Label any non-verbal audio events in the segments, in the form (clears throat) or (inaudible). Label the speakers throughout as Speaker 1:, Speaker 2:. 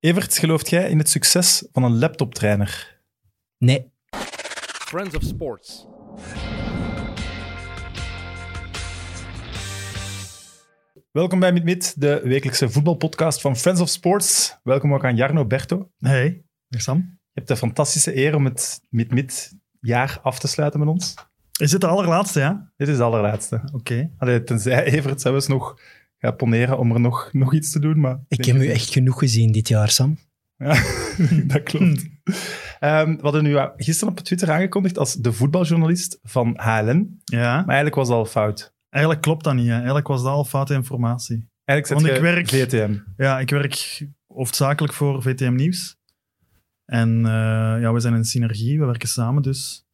Speaker 1: Evert, gelooft jij in het succes van een laptoptrainer?
Speaker 2: Nee.
Speaker 3: Friends of Sports.
Speaker 1: Welkom bij MidMid, de wekelijkse voetbalpodcast van Friends of Sports. Welkom ook aan Jarno Berto.
Speaker 4: Hey, dag Sam.
Speaker 1: Je hebt de fantastische eer om het MidMid jaar af te sluiten met ons.
Speaker 4: Is dit de allerlaatste, ja?
Speaker 1: Dit is de allerlaatste.
Speaker 4: Oké.
Speaker 1: Allee, tenzij Evert zelfs nog gaat poneren om er nog, nog iets te doen, maar... denk
Speaker 2: Ik heb
Speaker 1: het
Speaker 2: u
Speaker 1: niet.
Speaker 2: echt genoeg gezien dit jaar, Sam.
Speaker 1: Ja, (laughs) dat klopt. Ehm, we hadden u eh, gisteren op Twitter aangekondigd als de voetbaljournalist van HLN.
Speaker 4: Ja,
Speaker 1: Maar eigenlijk was het al fout.
Speaker 4: eigenlijk klopt dat niet. Hè. Eigenlijk was dat al foute informatie.
Speaker 1: Eigenlijk zit
Speaker 4: Want
Speaker 1: je
Speaker 4: ik werk-
Speaker 1: VTM.
Speaker 4: Ja, ik werk hoofdzakelijk voor VTM Nieuws. En eh, ja, we zijn in synergie, we werken samen dus.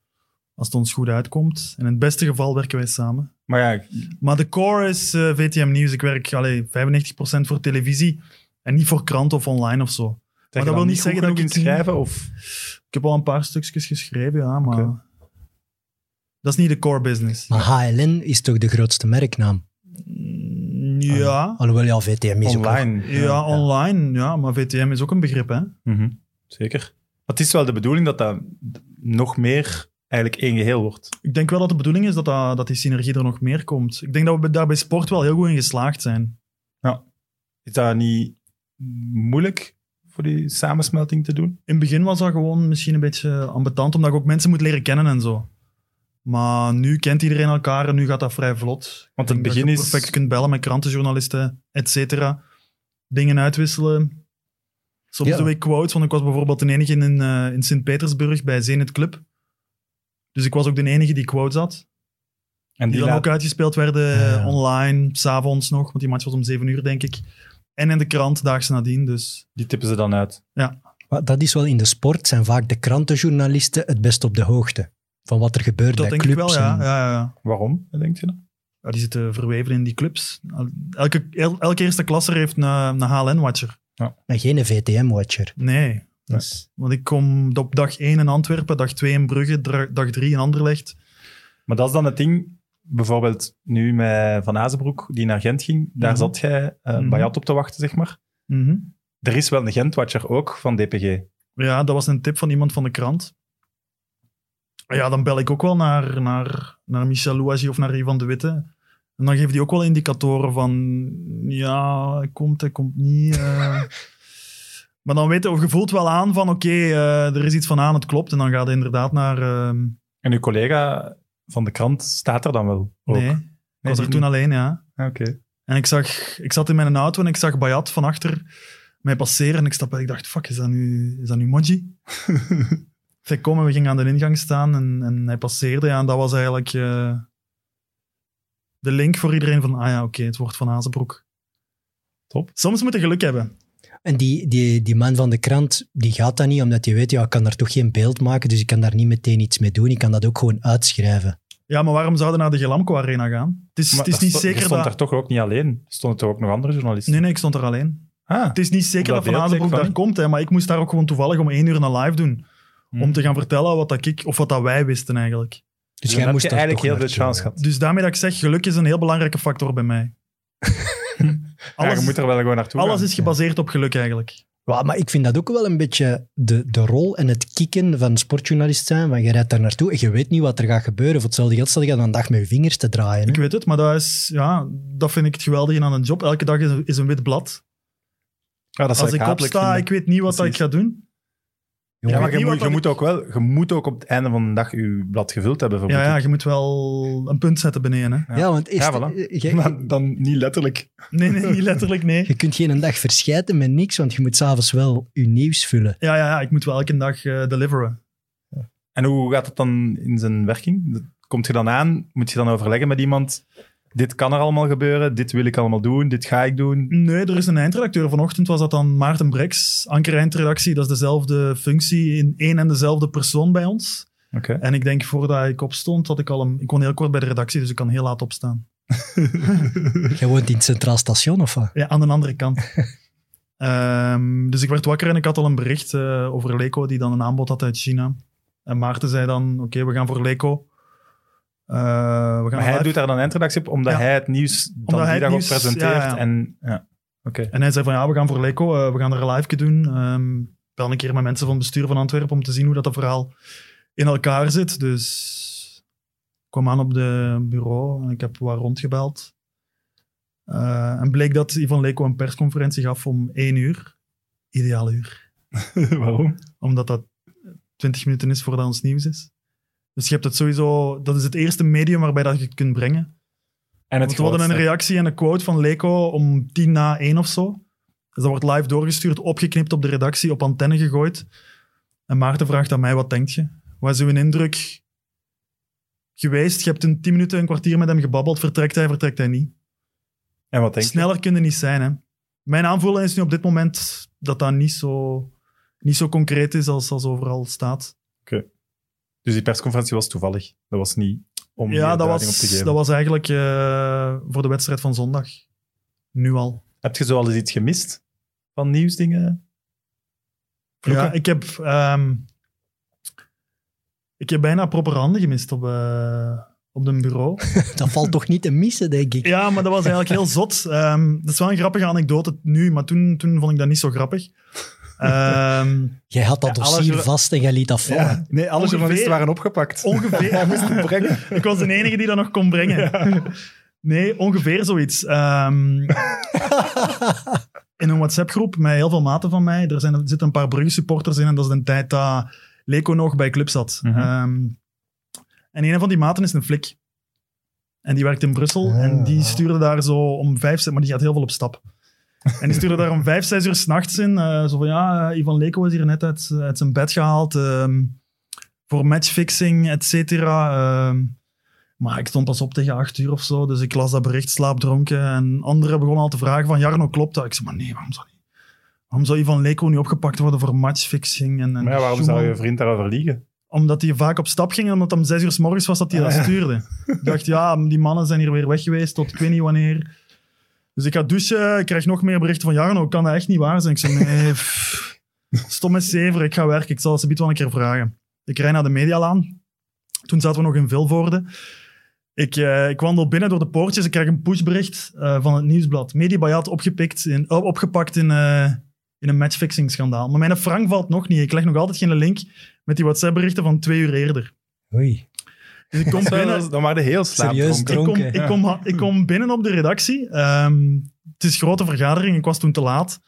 Speaker 4: Als het ons goed uitkomt. En in het beste geval werken wij samen.
Speaker 1: Maar ja,
Speaker 4: Maar de core is eh, VTM Nieuws. Ik werk allee, 95% voor televisie en niet voor krant of online of zo.
Speaker 1: maar
Speaker 4: wil niet zeggen dat ik het niet-
Speaker 1: schrijven of...
Speaker 4: Ik heb al een paar stukjes geschreven, ja, maar...
Speaker 1: Oké. Ah.
Speaker 4: Dat is niet de core business.
Speaker 2: Maar HLN is toch de grootste merknaam?
Speaker 4: Mm, Ja.
Speaker 2: Alhoewel, ja, VTM is ook nog-
Speaker 1: Online.
Speaker 4: Ja, online. Ja, maar VTM is ook een begrip, hè?
Speaker 1: Mhm, Zeker. Maar het is wel de bedoeling dat dat d- nog meer eigenlijk één geheel wordt.
Speaker 4: Ik denk wel dat de bedoeling is dat, dat, dat die synergie er nog meer komt. Ik denk dat we bij- daar bij sport wel heel goed in geslaagd zijn.
Speaker 1: Is dat niet moeilijk voor die samensmelting te doen?
Speaker 4: In het begin was dat gewoon misschien een beetje ambetant, omdat je ook mensen moet leren kennen en zo. Maar nu kent iedereen elkaar en nu gaat dat vrij vlot.
Speaker 1: Want
Speaker 4: Ik
Speaker 1: het
Speaker 4: denk dat
Speaker 1: begin
Speaker 4: je
Speaker 1: is-
Speaker 4: perfect kunt bellen met krantenjournalisten, et cetera. Dingen uitwisselen. Soms
Speaker 2: Ja.
Speaker 4: doe ik quotes, want ik was bijvoorbeeld de enige in, eh, in Sint-Petersburg bij Zenit Club. Dus ik was ook de enige die quotes had.
Speaker 1: En
Speaker 4: Die,
Speaker 1: die
Speaker 4: dan
Speaker 1: laat-
Speaker 4: ook uitgespeeld werden
Speaker 2: Ja, ja.
Speaker 4: eh, online, s'avonds nog, want die match was om 7 uur, denk ik. En in de krant daags nadien, dus
Speaker 1: die tippen ze dan uit.
Speaker 2: Maar dat is wel in de sport, zijn vaak de krantenjournalisten het best op de hoogte van wat er gebeurt
Speaker 4: dat
Speaker 2: bij
Speaker 4: denk ik
Speaker 2: clubs.
Speaker 4: wel, ja.
Speaker 2: en-
Speaker 4: Ja, ja, ja.
Speaker 1: Waarom, denk je dat?
Speaker 4: Ja, Die zitten verweven in die clubs. Elke, el- elke eerste klasser heeft een, een HLN-watcher.
Speaker 2: Maar geen VTM-watcher.
Speaker 4: Nee,
Speaker 2: Dus-
Speaker 4: want ik kom op dag 1 in Antwerpen, dag 2 in Brugge, dra- dag 3 in Anderlecht.
Speaker 1: Maar dat is dan het ding, bijvoorbeeld nu met Van Azenbroek, die naar Gent ging, daar
Speaker 4: Mhm.
Speaker 1: zat jij eh
Speaker 4: Mhm.
Speaker 1: Bayat op te wachten, zeg maar.
Speaker 4: Mhm.
Speaker 1: Er is wel een Gent-watcher ook van DPG.
Speaker 4: Ja, dat was een tip van iemand van de krant. Ja, dan bel ik ook wel naar, naar, naar Michel Louagie of naar Ivan de Witte. En dan geven die ook wel indicatoren van... Ja, hij komt, hij komt
Speaker 1: (laughs)
Speaker 4: niet. eh. maar dan weet je, of je voelt wel aan van... Oké, eh, er is iets van aan, het klopt. En dan gaat hij inderdaad naar... ehm,
Speaker 1: En uw collega van de krant staat er dan wel ook.
Speaker 4: nee, Dus ik
Speaker 1: Nee,
Speaker 4: was
Speaker 1: die
Speaker 4: er toen
Speaker 1: niet.
Speaker 4: alleen, ja.
Speaker 1: Ah, Oké.
Speaker 4: En ik, zag, ik zat in mijn auto en ik zag Bayat van achter mij passeren. En ik stapte en ik dacht, fuck, is dat nu, is dat nu
Speaker 1: (laughs)
Speaker 4: Moji? Zij komen, we gingen aan de ingang staan en, en hij passeerde. Ja, en dat was eigenlijk eh, de link voor iedereen van, ah ja, oké, het wordt Van Azenbroek.
Speaker 1: Top.
Speaker 4: Soms moet je geluk hebben.
Speaker 2: En die, die, die man van de krant, die gaat dat niet, omdat hij weet, ja, ik kan daar toch geen beeld maken, dus ik kan daar niet meteen iets mee doen. Ik kan dat ook gewoon uitschrijven.
Speaker 4: Ja, maar waarom zouden naar de Gelamco Arena gaan? Het is,
Speaker 1: Maar
Speaker 4: het is
Speaker 1: er
Speaker 4: niet
Speaker 1: sto- er
Speaker 4: zeker
Speaker 1: stond
Speaker 4: dat...
Speaker 1: daar toch ook niet alleen. Er stonden toch ook nog andere journalisten?
Speaker 4: Nee, nee, ik stond er alleen.
Speaker 2: Dus
Speaker 1: Ah,
Speaker 4: Het is niet zeker
Speaker 1: Omdat
Speaker 4: dat Van
Speaker 1: beeld
Speaker 4: Azenbroek
Speaker 1: zeker
Speaker 4: daar
Speaker 1: van
Speaker 4: komt, hè, maar ik moest daar ook gewoon toevallig om één uur een live doen.
Speaker 1: Hmm.
Speaker 4: Om te gaan vertellen wat, dat ik, of wat dat wij wisten eigenlijk.
Speaker 2: Dus
Speaker 1: dan
Speaker 2: jij
Speaker 1: heb
Speaker 2: moest
Speaker 1: je
Speaker 2: daar
Speaker 1: eigenlijk
Speaker 2: toch
Speaker 1: heel veel
Speaker 2: naartoe.
Speaker 1: chance gehad.
Speaker 4: Dus daarmee dat ik zeg, geluk is een heel belangrijke factor bij mij. Hm?
Speaker 1: (laughs) Ja,
Speaker 4: alles
Speaker 1: je moet er wel gewoon naartoe
Speaker 4: alles
Speaker 1: gaan.
Speaker 4: is gebaseerd op geluk eigenlijk.
Speaker 2: Ja, maar ik vind dat ook wel een beetje de, de rol en het kicken van sportjournalist zijn. Want je rijdt daar naartoe en je weet niet wat er gaat gebeuren. Voor hetzelfde geld stel je dan een dag met je vingers te draaien. hè.
Speaker 4: Ik weet het, maar dat, is, ja, dat vind ik het geweldige aan een job. Elke dag is een, is een wit blad.
Speaker 1: Ja, dat zou
Speaker 4: Als ik
Speaker 1: hatelijk
Speaker 4: opsta,
Speaker 1: vinden.
Speaker 4: ik weet niet wat dat ik
Speaker 1: Precies.
Speaker 4: ga doen.
Speaker 1: Ja,
Speaker 4: ik
Speaker 1: maar
Speaker 4: weet
Speaker 1: je,
Speaker 4: niet
Speaker 1: moet,
Speaker 4: wat
Speaker 1: je
Speaker 4: dat
Speaker 1: moet ook wel... Je moet ook op het einde van de dag je blad gevuld hebben,
Speaker 4: Ja,
Speaker 1: vermoed
Speaker 2: (laughs)
Speaker 4: ja,
Speaker 1: ik.
Speaker 4: je moet wel een punt zetten beneden. Hè.
Speaker 2: Ja, want eerst,
Speaker 1: Ja, voilà.
Speaker 2: eh,
Speaker 4: (laughs)
Speaker 2: je,
Speaker 1: Maar dan niet letterlijk.
Speaker 4: Nee, nee, niet letterlijk,
Speaker 1: (laughs)
Speaker 4: nee.
Speaker 2: je kunt geen dag verschijten met niks, want je moet s'avonds wel je nieuws vullen.
Speaker 4: Ja, ja, ja, ik moet wel elke dag eh, deliveren.
Speaker 1: En hoe gaat het dan in zijn werking? Komt je dan aan? Moet je dan overleggen met iemand? Dit kan er allemaal gebeuren. Dit wil ik allemaal doen. Dit ga ik doen.
Speaker 4: Nee, er is een eindredacteur. Vanochtend was dat dan Maarten Breks, anker eindredactie. Dat is dezelfde functie in één en dezelfde persoon bij ons.
Speaker 1: Oké.
Speaker 4: En ik denk voordat ik opstond, had ik al een... Ik kon heel kort bij de redactie, dus ik kan heel laat opstaan.
Speaker 2: Je woont in het Centraal Station of wat?
Speaker 4: Ja, aan de andere
Speaker 1: (laughs)
Speaker 4: kant. Ehm, dus ik werd wakker en ik had al een bericht eh, over Leco, die dan een aanbod had uit China. En Maarten zei dan, oké, we gaan voor Leco. Eh, we gaan
Speaker 1: Maar hij
Speaker 4: live.
Speaker 1: doet daar dan eindredactie op, omdat
Speaker 4: Ja.
Speaker 1: hij het nieuws dan
Speaker 4: Omdat
Speaker 1: die
Speaker 4: hij
Speaker 1: dag ook
Speaker 4: het nieuws-
Speaker 1: presenteert.
Speaker 4: ja, ja.
Speaker 1: En, ja.
Speaker 4: (laughs)
Speaker 1: Oké.
Speaker 4: En hij zei van ja, we gaan voor Leco, eh, we gaan er een live doen. Ehm bel een keer met mensen van het bestuur van Antwerpen om te zien hoe dat, dat verhaal in elkaar zit. Dus ik kwam aan op de bureau en ik heb wat rondgebeld. Eh, en bleek dat Ivan Leco een persconferentie gaf om één uur. Ideaal uur
Speaker 1: Waarom?
Speaker 4: omdat dat 20 minuten is voordat ons nieuws is. Dus je hebt het sowieso, dat is het eerste medium waarbij dat je het kunt brengen.
Speaker 1: En
Speaker 4: Want we hadden een
Speaker 1: grootste.
Speaker 4: reactie en een quote van Leko om tien na één of zo. Dus dat wordt live doorgestuurd, opgeknipt op de redactie, op antenne gegooid. En Maarten vraagt aan mij, wat denk je? Wat is uw indruk geweest? Je hebt een tien minuten, een kwartier met hem gebabbeld. Vertrekt hij, vertrekt hij niet.
Speaker 1: En wat denk je?
Speaker 4: Sneller kunnen niet zijn, hè. Mijn aanvoelen is nu op dit moment dat dat niet zo, niet zo concreet is als, als overal staat.
Speaker 1: Dus die persconferentie was toevallig. Dat was niet om
Speaker 4: ja,
Speaker 1: meer
Speaker 4: dat
Speaker 1: duiding op te
Speaker 4: was,
Speaker 1: geven.
Speaker 4: dat was eigenlijk eh, voor de wedstrijd van zondag. Nu al.
Speaker 1: Heb je zo al eens iets gemist van nieuwsdingen? Vloeken?
Speaker 4: Ja, ik heb, ehm, ik heb bijna proper handen gemist op, eh, op een
Speaker 1: (laughs)
Speaker 4: bureau.
Speaker 2: Dat valt toch niet te missen, denk ik.
Speaker 4: Ja, maar dat was eigenlijk heel zot. Ehm, dat is wel een grappige anekdote nu, maar toen, toen vond ik dat niet zo grappig. Ehm,
Speaker 2: Jij had dat
Speaker 1: Ja, alles
Speaker 2: dossier
Speaker 1: wil-
Speaker 2: vast en jij liet dat vallen.
Speaker 1: Ja. (laughs) Nee, alle
Speaker 4: Ongeveer.
Speaker 1: journalisten waren
Speaker 4: (laughs)
Speaker 1: opgepakt.
Speaker 4: ongeveer.
Speaker 1: (laughs) Hij moest het brengen.
Speaker 4: Ik was de enige die dat nog kon brengen. Nee, ongeveer
Speaker 1: (laughs)
Speaker 4: zoiets. Ehm, in een WhatsApp-groep met heel veel maten van mij. Er, zijn, er zitten een paar Brugge-supporters in en dat is de tijd dat Leko nog bij club zat.
Speaker 1: Mhm.
Speaker 4: Ehm, en een van die maten is een flik. En die werkt in Brussel
Speaker 2: Ah.
Speaker 4: en die stuurde daar zo om vijf, zes- maar die gaat heel veel op stap. En die stuurde daar om vijf, zes uur s'nachts in. eh, zo van, ja, eh, Ivan Leko is hier net uit, eh, uit zijn bed gehaald. ehm, voor matchfixing, et cetera. Ehm, maar ik stond pas op tegen acht uur of zo, dus ik las dat bericht slaapdronken. En anderen begonnen al te vragen van, Jarno, klopt dat? Ik zei, maar nee, waarom zou, die, waarom zou Ivan Leko niet opgepakt worden voor matchfixing? En, en
Speaker 1: Maar ja, waarom
Speaker 4: Schumann?
Speaker 1: zou je vriend daarover liegen?
Speaker 4: Omdat hij vaak op stap ging en omdat het om zes uur 's morgens was dat hij dat
Speaker 1: Ah, ja.
Speaker 4: stuurde. Ik dacht, ja, die mannen zijn hier weer weg geweest tot ik weet niet wanneer. Dus ik ga douchen, ik krijg nog meer berichten van Jarno, kan dat echt niet waar zijn? Ik zei,
Speaker 1: (laughs)
Speaker 4: nee, pff, stom en zever, ik ga werken, ik zal het subiet wel een keer vragen. Ik rijd naar de medialaan. Toen zaten we nog in Vilvoorde. Ik, eh, ik wandel binnen door de poortjes, ik krijg een pushbericht eh, van het nieuwsblad. Mediabayat opgepikt in, oh, opgepakt in, eh, in een matchfixing schandaal. Maar mijn frank valt nog niet, ik leg nog altijd geen link met die WhatsApp-berichten van twee uur eerder.
Speaker 2: Oei.
Speaker 4: Dus ik kom binnen,
Speaker 1: Dan waren heel
Speaker 2: Serieus
Speaker 1: slaapdronken.
Speaker 4: ik kom,
Speaker 2: dronken.
Speaker 4: ik, kom, ik kom binnen op de redactie. Ehm, het is grote vergadering, ik was toen te laat.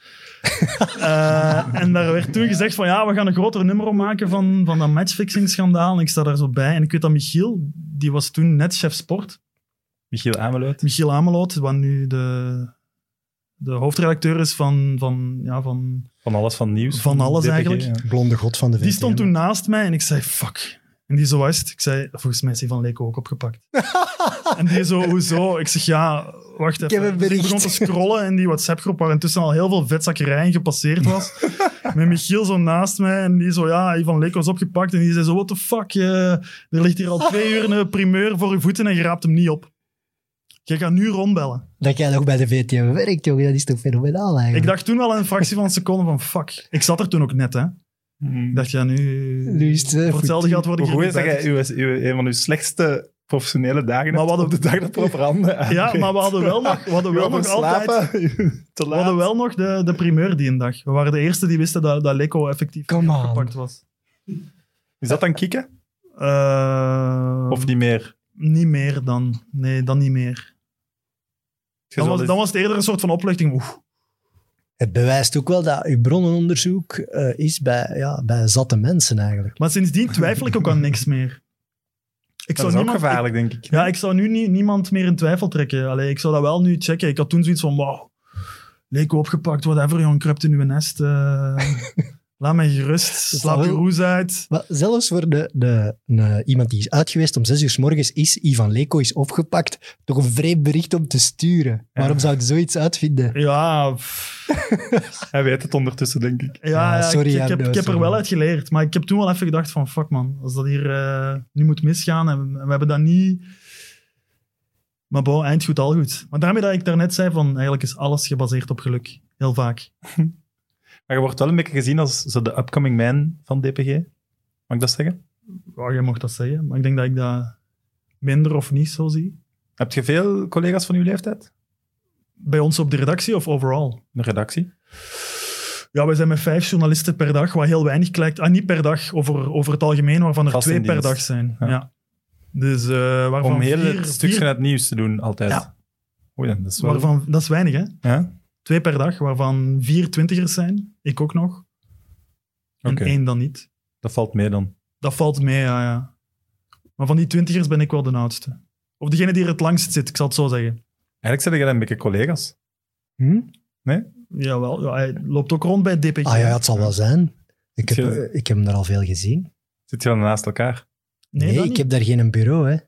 Speaker 4: Eh, en daar werd toen gezegd van ja, we gaan een groter nummer om maken van, van dat matchfixing-schandaal. En ik sta daar zo bij. En ik weet dat Michiel, die was toen net chef sport.
Speaker 1: Michiel Ameloot.
Speaker 4: Michiel Ameloot, wat nu de, de hoofdredacteur is van, van, ja, van
Speaker 1: Van alles van nieuws.
Speaker 4: Van alles
Speaker 1: DPG,
Speaker 4: eigenlijk.
Speaker 1: ja.
Speaker 2: Blonde god van de
Speaker 4: Die
Speaker 2: VTM.
Speaker 4: stond toen naast mij en ik zei, fuck. En die zo was het. Ik zei, volgens mij is die van Leko ook
Speaker 2: (laughs)
Speaker 4: opgepakt. en die zo, hoezo? Ik zeg, ja, wacht even.
Speaker 2: heb een
Speaker 4: Dus ik
Speaker 2: bericht.
Speaker 4: begon te scrollen in die WhatsApp-groep waar intussen al heel veel vetzakkerijen gepasseerd
Speaker 2: (laughs)
Speaker 4: was. Met Michiel zo naast mij en die zo, ja, Ivan Leko is opgepakt. En die zei zo, what the fuck, eh, er ligt hier al twee uur een primeur voor je voeten en je raapt hem niet op. Jij gaat nu rondbellen.
Speaker 2: Dat jij nog bij de VTM werkt, jongen, dat is toch fenomenaal eigenlijk.
Speaker 4: Ik dacht toen al een fractie van een seconde van, fuck. Ik zat er toen ook net, hè. Ik dacht, ja, nu...
Speaker 2: Nu is het, eh,
Speaker 4: voor
Speaker 2: goed.
Speaker 4: hetzelfde geld word ik
Speaker 1: Hoe
Speaker 4: hier
Speaker 1: goed is dat
Speaker 4: gebeiteld.
Speaker 1: jij uw- uw- een van uw slechtste professionele dagen
Speaker 4: Maar
Speaker 1: maar
Speaker 4: wat
Speaker 1: op de dag dat proper handen
Speaker 4: (laughs)
Speaker 1: (laughs)
Speaker 4: Ja, maar we hadden wel nog, we hadden wel nog altijd...
Speaker 1: te
Speaker 4: We
Speaker 1: laat.
Speaker 4: hadden wel nog de, de primeur die een dag. We waren de eerste die wisten dat, dat Leko effectief
Speaker 2: Come on.
Speaker 4: gepakt was.
Speaker 1: Is dat dan kikken?
Speaker 4: Eh,
Speaker 1: Of niet meer?
Speaker 4: Niet meer dan. Nee, dan niet meer. Dan was, dan
Speaker 1: dan
Speaker 4: was het eerder een soort van opluchting. Oeh,
Speaker 2: Het bewijst ook wel dat uw bronnenonderzoek eh, is bij, ja, bij zatte mensen eigenlijk.
Speaker 4: Maar sindsdien twijfel ik ook aan niks meer. Ik
Speaker 1: dat is ook gevaarlijk, denk ik.
Speaker 4: ik- ja, ik zou nu nie- niemand meer in twijfel trekken. Allee, ik zou dat wel nu checken. Ik had toen zoiets van, wauw, Leko opgepakt, whatever, jong, kruipt in uw
Speaker 1: (laughs)
Speaker 4: nest. eh, laat mij gerust, slaap je
Speaker 2: wel-
Speaker 4: roes uit.
Speaker 2: Maar zelfs voor de, de, een- eh, iemand die is uit geweest om zes uur 's morgens, is Ivan Leko is opgepakt, toch een vreemd bericht om te sturen. Waarom zou je zoiets uitvinden?
Speaker 4: Ja, pff.
Speaker 1: Hij weet het ondertussen, denk ik.
Speaker 4: Ja,
Speaker 2: (laughs) Ja,
Speaker 4: ja,
Speaker 2: sorry,
Speaker 4: ik, ik
Speaker 2: Abdo,
Speaker 4: heb, ik heb er
Speaker 2: sorry.
Speaker 4: wel uit geleerd. Maar ik heb toen wel even gedacht van, fuck man, als dat hier eh, nu moet misgaan en we, en we hebben dat niet... Maar bon, eind goed, al goed. Maar daarmee dat ik daarnet zei van, eigenlijk is alles gebaseerd op geluk. Heel vaak.
Speaker 1: Maar je wordt wel een beetje gezien als zo de upcoming man van DPG. Mag ik dat zeggen?
Speaker 4: Ja, jij mocht dat zeggen, maar ik denk dat ik dat minder of niet zo zie.
Speaker 1: Heb je veel collega's van uw leeftijd?
Speaker 4: Bij ons op de redactie of overal?
Speaker 1: De redactie.
Speaker 4: Ja, wij zijn met vijf journalisten per dag, wat heel weinig lijkt. Ah, niet per dag, over, over het algemeen, waarvan er
Speaker 1: Vast in
Speaker 4: twee per
Speaker 1: dienst.
Speaker 4: dag zijn.
Speaker 1: Ja.
Speaker 4: Ja. Dus eh, waarvan
Speaker 1: Om heel
Speaker 4: vier,
Speaker 1: het stukje
Speaker 4: vier-
Speaker 1: uit het nieuws te doen, altijd.
Speaker 4: Ja.
Speaker 1: Oei, dat is wel...
Speaker 4: waarvan, dat is weinig, hè?
Speaker 1: Ja?
Speaker 4: Twee per dag, waarvan vier twintigers zijn. Ik ook nog. En
Speaker 1: Oké.
Speaker 4: één dan niet.
Speaker 1: Dat valt mee dan.
Speaker 4: Dat valt mee, ja, ja. Maar van die twintigers ben ik wel de oudste. Of degene die er het langst zit, ik zal het zo zeggen.
Speaker 1: Eigenlijk zijn jij dan een beetje collega's.
Speaker 2: Hm?
Speaker 4: Jawel, ja, hij loopt ook rond bij DPG.
Speaker 2: Ah ja, het zal wel zijn. Ik heb,
Speaker 1: Ja.
Speaker 2: eh, ik heb hem er al veel gezien.
Speaker 1: Zit je dan naast elkaar?
Speaker 4: Nee,
Speaker 2: Nee,
Speaker 4: dat
Speaker 2: ik
Speaker 4: niet.
Speaker 2: heb daar geen bureau, hè.
Speaker 4: (laughs)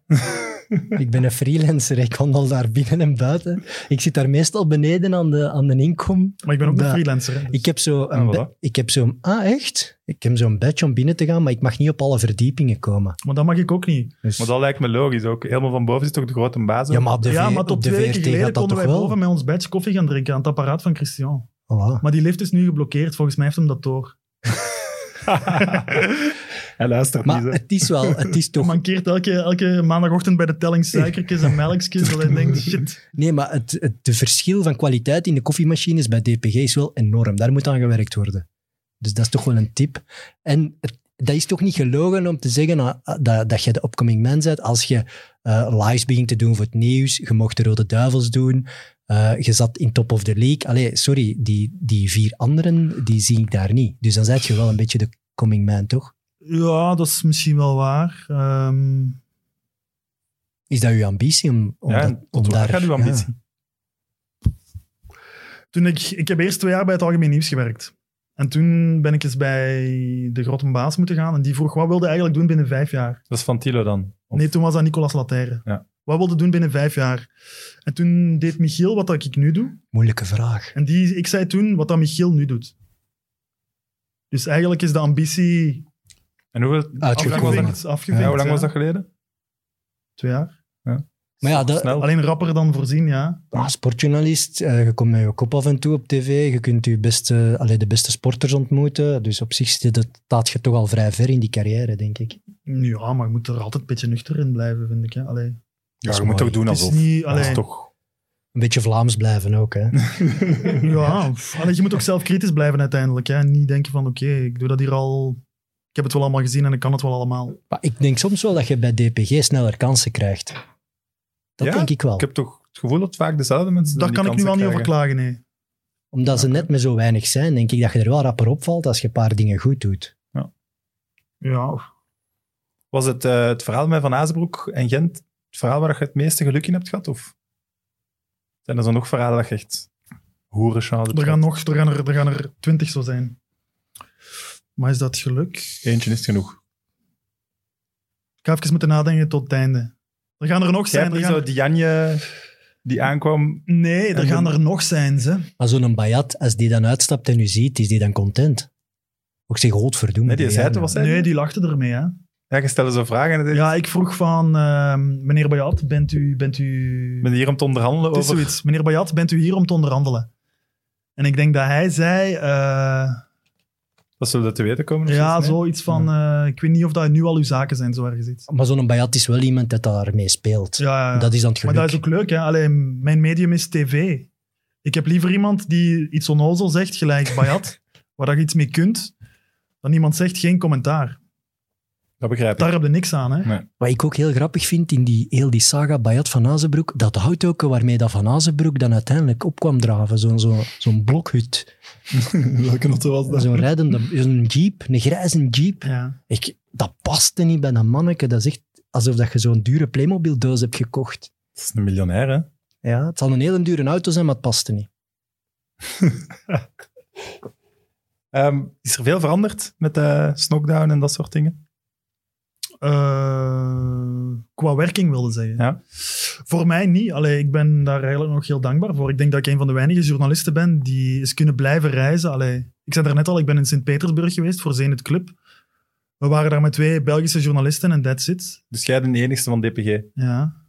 Speaker 2: ik ben een freelancer, ik wandel daar binnen en buiten. Ik zit daar meestal beneden aan de, aan de inkom.
Speaker 4: Maar ik ben ook een
Speaker 2: Dat-
Speaker 4: freelancer. hè, dus-
Speaker 2: Ik heb zo
Speaker 1: Ah,
Speaker 2: een
Speaker 1: voilà.
Speaker 2: be- ik heb zo'n... Ah, echt? Ik heb zo'n badge om binnen te gaan, maar ik mag niet op alle verdiepingen komen.
Speaker 4: Maar dat mag ik ook niet.
Speaker 2: Dus-
Speaker 1: Maar dat lijkt me logisch ook. Helemaal van boven zit toch de grote baas?
Speaker 2: ja, maar op de,
Speaker 4: ja,
Speaker 2: V-
Speaker 4: maar
Speaker 2: op
Speaker 4: tot
Speaker 2: de
Speaker 4: twee weken
Speaker 2: VRT
Speaker 4: geleden
Speaker 2: gaat dat
Speaker 4: konden
Speaker 2: toch
Speaker 4: wij
Speaker 2: wel?
Speaker 4: boven met ons badge koffie gaan drinken aan het apparaat van Christian.
Speaker 2: Voilà.
Speaker 4: Maar die lift is nu geblokkeerd, volgens mij heeft hem dat door.
Speaker 1: (laughs) Hij luistert
Speaker 2: Maar
Speaker 1: niet, hè.
Speaker 2: het is wel... Het is
Speaker 4: Hij
Speaker 2: toch...
Speaker 4: mankeert elke, elke maandagochtend bij de telling suikertjes en melkjes.
Speaker 2: (laughs)
Speaker 4: dat hij denkt, shit.
Speaker 2: Nee, maar het, het de verschil van kwaliteit in de koffiemachines bij DPG is wel enorm. Daar moet aan gewerkt worden. Dus dat is toch wel een tip. En het- dat is toch niet gelogen om te zeggen ah, ah, dat, dat je de upcoming man bent als je eh, lives begint te doen voor het nieuws. Je mocht de Rode Duivels doen. eh, je zat in top of the league. Allee, sorry, die, die vier anderen, die zie ik daar niet. Dus dan zijt je wel een beetje de coming man, toch?
Speaker 4: Ja, dat is misschien wel waar. Ehm,
Speaker 2: Is dat uw ambitie om, om,
Speaker 1: Ja,
Speaker 2: dat-
Speaker 1: tot
Speaker 2: om
Speaker 1: waar
Speaker 2: daar...
Speaker 1: gaat uw
Speaker 2: ja.
Speaker 1: ambitie?
Speaker 4: toen ik, ik heb eerst twee jaar bij het Algemeen Nieuws gewerkt. En toen ben ik eens bij de grote baas moeten gaan. En die vroeg, wat wilde je eigenlijk doen binnen vijf jaar?
Speaker 1: Dat is van Tilo dan. Of-
Speaker 4: Nee, toen was dat Nicolas Laterre.
Speaker 1: Ja.
Speaker 4: Wat wilde je doen binnen vijf jaar? En toen deed Michiel wat dat ik nu doe.
Speaker 2: Moeilijke vraag.
Speaker 4: En die, ik zei toen wat dat Michiel nu doet. Dus eigenlijk is de ambitie
Speaker 1: En hoeveel...
Speaker 2: Uitgevoerd.
Speaker 1: Hoe lang was dat?
Speaker 4: afgevinkt. afgevinkt
Speaker 1: Ja, hoe lang
Speaker 4: ja.
Speaker 1: was dat geleden?
Speaker 4: Twee jaar.
Speaker 2: Maar ja, dat,
Speaker 1: Snel.
Speaker 4: Alleen rapper dan voorzien, ja.
Speaker 2: Ah, sportjournalist, eh, je komt met je kop af en toe op tv, je kunt je beste, allee, de beste sporters ontmoeten. Dus op zich zit het- staat je toch al vrij ver in die carrière, denk ik.
Speaker 4: Ja, maar je moet er altijd een beetje nuchter in blijven, vind ik. Hè. Allee, het
Speaker 1: Ja,
Speaker 2: is
Speaker 1: je moet
Speaker 2: mooi.
Speaker 1: toch doen
Speaker 4: is
Speaker 1: alsof.
Speaker 4: niet...
Speaker 1: Dat is
Speaker 4: Allee,
Speaker 1: toch...
Speaker 2: Een beetje Vlaams blijven ook,
Speaker 1: (laughs)
Speaker 2: hè.
Speaker 4: ja, pff, allee, je moet ook zelf kritisch blijven uiteindelijk. Hè. En niet denken van, oké, ik doe dat hier al... Ik heb het wel allemaal gezien en ik kan het wel allemaal.
Speaker 2: Maar ik denk soms wel dat je bij DPG sneller kansen krijgt. Dat
Speaker 1: Ja,
Speaker 2: denk ik wel.
Speaker 1: Ik heb toch het gevoel dat vaak dezelfde mensen
Speaker 4: Daar
Speaker 1: die
Speaker 4: kan ik nu
Speaker 1: kansen
Speaker 4: wel niet over
Speaker 1: krijgen.
Speaker 4: klagen, nee.
Speaker 2: Omdat ze net met zo weinig zijn, denk ik dat je er wel rapper opvalt als je een paar dingen goed doet.
Speaker 4: Ja,
Speaker 1: Was het eh, het verhaal met Van Azenbroek en Gent het verhaal waar je het meeste geluk in hebt gehad? Of zijn er zo nog verhalen dat je echt hoerenschade
Speaker 4: er gaan, nog, er, gaan er, er gaan er twintig zo zijn. Maar is dat geluk?
Speaker 1: Eentje is genoeg.
Speaker 4: Ik ga even moeten nadenken tot het einde. Er gaan er nog
Speaker 1: Jij
Speaker 4: zijn.
Speaker 1: hebt
Speaker 4: er
Speaker 1: niet
Speaker 4: gaan-
Speaker 1: zo die Janje die aankwam.
Speaker 4: Nee, er
Speaker 1: En
Speaker 4: gaan
Speaker 1: de-
Speaker 4: er nog zijn, ze.
Speaker 2: Maar zo'n Bayat, als die dan uitstapt en u ziet, is die dan content? Ook zeg, godverdomme.
Speaker 1: Nee, die zei het,
Speaker 2: ja.
Speaker 1: was hij?
Speaker 4: Nee, die lachten ermee, hè.
Speaker 1: Ja, je stelde zo'n vraag en het is-
Speaker 4: Ja, ik vroeg van... ehm, meneer Bayat, bent u... Bent u...
Speaker 1: ik ben hier om te onderhandelen
Speaker 4: Het is
Speaker 1: over...
Speaker 4: zoiets. Meneer Bayat, bent u hier om te onderhandelen? En ik denk dat hij zei... eh,
Speaker 1: Dat zullen we te weten komen. of
Speaker 4: ja,
Speaker 1: zoiets, nee?
Speaker 4: zoiets van... eh, ik weet niet of dat nu al uw zaken zijn, zo ergens iets.
Speaker 2: Maar zo'n Bayat is wel iemand dat daarmee speelt.
Speaker 4: Ja, ja, ja.
Speaker 2: Dat is dan het geluk.
Speaker 4: Maar dat is ook leuk, hè. Alleen mijn medium is tv. Ik heb liever iemand die iets onnozel
Speaker 1: (laughs)
Speaker 4: zegt, gelijk Bayat, waar dat je iets mee kunt, dan iemand zegt geen commentaar.
Speaker 1: Dat begrijp ik.
Speaker 4: Daar heb je niks aan, hè.
Speaker 2: Wat ik ook heel grappig vind in die, heel die saga Bayat van Azenbroek, dat houthokken waarmee dat van Azenbroek dan uiteindelijk opkwam draven, zo'n zo, zo'n
Speaker 4: (laughs)
Speaker 2: blokhut,
Speaker 1: Welke notte was
Speaker 2: zo'n rijdende, zo'n jeep, een grijze jeep.
Speaker 4: Ja.
Speaker 2: Ik, dat paste niet bij dat manneke, dat is echt alsof dat je zo'n dure Playmobil doos hebt gekocht.
Speaker 1: Dat is een miljonair, hè?
Speaker 2: Ja, het zal een hele dure auto zijn, maar het paste niet.
Speaker 1: Ehm, is er veel veranderd met eh Snockdown en dat soort dingen?
Speaker 4: Eh, qua werking wilde zeggen.
Speaker 1: Ja.
Speaker 4: Voor mij niet. Allee, ik ben daar eigenlijk nog heel dankbaar voor. Ik denk dat ik een van de weinige journalisten ben die is kunnen blijven reizen. Allee, ik zei net al, ik ben in Sint-Petersburg geweest voor Zenit Club. We waren daar met twee Belgische journalisten en that's it.
Speaker 1: Dus jij bent de enigste van DPG.
Speaker 4: Ja.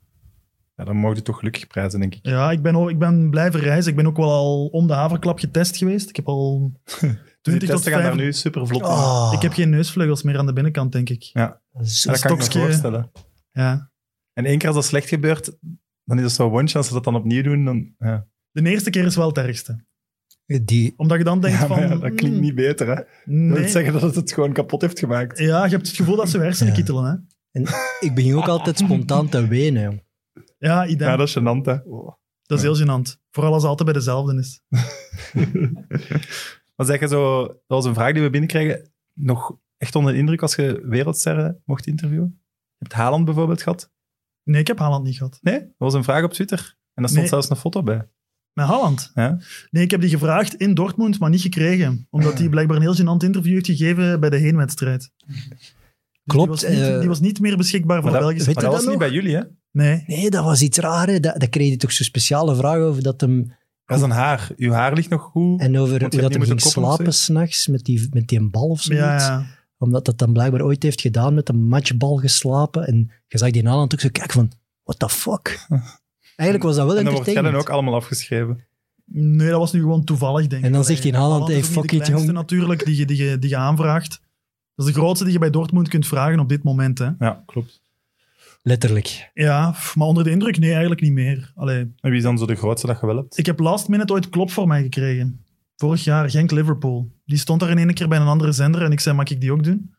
Speaker 1: Ja, dan mogen je toch gelukkig prijzen, denk ik.
Speaker 4: Ja, ik ben, ook, ik ben blijven reizen. Ik ben ook wel al om de haverklap getest geweest. Ik heb al 20 tot
Speaker 1: Dus testen gaan daar
Speaker 4: 5...
Speaker 1: nu super vlot.
Speaker 2: Ah,
Speaker 4: Oh. Ik heb geen neusvleugels meer aan de binnenkant, denk ik.
Speaker 2: zo-
Speaker 1: dat kan ik me
Speaker 4: stokje.
Speaker 1: voorstellen.
Speaker 4: Ja.
Speaker 1: En één keer als dat slecht gebeurt, dan is het zo one chance dat ze dat dan opnieuw doen. Dan, ja.
Speaker 4: De eerste keer is wel het ergste.
Speaker 2: Die,
Speaker 4: Omdat je dan denkt
Speaker 1: Ja,
Speaker 4: van...
Speaker 1: maar ja, dat klinkt niet beter, hè?
Speaker 4: mm,
Speaker 1: Dat
Speaker 4: nee.
Speaker 1: wil zeggen dat het het gewoon kapot heeft gemaakt.
Speaker 4: Ja, je hebt het gevoel dat ze hun hersenen
Speaker 2: Ja.
Speaker 4: kittelen. Hè?
Speaker 2: ik begin ook altijd spontaan te wenen. jong.
Speaker 4: Ja, idem.
Speaker 1: Ja, dat
Speaker 4: dat...
Speaker 1: is gênant, hè? Oh.
Speaker 4: is heel gênant. Vooral als het altijd bij dezelfde is.
Speaker 1: Maar zeg je zo, dat was een vraag die we binnenkrijgen, nog echt onder de indruk als je wereldsterren mocht interviewen? Je hebt Haaland bijvoorbeeld gehad?
Speaker 4: Nee, ik heb Haaland niet gehad.
Speaker 1: Nee, dat was een vraag op Twitter. En daar stond
Speaker 4: Nee.
Speaker 1: zelfs een foto bij.
Speaker 4: Met Haaland?
Speaker 1: Ja. Ah.
Speaker 4: Nee, ik heb die gevraagd in Dortmund, maar niet gekregen. Omdat hij blijkbaar een heel gênant interview heeft gegeven bij de heenwedstrijd. Dus
Speaker 2: Klopt,
Speaker 4: Die was niet,
Speaker 2: eh,
Speaker 4: die was niet meer beschikbaar voor
Speaker 1: Maar dat,
Speaker 4: Belgische...
Speaker 2: weet
Speaker 1: maar
Speaker 2: je
Speaker 1: dat was
Speaker 2: dat
Speaker 1: niet
Speaker 2: nog?
Speaker 1: bij jullie, hè?
Speaker 4: Nee.
Speaker 2: Nee, dat was iets raar. Hè? Dat, dat kreeg je toch zo'n speciale vraag over dat hem...
Speaker 1: Dat is een haar. Uw haar ligt nog goed.
Speaker 2: En over
Speaker 1: Want je
Speaker 2: hoe
Speaker 1: hebt
Speaker 2: dat hem
Speaker 1: niet
Speaker 2: ging
Speaker 1: moeten koppen of
Speaker 2: slapen s'nachts met die, met die bal of zoiets.
Speaker 4: Ja, ja.
Speaker 2: Omdat dat dan blijkbaar ooit heeft gedaan met een matchbal geslapen. En je zag die Haaland ook zo kijken van... What the
Speaker 1: (laughs)
Speaker 2: fuck? Eigenlijk was dat wel
Speaker 1: en dan wordt jij dan
Speaker 2: entertainment.
Speaker 1: ook allemaal afgeschreven.
Speaker 4: Nee, dat was nu gewoon toevallig, denk ik.
Speaker 2: En dan zegt hij in Haaland,
Speaker 4: is
Speaker 2: hey,
Speaker 4: ook niet
Speaker 2: fuck
Speaker 4: de
Speaker 2: it,
Speaker 4: kleinste
Speaker 2: jong.
Speaker 4: natuurlijk die je, die, je, die je aanvraagt. Dat is de grootste die je bij Dortmund kunt vragen op dit moment. Hè.
Speaker 1: Ja, klopt.
Speaker 2: Letterlijk.
Speaker 4: Ja, pff, maar onder de indruk, nee, eigenlijk niet meer. Allee,
Speaker 1: En wie is dan zo de grootste dat je wel hebt?
Speaker 4: ik heb last minute ooit klop voor mij gekregen. Vorig jaar, Genk-Liverpool. Die stond daar in één keer bij een andere zender en ik zei, mag ik die ook doen?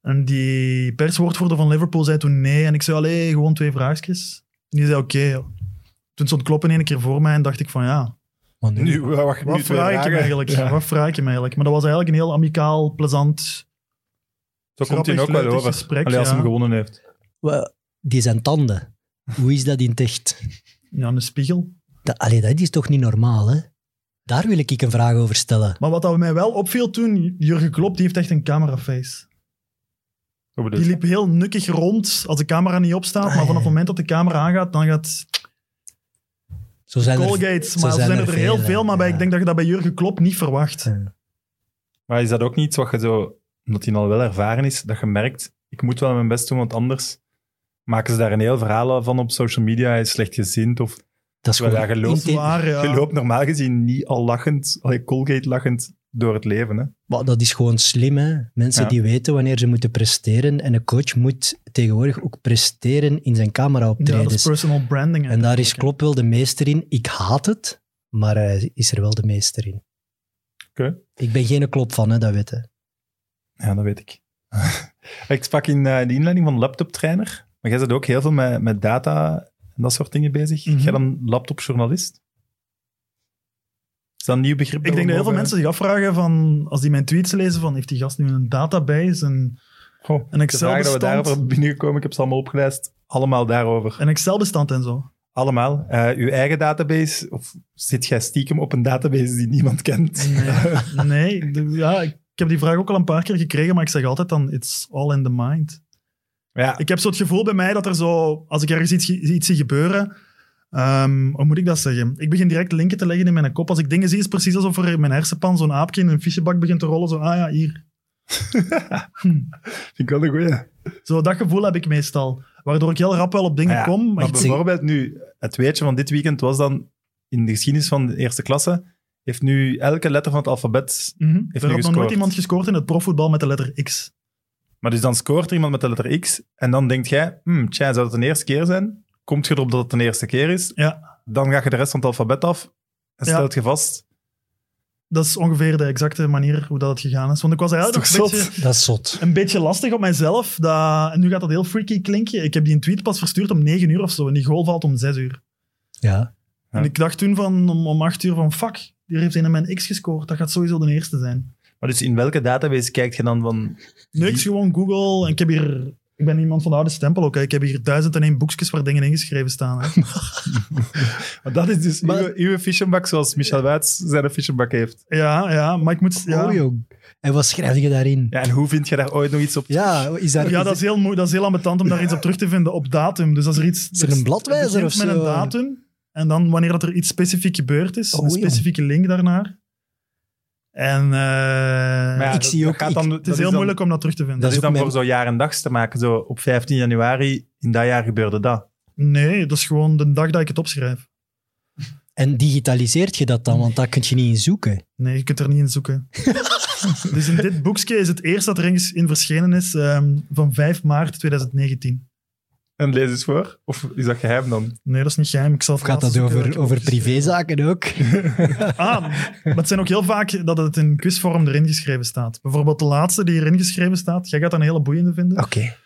Speaker 4: En die perswoordvoerder van Liverpool zei toen nee. En ik zei, allee, gewoon twee vraagjes. En die zei, oké. joh. toen stond klop in één keer voor mij en dacht ik van, ja,
Speaker 2: Maar nu,
Speaker 1: Nu, wacht,
Speaker 4: Wat
Speaker 1: nu twee
Speaker 4: vraag ik hem
Speaker 1: vragen.
Speaker 4: eigenlijk?
Speaker 1: Ja.
Speaker 4: Wat vraag ik hem eigenlijk? Maar dat was eigenlijk een heel amicaal, plezant...
Speaker 1: Zo komt hij
Speaker 4: Grappig,
Speaker 1: ook wel
Speaker 4: leuk
Speaker 1: over.
Speaker 4: gesprek,
Speaker 1: Allee, als
Speaker 4: ja.
Speaker 1: hij hem gewonnen heeft.
Speaker 2: wa- die zijn tanden. Hoe is dat in het echt?
Speaker 4: Ja, een spiegel.
Speaker 2: Dat, allee, dat is toch niet normaal, hè? Daar wil ik een vraag over stellen.
Speaker 4: Maar wat dat mij wel opviel toen, Jurgen Klopp, die heeft echt een cameraface.
Speaker 1: Hoe bedoel
Speaker 4: Die
Speaker 1: je?
Speaker 4: liep heel nukkig rond als de camera niet opstaat.
Speaker 2: Ah,
Speaker 4: Maar vanaf
Speaker 2: ja.
Speaker 4: het moment dat de camera aangaat, dan gaat
Speaker 2: Zo zijn er...
Speaker 4: Colgates. Maar er zijn er, heel
Speaker 2: hè.
Speaker 4: veel, maar bij-
Speaker 2: Ja.
Speaker 4: ik denk dat je dat bij Jurgen Klopp niet verwacht.
Speaker 2: Ja.
Speaker 1: Maar is dat ook niet iets wat je zo, omdat hij al wel ervaren is, dat je merkt, ik moet wel mijn best doen, want anders maken ze daar een heel verhaal van op social media. Hij is slecht gezind of
Speaker 2: Dat is
Speaker 1: Wel,
Speaker 2: gewoon...
Speaker 1: ja, geloof
Speaker 2: inten-
Speaker 4: Zwaar, ja.
Speaker 1: je loopt normaal gezien niet al lachend, allee, Colgate lachend door het leven. Hè?
Speaker 2: Maar dat is gewoon slim, hè? Mensen
Speaker 1: Ja.
Speaker 2: die weten wanneer ze moeten presteren. En een coach moet tegenwoordig ook presteren in zijn
Speaker 4: Ja, dat
Speaker 2: camera-optredens.
Speaker 4: is personal branding.
Speaker 2: dus- en daar is
Speaker 4: eigenlijk, hè.
Speaker 2: Klopp wel de meester in. Ik haat het, maar hij is er wel de meester in.
Speaker 1: Oké.
Speaker 2: Ik ben geen Klopp van, hè, dat weet je.
Speaker 1: Ja, dat weet ik. (laughs) ik sprak in eh, de inleiding van Laptop Trainer, maar jij zit ook heel veel met, met data en dat soort dingen bezig.
Speaker 4: Mhm.
Speaker 1: Jij dan laptopjournalist? Is dat een nieuw begrip?
Speaker 4: Ik denk dat heel veel
Speaker 1: over-
Speaker 4: mensen zich afvragen van, als die mijn tweets lezen, van heeft die gast nu een database, een,
Speaker 1: Goh,
Speaker 4: een
Speaker 1: De vragen dat we
Speaker 4: Excel-bestand,
Speaker 1: daarover binnengekomen, ik heb ze allemaal opgelijst. Allemaal daarover.
Speaker 4: een Excel-bestand en zo.
Speaker 1: Allemaal. Eh, uw eigen database, of zit jij stiekem op een database die niemand kent?
Speaker 4: Nee, nee (laughs) de- ja, ik heb die vraag ook al een paar keer gekregen, maar ik zeg altijd dan, it's all in the
Speaker 1: (laughs)
Speaker 4: mind.
Speaker 1: Ja,
Speaker 4: Ik heb zo het gevoel bij mij dat er zo, als ik ergens iets, iets zie gebeuren, ehm, hoe moet ik dat zeggen? Ik begin direct linken te leggen in mijn kop. Als ik dingen zie, is het precies alsof er in mijn hersenpan zo'n aapje in een fichebak begint te rollen. Zo, ah ja, hier.
Speaker 1: vind ik wel een goeie.
Speaker 4: Zo, dat gevoel heb ik meestal. Waardoor ik heel rap wel op dingen
Speaker 1: Ah Ja,
Speaker 4: kom. Maar
Speaker 1: Maar
Speaker 4: ik-
Speaker 2: zeg-
Speaker 1: bijvoorbeeld nu, het weetje van dit weekend was dan, in de geschiedenis van de eerste klasse, heeft nu elke letter van het alfabet...
Speaker 4: Mhm.
Speaker 1: niet
Speaker 4: er had nog
Speaker 1: gescoord.
Speaker 4: nooit iemand gescoord in het profvoetbal met de letter X.
Speaker 1: Maar dus dan scoort er iemand met de letter X, en dan denkt jij, hmm, tja, zou dat de eerste keer zijn? Komt je erop dat het de eerste keer is?
Speaker 4: Ja.
Speaker 1: Dan ga je de rest van het alfabet af, en
Speaker 4: Ja.
Speaker 1: stelt je vast...
Speaker 4: Dat is ongeveer de exacte manier hoe dat het gegaan is. Want ik was eigenlijk
Speaker 1: Is
Speaker 4: nog
Speaker 1: toch
Speaker 4: een
Speaker 1: zot?
Speaker 4: beetje...
Speaker 2: Dat is zot.
Speaker 4: een beetje lastig op mijzelf. Dat, en nu gaat dat heel freaky klinken. Ik heb die een tweet pas verstuurd om 9 uur of zo. En die goal valt om 6 uur.
Speaker 2: Ja.
Speaker 1: Ja.
Speaker 4: En ik dacht toen van, om, om 8 uur van fuck, hier heeft een mijn X gescoord. Dat gaat sowieso de eerste zijn.
Speaker 1: Maar dus in welke database kijkt je dan van...
Speaker 4: Niks, gewoon Google. En ik heb hier. Ik ben iemand van de oude stempel ook. hè. Ik heb hier duizend en één boekjes waar dingen ingeschreven staan. Hè.
Speaker 1: Maar dat is dus
Speaker 2: Maar-
Speaker 1: uw, uw fichenbak zoals Michel Wuits zijn een fichenbak heeft.
Speaker 4: Ja, ja, maar ik moet.
Speaker 2: Oh,
Speaker 4: Ja,
Speaker 2: jong. En wat schrijf je daarin? Ja,
Speaker 1: Ja, en hoe vind je daar ooit nog iets op?
Speaker 2: is daar...
Speaker 4: ja dat, is heel moe, dat is heel ambetant om daar iets op terug te vinden op datum. Dus als er iets.
Speaker 2: Is er een bladwijzer
Speaker 4: het
Speaker 2: of
Speaker 4: begint
Speaker 2: zo?
Speaker 4: Met een datum. En dan wanneer dat er iets specifiek gebeurd is,
Speaker 2: Oh,
Speaker 4: een
Speaker 2: ja.
Speaker 4: specifieke link daarnaar. En. eh,
Speaker 1: Maar ja,
Speaker 2: Ik zie
Speaker 1: dat
Speaker 2: ook-
Speaker 1: gaat
Speaker 2: ik-
Speaker 1: dan-
Speaker 4: het
Speaker 1: dat
Speaker 4: is heel
Speaker 1: dan-
Speaker 4: moeilijk om dat terug te vinden.
Speaker 1: Dat
Speaker 2: Dat
Speaker 1: is
Speaker 2: is
Speaker 1: Dus dan
Speaker 2: ook
Speaker 1: voor zo jaar en dags te maken. Zo op 15 januari, in dat jaar gebeurde dat.
Speaker 4: Nee, dat is gewoon de dag dat ik het opschrijf.
Speaker 2: En digitaliseert je dat dan? Want daar kun je niet in zoeken.
Speaker 4: Nee, je kunt er niet in zoeken.
Speaker 2: (laughs)
Speaker 4: dus in dit boekje is het eerst dat er eens in verschenen is ehm, van 5 maart 2019.
Speaker 1: En lees eens voor. Of is dat geheim dan?
Speaker 4: Nee, dat is niet geheim. Ik zal het
Speaker 2: Gaat
Speaker 4: laten
Speaker 2: dat
Speaker 4: zoeken
Speaker 2: over,
Speaker 4: welke
Speaker 2: over
Speaker 4: boekjes-
Speaker 2: privézaken
Speaker 4: (laughs)
Speaker 2: ook?
Speaker 4: Ah, maar het zijn ook heel vaak dat het in quizvorm erin geschreven staat. Bijvoorbeeld de laatste die erin geschreven staat. Jij gaat dat een hele boeiende vinden.
Speaker 2: Oké.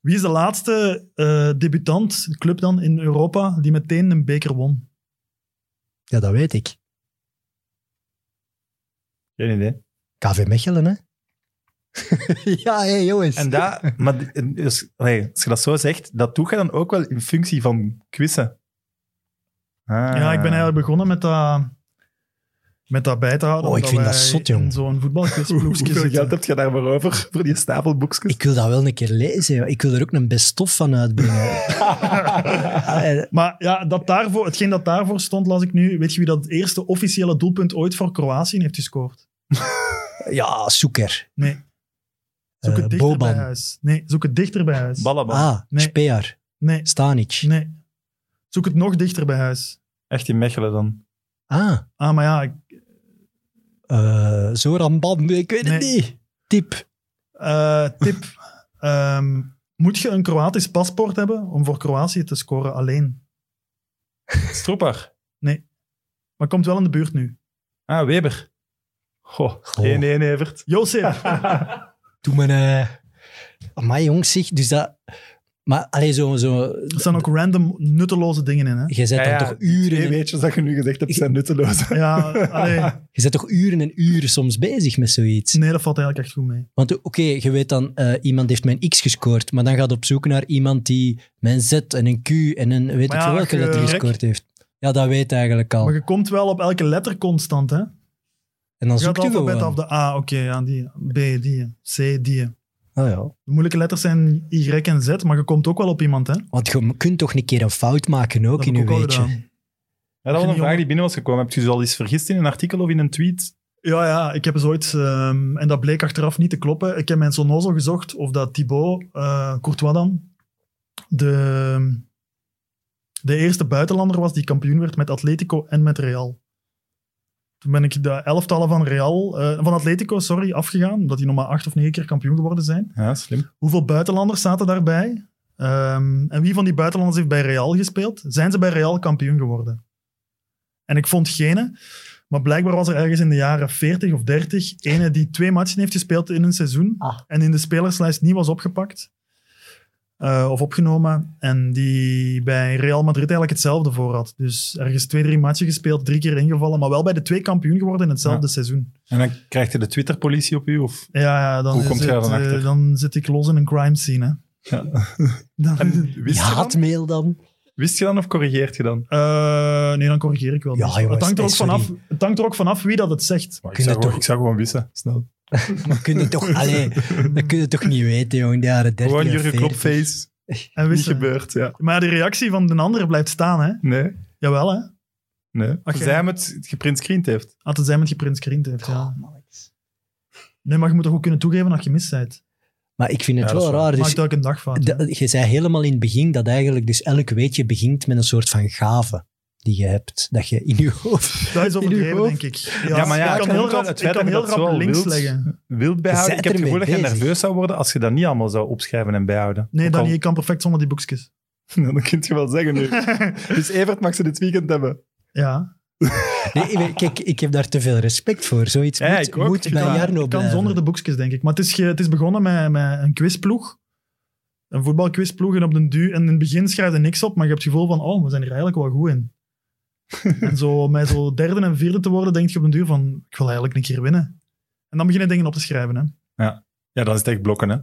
Speaker 4: Wie is de laatste eh, debutant, club dan, in Europa, die meteen een beker won?
Speaker 2: Ja, dat weet ik.
Speaker 1: Geen idee.
Speaker 2: KV Mechelen, hè? (laughs) ja, hé, jongens.
Speaker 1: En dat, maar die- dus, allee, als je dat zo zegt, dat doe je dan ook wel in functie van quizzen. Ah.
Speaker 4: Ja,
Speaker 2: Eh.
Speaker 4: ik ben eigenlijk begonnen met dat, met dat bij te houden.
Speaker 2: Oh, ik
Speaker 4: omdat
Speaker 2: vind dat
Speaker 4: wij
Speaker 2: zot, jong.
Speaker 4: in
Speaker 2: (laughs)
Speaker 4: Zo'n
Speaker 1: Hoe-
Speaker 4: voetbalquizploegje
Speaker 1: Hoeveel geld
Speaker 4: zitten.
Speaker 1: heb je daarvoor over? Voor die stapel (laughs) boekjes?
Speaker 2: Ik wil dat wel een keer lezen. joh. Ik wil er ook een best stof van uitbrengen.
Speaker 1: (laughs)
Speaker 2: Ah, eh,
Speaker 4: Maar ja, dat daarvoor, hetgeen dat daarvoor stond, las ik nu. Weet je wie dat eerste officiële doelpunt ooit voor Kroatië heeft gescoord?
Speaker 2: ja, zoeker.
Speaker 4: Nee. Zoek het
Speaker 2: Eh,
Speaker 4: dichter
Speaker 2: Boban.
Speaker 4: bij huis. Nee, zoek het dichter bij huis.
Speaker 1: Ballenbal.
Speaker 2: Ah,
Speaker 4: Nee.
Speaker 2: Spear.
Speaker 4: Nee,
Speaker 2: Stanic.
Speaker 4: nee. Zoek het nog dichter bij huis.
Speaker 1: Echt in Mechelen dan.
Speaker 2: Ah,
Speaker 4: Ah, maar ja, ik-
Speaker 2: eh, Zoran Ban. Ik weet het
Speaker 4: Nee.
Speaker 2: niet. Tip.
Speaker 4: Eh,
Speaker 2: (laughs)
Speaker 4: tip. Ehm, moet je een Kroatisch paspoort hebben om voor Kroatië te scoren alleen?
Speaker 1: Stroeper.
Speaker 4: Maar komt wel in de buurt nu.
Speaker 1: Ah, Weber. Goh, 1-1 Evert.
Speaker 2: (laughs)
Speaker 4: Josef.
Speaker 2: Doe mijn... eh Amai, jongens, zeg. Dus dat... Maar, allee, zo... zo
Speaker 4: Er staan ook random nutteloze dingen
Speaker 2: (laughs)
Speaker 4: in, hè?
Speaker 2: je zet dan toch
Speaker 1: Twee
Speaker 2: uren... en-
Speaker 1: weetjes dat je nu gezegd hebt, zijn nutteloos.
Speaker 4: Ja, allee.
Speaker 2: Je zet toch uren en uren soms bezig met zoiets?
Speaker 4: Nee, dat valt eigenlijk echt goed mee.
Speaker 2: Want oké, je weet dan, eh, iemand heeft mijn X gescoord, maar dan gaat op zoek naar iemand die mijn Z en een Q en een weet
Speaker 4: Maar
Speaker 2: ik
Speaker 4: ja,
Speaker 2: veel welke
Speaker 4: je-
Speaker 2: letter gescoord heeft. Ja, dat weet hij eigenlijk al.
Speaker 4: Maar je komt wel op elke letter constant, hè? Je
Speaker 2: en dan
Speaker 4: gaat
Speaker 2: zoekt
Speaker 4: het
Speaker 2: je
Speaker 4: alfabet
Speaker 2: gewoon.
Speaker 4: af de A, oké, ja, die. B, die. C, die.
Speaker 2: Ah, ja.
Speaker 4: De moeilijke letters zijn Y en Z, maar je komt ook wel op iemand, hè?
Speaker 2: Want je kunt toch een keer een fout maken ook
Speaker 4: Dat
Speaker 2: in
Speaker 4: heb
Speaker 2: je
Speaker 4: ik ook al
Speaker 2: weetje.
Speaker 4: gedaan.
Speaker 1: Ja, dat was een vraag die binnen was gekomen. Heb je je al eens vergist in een artikel of in een tweet?
Speaker 4: Ja, ja, ik heb eens ooit, ehm, en dat bleek achteraf niet te kloppen. Ik heb mijn Sonozo gezocht of dat Thibaut eh, Courtois dan de, de eerste buitenlander was die kampioen werd met Atletico en met Real. Toen ben ik de elftallen van Real, eh, van Atletico, sorry, afgegaan, omdat die nog maar acht of negen keer kampioen geworden zijn.
Speaker 1: Ja, slim.
Speaker 4: Hoeveel buitenlanders zaten daarbij? Ehm, en wie van die buitenlanders heeft bij Real gespeeld? Zijn ze bij Real kampioen geworden? En ik vond gene, maar blijkbaar was er ergens in de jaren 40 of 30 ene die twee matchen heeft gespeeld in een seizoen
Speaker 2: Ah.
Speaker 4: en in de spelerslijst niet was opgepakt eh, of opgenomen en die bij Real Madrid eigenlijk hetzelfde voor had. Dus ergens twee, drie matchen gespeeld, drie keer ingevallen, maar wel bij de twee kampioen geworden in hetzelfde
Speaker 1: Ja.
Speaker 4: seizoen.
Speaker 1: En dan krijgt je de Twitter-politie op u? Of...
Speaker 4: Ja, ja dan,
Speaker 1: Hoe
Speaker 4: is
Speaker 1: komt jij
Speaker 4: het,
Speaker 1: dan
Speaker 4: eh,
Speaker 1: achter?
Speaker 4: dan zit ik los in een crime scene. Hè.
Speaker 1: Ja.
Speaker 4: (laughs) Dan-
Speaker 1: (laughs) En wist,
Speaker 2: Ja,
Speaker 1: je dan?
Speaker 2: haatmail dan?
Speaker 1: wist je dan of corrigeert je dan?
Speaker 4: Eh, nee, dan corrigeer ik wel.
Speaker 2: Ja,
Speaker 4: niet.
Speaker 2: jongens,
Speaker 4: het, hangt er
Speaker 2: eh,
Speaker 4: ook vanaf,
Speaker 2: sorry.
Speaker 4: het hangt er ook vanaf wie dat het zegt.
Speaker 1: Maar ik,
Speaker 2: Kun je
Speaker 1: zou gewoon,
Speaker 2: toch-
Speaker 1: ik zou gewoon wissen, snel.
Speaker 2: Maar kun je
Speaker 4: (laughs)
Speaker 1: (laughs)
Speaker 2: toch, allee, dat kun je toch niet weten, jongen, in de jaren 30
Speaker 1: Gewoon
Speaker 2: en
Speaker 1: Jurgen
Speaker 2: 40.
Speaker 1: Klopface.
Speaker 4: En
Speaker 1: Niet
Speaker 4: wisten.
Speaker 1: gebeurd, ja.
Speaker 4: Maar de reactie van de ander blijft staan, hè?
Speaker 1: Nee,
Speaker 4: Jawel, hè?
Speaker 1: nee.
Speaker 4: Oké.
Speaker 1: Zij hem het geprint screend heeft.
Speaker 4: Had het zijn met geprint screen heeft, ja. Nee, maar je moet toch ook kunnen toegeven dat je mis bent.
Speaker 2: Maar ik vind het
Speaker 1: Ja, dat
Speaker 2: wel
Speaker 1: is waar.
Speaker 2: raar. Dus
Speaker 4: Maakt elke een dag fout. hè.
Speaker 2: Dat- je zei helemaal in het begin dat eigenlijk dus elk weetje begint met een soort van gave die je hebt, dat je in je hoofd...
Speaker 4: Dat
Speaker 2: (laughs)
Speaker 4: is
Speaker 2: in uw
Speaker 4: overdreven,
Speaker 2: hoofd.
Speaker 4: denk ik.
Speaker 1: Ja, maar ja,
Speaker 4: ik kan heel rap,
Speaker 1: het
Speaker 4: ik
Speaker 1: feit
Speaker 4: kan
Speaker 1: dat je
Speaker 4: heel
Speaker 1: dat
Speaker 4: rap
Speaker 1: zo
Speaker 4: links
Speaker 1: wilt-
Speaker 4: leggen.
Speaker 1: Wild bijhouden.
Speaker 2: Je bent
Speaker 1: Ik heb het
Speaker 2: ermee
Speaker 1: gevoel dat je
Speaker 2: bezig.
Speaker 1: nerveus zou worden als je dat niet allemaal zou opschrijven en bijhouden.
Speaker 4: Nee,
Speaker 1: Ook al-
Speaker 4: Danny,
Speaker 1: (laughs)
Speaker 4: ik kan perfect zonder die boekjes.
Speaker 1: Nou, dat kun je wel zeggen (laughs) nu. Dus Evert mag ze dit weekend hebben.
Speaker 4: ja,
Speaker 2: Nee, ik- kijk, ik heb daar te veel respect voor. Zoiets
Speaker 1: Ja,
Speaker 2: moet,
Speaker 1: ik ook.
Speaker 2: moet
Speaker 1: Ik
Speaker 2: bij
Speaker 1: kan-
Speaker 2: Jarno
Speaker 4: ik kan
Speaker 2: blijven.
Speaker 4: zonder de boekjes, denk ik. Maar het is, ge- het is begonnen met, met een quizploeg. Een voetbalquizploeg en op den du. En in het begin schrijf je niks op, maar je hebt het gevoel van, oh, we zijn hier eigenlijk wel goed
Speaker 2: (laughs)
Speaker 4: in. en zo, met zo derde en vierde te worden, denk je op den duur van, ik wil eigenlijk een keer winnen. En dan begin je dingen op te schrijven, hè.
Speaker 1: Ja, dan is het echt blokken, hè.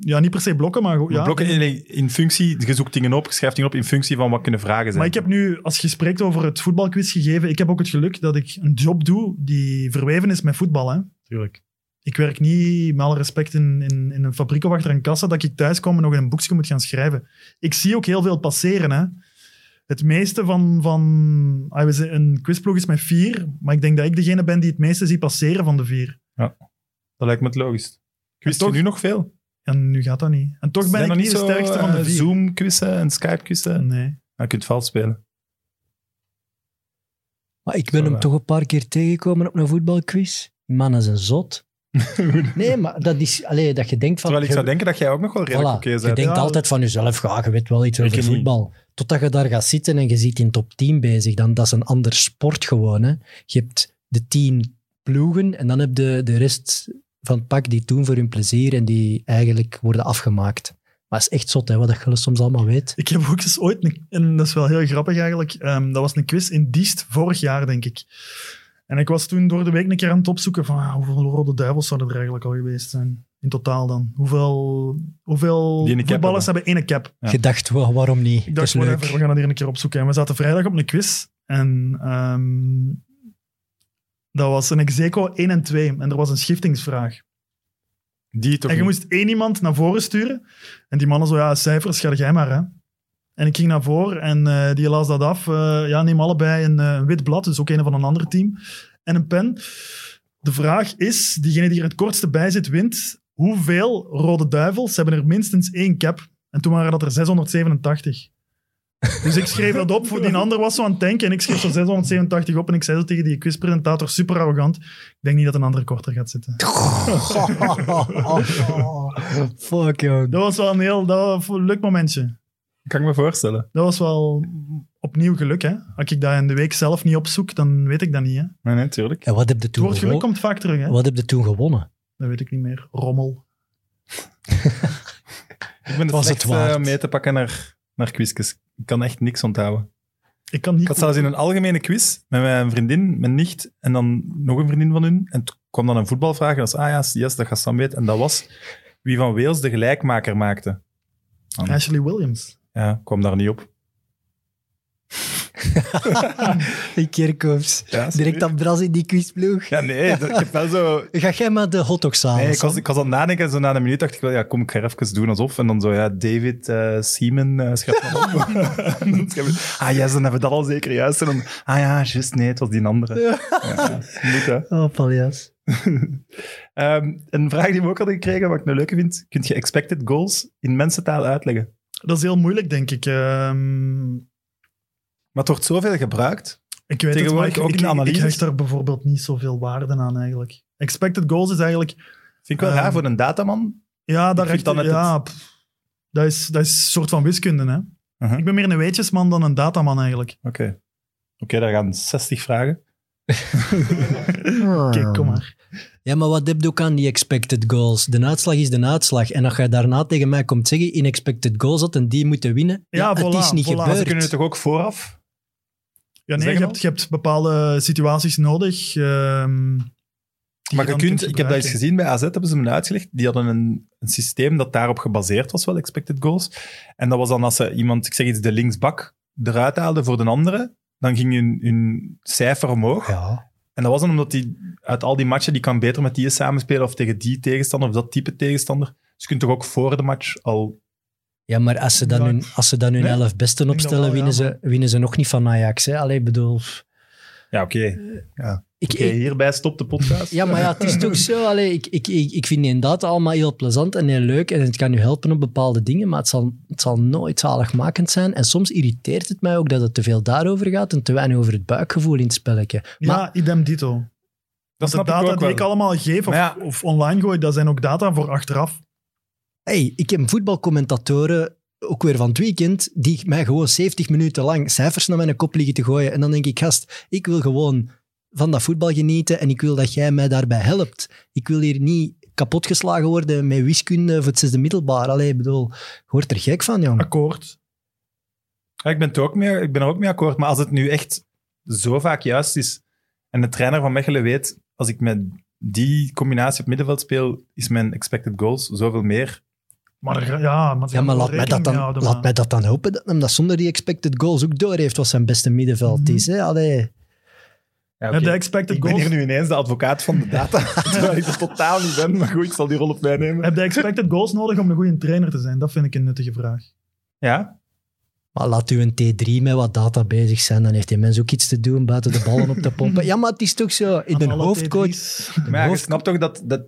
Speaker 4: Ja, niet per se blokken, maar gewoon-
Speaker 1: Maar
Speaker 4: ja,
Speaker 1: blokken in, in functie, je zoekt dingen op, je schrijft dingen op in functie van wat kunnen vragen zijn.
Speaker 4: Maar ik heb nu, als je spreekt over het voetbalquiz gegeven, ik heb ook het geluk dat ik een job doe die verweven is met voetbal. Hè.
Speaker 1: Tuurlijk.
Speaker 4: Ik werk niet, met alle respect, in, in, in een fabriek of achter een kassa, dat ik thuis kom en nog in een boekje moet gaan schrijven. Ik zie ook heel veel passeren. Hè. Het meeste van... van ah, we zijn- een quizploeg is met vier, maar ik denk dat ik degene ben die het meeste zie passeren van de vier.
Speaker 1: Dat lijkt me het logisch. Quiz je
Speaker 4: toch-
Speaker 1: nu nog veel?
Speaker 4: En nu gaat dat niet. En toch ben
Speaker 1: Zijn
Speaker 4: ik
Speaker 1: er
Speaker 4: niet de
Speaker 1: zo,
Speaker 4: sterkste van
Speaker 1: eh,
Speaker 4: de vier.
Speaker 1: Zoom-quizzen en Skype-quizzen? Nou,
Speaker 4: Nee.
Speaker 1: je kunt vals spelen.
Speaker 2: Maar ik ben hem
Speaker 1: Voilà. (laughs)
Speaker 2: toch een paar keer tegengekomen op een voetbalquiz. Die Man is een zot. Nee, maar dat is... Allee, dat je denkt van...
Speaker 1: Terwijl ik
Speaker 2: je-
Speaker 1: zou denken dat jij ook nog wel redelijk
Speaker 2: Voilà,
Speaker 1: oké
Speaker 2: je
Speaker 1: bent.
Speaker 2: denkt
Speaker 4: Ja.
Speaker 2: altijd van jezelf, ja, je weet wel iets
Speaker 1: Ik
Speaker 2: over
Speaker 1: niet.
Speaker 2: voetbal. Totdat je daar gaat zitten en je ziet in top 10 bezig, dan dat is een ander sport gewoon. Hè. Je hebt de 10 ploegen en dan heb je de rest van het pak die het doen voor hun plezier en die eigenlijk worden afgemaakt. Maar het is echt zot, hè, wat je soms allemaal weet.
Speaker 4: Ik heb ook eens ooit, een, en dat is wel heel grappig eigenlijk, ehm, dat was een quiz in Diest vorig jaar, denk ik. En ik was toen door de week een keer aan het opzoeken van ah, hoeveel rode duivels zouden er eigenlijk al geweest zijn. In totaal dan. Hoeveel, hoeveel
Speaker 1: Die een cap
Speaker 4: voetballers hebben één cap?
Speaker 1: Ja.
Speaker 2: Je dacht, wa- waarom niet?
Speaker 4: Ik
Speaker 2: dat
Speaker 4: dacht,
Speaker 2: is leuk.
Speaker 4: whatever, we gaan dat hier een keer opzoeken. En we zaten vrijdag op een quiz. En ehm, dat was een execo 1 en 2. En er was een schiftingsvraag.
Speaker 1: Die toch
Speaker 4: en je
Speaker 1: niet.
Speaker 4: moest één iemand naar voren sturen. En die mannen zo, ja, cijfers, ga jij maar, hè. En ik ging naar voren en eh, die las dat af. Eh, ja, neem allebei een eh, wit blad, dus ook een van een ander team. En een pen. De vraag is, diegene die er het kortste bij zit, wint. Hoeveel rode duivels hebben er minstens één cap? En toen waren dat er 687. Dus ik schreef dat op, voor die ander was zo aan het denken en ik schreef zo 687 op en ik zei zo tegen die quizpresentator, super arrogant, ik denk niet dat een ander korter gaat zitten.
Speaker 2: (laughs) Fuck, joh.
Speaker 4: Dat was wel een heel dat was een leuk momentje.
Speaker 1: Kan ik me voorstellen.
Speaker 4: Dat was wel opnieuw geluk, hè. Als ik dat in de week zelf niet opzoek, dan weet ik dat niet, hè. Het
Speaker 1: Nee, nee, tuurlijk.
Speaker 2: En wat heb je toen,
Speaker 4: woord geluk
Speaker 2: gewo-
Speaker 4: komt vaak terug, hè.
Speaker 2: wat heb je toen
Speaker 4: (laughs)
Speaker 2: gewonnen?
Speaker 4: Dat weet ik niet meer. Rommel.
Speaker 1: Ik ben het
Speaker 2: Was het
Speaker 1: slechtste
Speaker 2: waard?
Speaker 1: om mee te pakken naar, naar quizjes. Ik kan echt niks onthouden.
Speaker 4: Ik kan niet...
Speaker 1: Ik had zelfs in een algemene quiz met mijn vriendin, mijn nicht en dan nog een vriendin van hun. En toen kwam dan een voetbalvraag en dat was, ah ja, yes, dat gaat Sam weten. En dat was wie van Wales de gelijkmaker maakte.
Speaker 4: Ashley Williams.
Speaker 1: Ja, ik kwam daar niet op.
Speaker 2: Die Kerkhoffs.
Speaker 1: Ja,
Speaker 2: Direct aan Bras in die quizploeg.
Speaker 1: Ja, nee, dat- ik heb wel zo...
Speaker 2: Ga jij maar de hotdogs halen?
Speaker 1: Nee, ik
Speaker 2: Sam?
Speaker 1: was, ik was aan het nadenken en zo na een minuut dacht ik wel, ja, kom, ik ga even doen alsof. En dan zo, ja, David eh Seaman, eh, schrijf maar op. (laughs) ah, yes, dan hebben we dat al zeker juist. En dan, ah ja, juist, nee, het was die andere. Ja. moet, hè.
Speaker 2: Oh, paljas.
Speaker 1: Ehm, een vraag die we ook hadden gekregen, wat ik nou leuk vind. Kun je expected goals in mensentaal uitleggen?
Speaker 4: Dat is heel moeilijk, denk ik. Ehm,
Speaker 1: Maar het wordt zoveel gebruikt.
Speaker 4: ik weet het, maar
Speaker 1: Tegenwoordig
Speaker 4: ik,
Speaker 1: ook
Speaker 4: ik,
Speaker 1: in
Speaker 4: ik,
Speaker 1: analyses.
Speaker 4: hecht daar bijvoorbeeld niet zoveel waarde aan, eigenlijk. Expected goals is eigenlijk
Speaker 1: Vind ik wel
Speaker 4: Ehm,
Speaker 1: raar voor een dataman.
Speaker 4: Ja, daar
Speaker 1: vind
Speaker 4: echt,
Speaker 1: dan net
Speaker 4: ja pff, dat, is, dat is een soort van wiskunde. Hè?
Speaker 1: Uh-huh.
Speaker 4: Ik ben meer een weetjesman dan een dataman eigenlijk.
Speaker 1: Oké. Oké, daar gaan 60 vragen.
Speaker 4: Kijk,
Speaker 1: Ah.
Speaker 4: kom maar.
Speaker 2: Ah. Ja, maar wat heb je ook aan die expected goals? De uitslag is de uitslag. En als jij daarna tegen mij komt zeggen in expected goals had en die moeten winnen,
Speaker 4: Ja,
Speaker 2: ja,
Speaker 4: voilà,
Speaker 2: het is niet
Speaker 4: voilà. Ze
Speaker 1: Ze
Speaker 2: gebeurd.
Speaker 1: kunnen het toch ook vooraf?
Speaker 4: Ja, nee, je
Speaker 1: Zeggen
Speaker 4: hebt, je hebt bepaalde situaties nodig. ehm, die
Speaker 1: Maar je
Speaker 4: dan
Speaker 1: kunt, ik heb dat eens
Speaker 4: gebruiken.
Speaker 1: gezien bij AZ, hebben ze me uitgelegd. Die hadden een, een systeem dat daarop gebaseerd was, wel expected goals. En dat was dan als ze iemand, ik zeg iets, de linksbak eruit haalden voor de andere, dan ging hun, hun cijfer omhoog.
Speaker 2: Ja.
Speaker 1: En dat was dan omdat hij uit al die matchen, die kan beter met die samenspelen of tegen die tegenstander of dat type tegenstander. Dus je kunt toch ook voor de match al...
Speaker 2: ja, maar als ze dan
Speaker 4: Ja.
Speaker 2: hun, als ze dan hun
Speaker 4: Nee,
Speaker 2: elf besten
Speaker 4: denk dat
Speaker 2: opstellen,
Speaker 4: wel, ja,
Speaker 2: winnen, ze, winnen ze nog niet van Ajax. Hè? Allee, ik bedoel...
Speaker 1: Ja, oké.
Speaker 2: Ik,
Speaker 1: Oké,
Speaker 2: ik-
Speaker 1: hierbij stopt de podcast.
Speaker 2: ja, maar ja, het is toch zo. Allee, ik, ik, ik, ik vind die data allemaal heel plezant en heel leuk. En het kan u helpen op bepaalde dingen, maar het zal, het zal nooit zaligmakend zijn. En soms irriteert het mij ook dat het te veel daarover gaat en te weinig over het buikgevoel in het spelletje. Maar
Speaker 4: Ja, idem dito.
Speaker 1: dat
Speaker 4: Want de
Speaker 1: snap
Speaker 4: data
Speaker 1: ik ook
Speaker 4: die
Speaker 1: wel.
Speaker 4: ik allemaal geef
Speaker 1: Maar
Speaker 4: of,
Speaker 1: ja.
Speaker 4: of online gooi, dat zijn ook data voor achteraf.
Speaker 2: Hey, ik heb voetbalcommentatoren, ook weer van het weekend, die mij gewoon 70 minuten lang cijfers naar mijn kop liggen te gooien. En dan denk ik, gast, ik wil gewoon van dat voetbal genieten en ik wil dat jij mij daarbij helpt. Ik wil hier niet kapotgeslagen worden met wiskunde voor het zesde middelbaar. Allee, ik bedoel, je wordt er gek van, jong.
Speaker 4: Akkoord.
Speaker 1: Ja, ik, ben het ook mee, ik ben er ook mee akkoord, maar als het nu echt zo vaak juist is en de trainer van Mechelen weet, als ik met die combinatie op middenveld speel, is mijn expected goals zoveel meer.
Speaker 4: Maar er- ja, maar, ze
Speaker 2: Ja, maar
Speaker 4: gaan
Speaker 2: laat
Speaker 4: er
Speaker 2: mij, dat
Speaker 4: rekening
Speaker 2: dan,
Speaker 4: mee houden,
Speaker 2: laat
Speaker 4: maar-
Speaker 2: mij dat dan hopen dat hem dat zonder die expected goals ook door heeft wat zijn beste middenveld
Speaker 4: Mhm.
Speaker 2: is. Hè? Allee.
Speaker 1: Ja,
Speaker 4: Ja,
Speaker 1: oké.
Speaker 4: de expected
Speaker 1: ik ben
Speaker 4: goals.
Speaker 1: hier nu ineens de advocaat van
Speaker 4: (laughs)
Speaker 1: de data, terwijl ik er totaal niet ben, maar goed, ik zal die rol op mij nemen.
Speaker 4: Heb je expected goals nodig om een goede trainer te zijn? Dat vind ik een nuttige vraag.
Speaker 1: Ja,
Speaker 2: Maar laat u een T3 met wat data bezig zijn, dan heeft die mens ook iets te doen buiten de ballen op te
Speaker 4: (laughs)
Speaker 2: pompen. Ja, maar het is toch zo. Ik
Speaker 4: Aan
Speaker 2: ben
Speaker 4: alle
Speaker 2: hoofdcoach.
Speaker 4: T3's.
Speaker 1: maar je
Speaker 2: hoofd-
Speaker 1: snapt toch dat, dat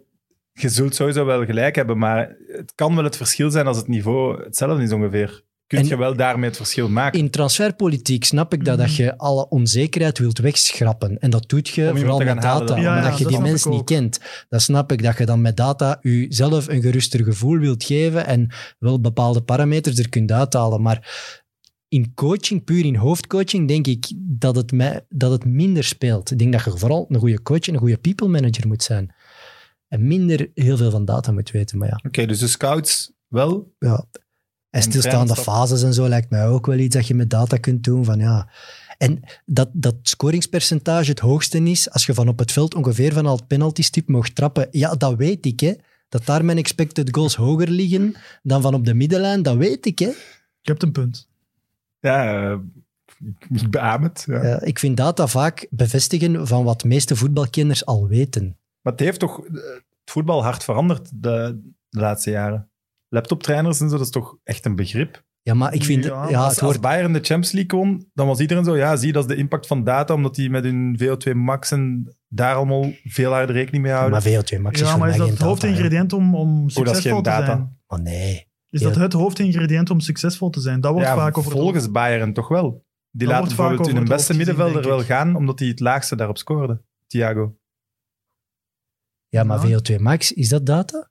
Speaker 1: je zult sowieso wel gelijk hebben, maar het kan wel het verschil zijn als het niveau hetzelfde is ongeveer. Kun
Speaker 2: En-
Speaker 1: je wel daarmee het verschil maken?
Speaker 2: In transferpolitiek snap ik dat, dat
Speaker 4: Mhm.
Speaker 2: je alle onzekerheid wilt wegschrappen. En dat doet je
Speaker 1: iemand
Speaker 2: vooral
Speaker 1: te gaan
Speaker 2: met
Speaker 1: halen
Speaker 2: data,
Speaker 1: dan.
Speaker 4: Ja,
Speaker 2: omdat
Speaker 4: ja,
Speaker 2: je
Speaker 4: dat
Speaker 2: die
Speaker 4: snap
Speaker 2: mens
Speaker 4: ik
Speaker 2: niet
Speaker 4: ook.
Speaker 2: kent. Dat snap ik, dat je dan met data jezelf een geruster gevoel wilt geven en wel bepaalde parameters er kunt uithalen. Maar in coaching, puur in hoofdcoaching, denk ik dat het, mij, dat het minder speelt. Ik denk dat je vooral een goede coach en een goede people manager moet zijn. En minder heel veel van data moet weten, maar ja
Speaker 5: Oké, dus de scouts wel.
Speaker 2: ja. En
Speaker 1: En
Speaker 2: stilstaande
Speaker 1: trainingstap.
Speaker 2: fases en zo lijkt mij ook wel iets dat je met data kunt doen. Van, ja. En dat, dat scoringspercentage het hoogste is als je van op het veld ongeveer van al het penaltystip mag trappen. Ja, dat weet ik, hè. Dat daar mijn expected goals hoger liggen dan van op de middenlijn, dat weet ik, hè.
Speaker 4: Je hebt een punt.
Speaker 1: Ja, eh, (laughs) ik beaam het. Ja.
Speaker 2: Ja, ik vind data vaak bevestigen van wat de meeste voetbalkenners al weten.
Speaker 1: Maar het heeft toch eh, het voetbal hard veranderd de, de laatste jaren. Laptoptrainers en zo, dat is toch echt een begrip.
Speaker 2: Ja, maar ik vind... Ja,
Speaker 4: Ja,
Speaker 1: als,
Speaker 2: het wordt,
Speaker 1: als Bayern de Champions League won, dan was iedereen zo, ja, zie, dat is de impact van data, omdat die met hun VO2 max en daar allemaal veel harder rekening mee houden.
Speaker 2: maar VO2 max is
Speaker 4: ja,
Speaker 2: voor
Speaker 4: maar
Speaker 2: mij
Speaker 4: is dat
Speaker 2: geen
Speaker 4: het
Speaker 2: data, hè.
Speaker 4: hoofdingrediënt om, om
Speaker 1: dat is
Speaker 4: succesvol
Speaker 1: geen
Speaker 4: te
Speaker 1: data.
Speaker 4: zijn?
Speaker 2: Maar nee.
Speaker 4: Is
Speaker 2: Ja.
Speaker 4: dat het hoofdingrediënt om succesvol te zijn? Dat wordt
Speaker 1: ja,
Speaker 4: vaak over
Speaker 1: volgens Bayern toch wel. Die
Speaker 4: Dat
Speaker 1: laten
Speaker 4: wordt vaak
Speaker 1: bijvoorbeeld
Speaker 4: over
Speaker 1: hun
Speaker 4: het
Speaker 1: beste
Speaker 4: hoofd gezien,
Speaker 1: middenvelder
Speaker 4: denk
Speaker 1: wel
Speaker 4: ik.
Speaker 1: gaan, omdat die het laagste daarop scoorde. Thiago.
Speaker 2: Ja, maar
Speaker 4: Ja.
Speaker 2: VO2 max, is dat data?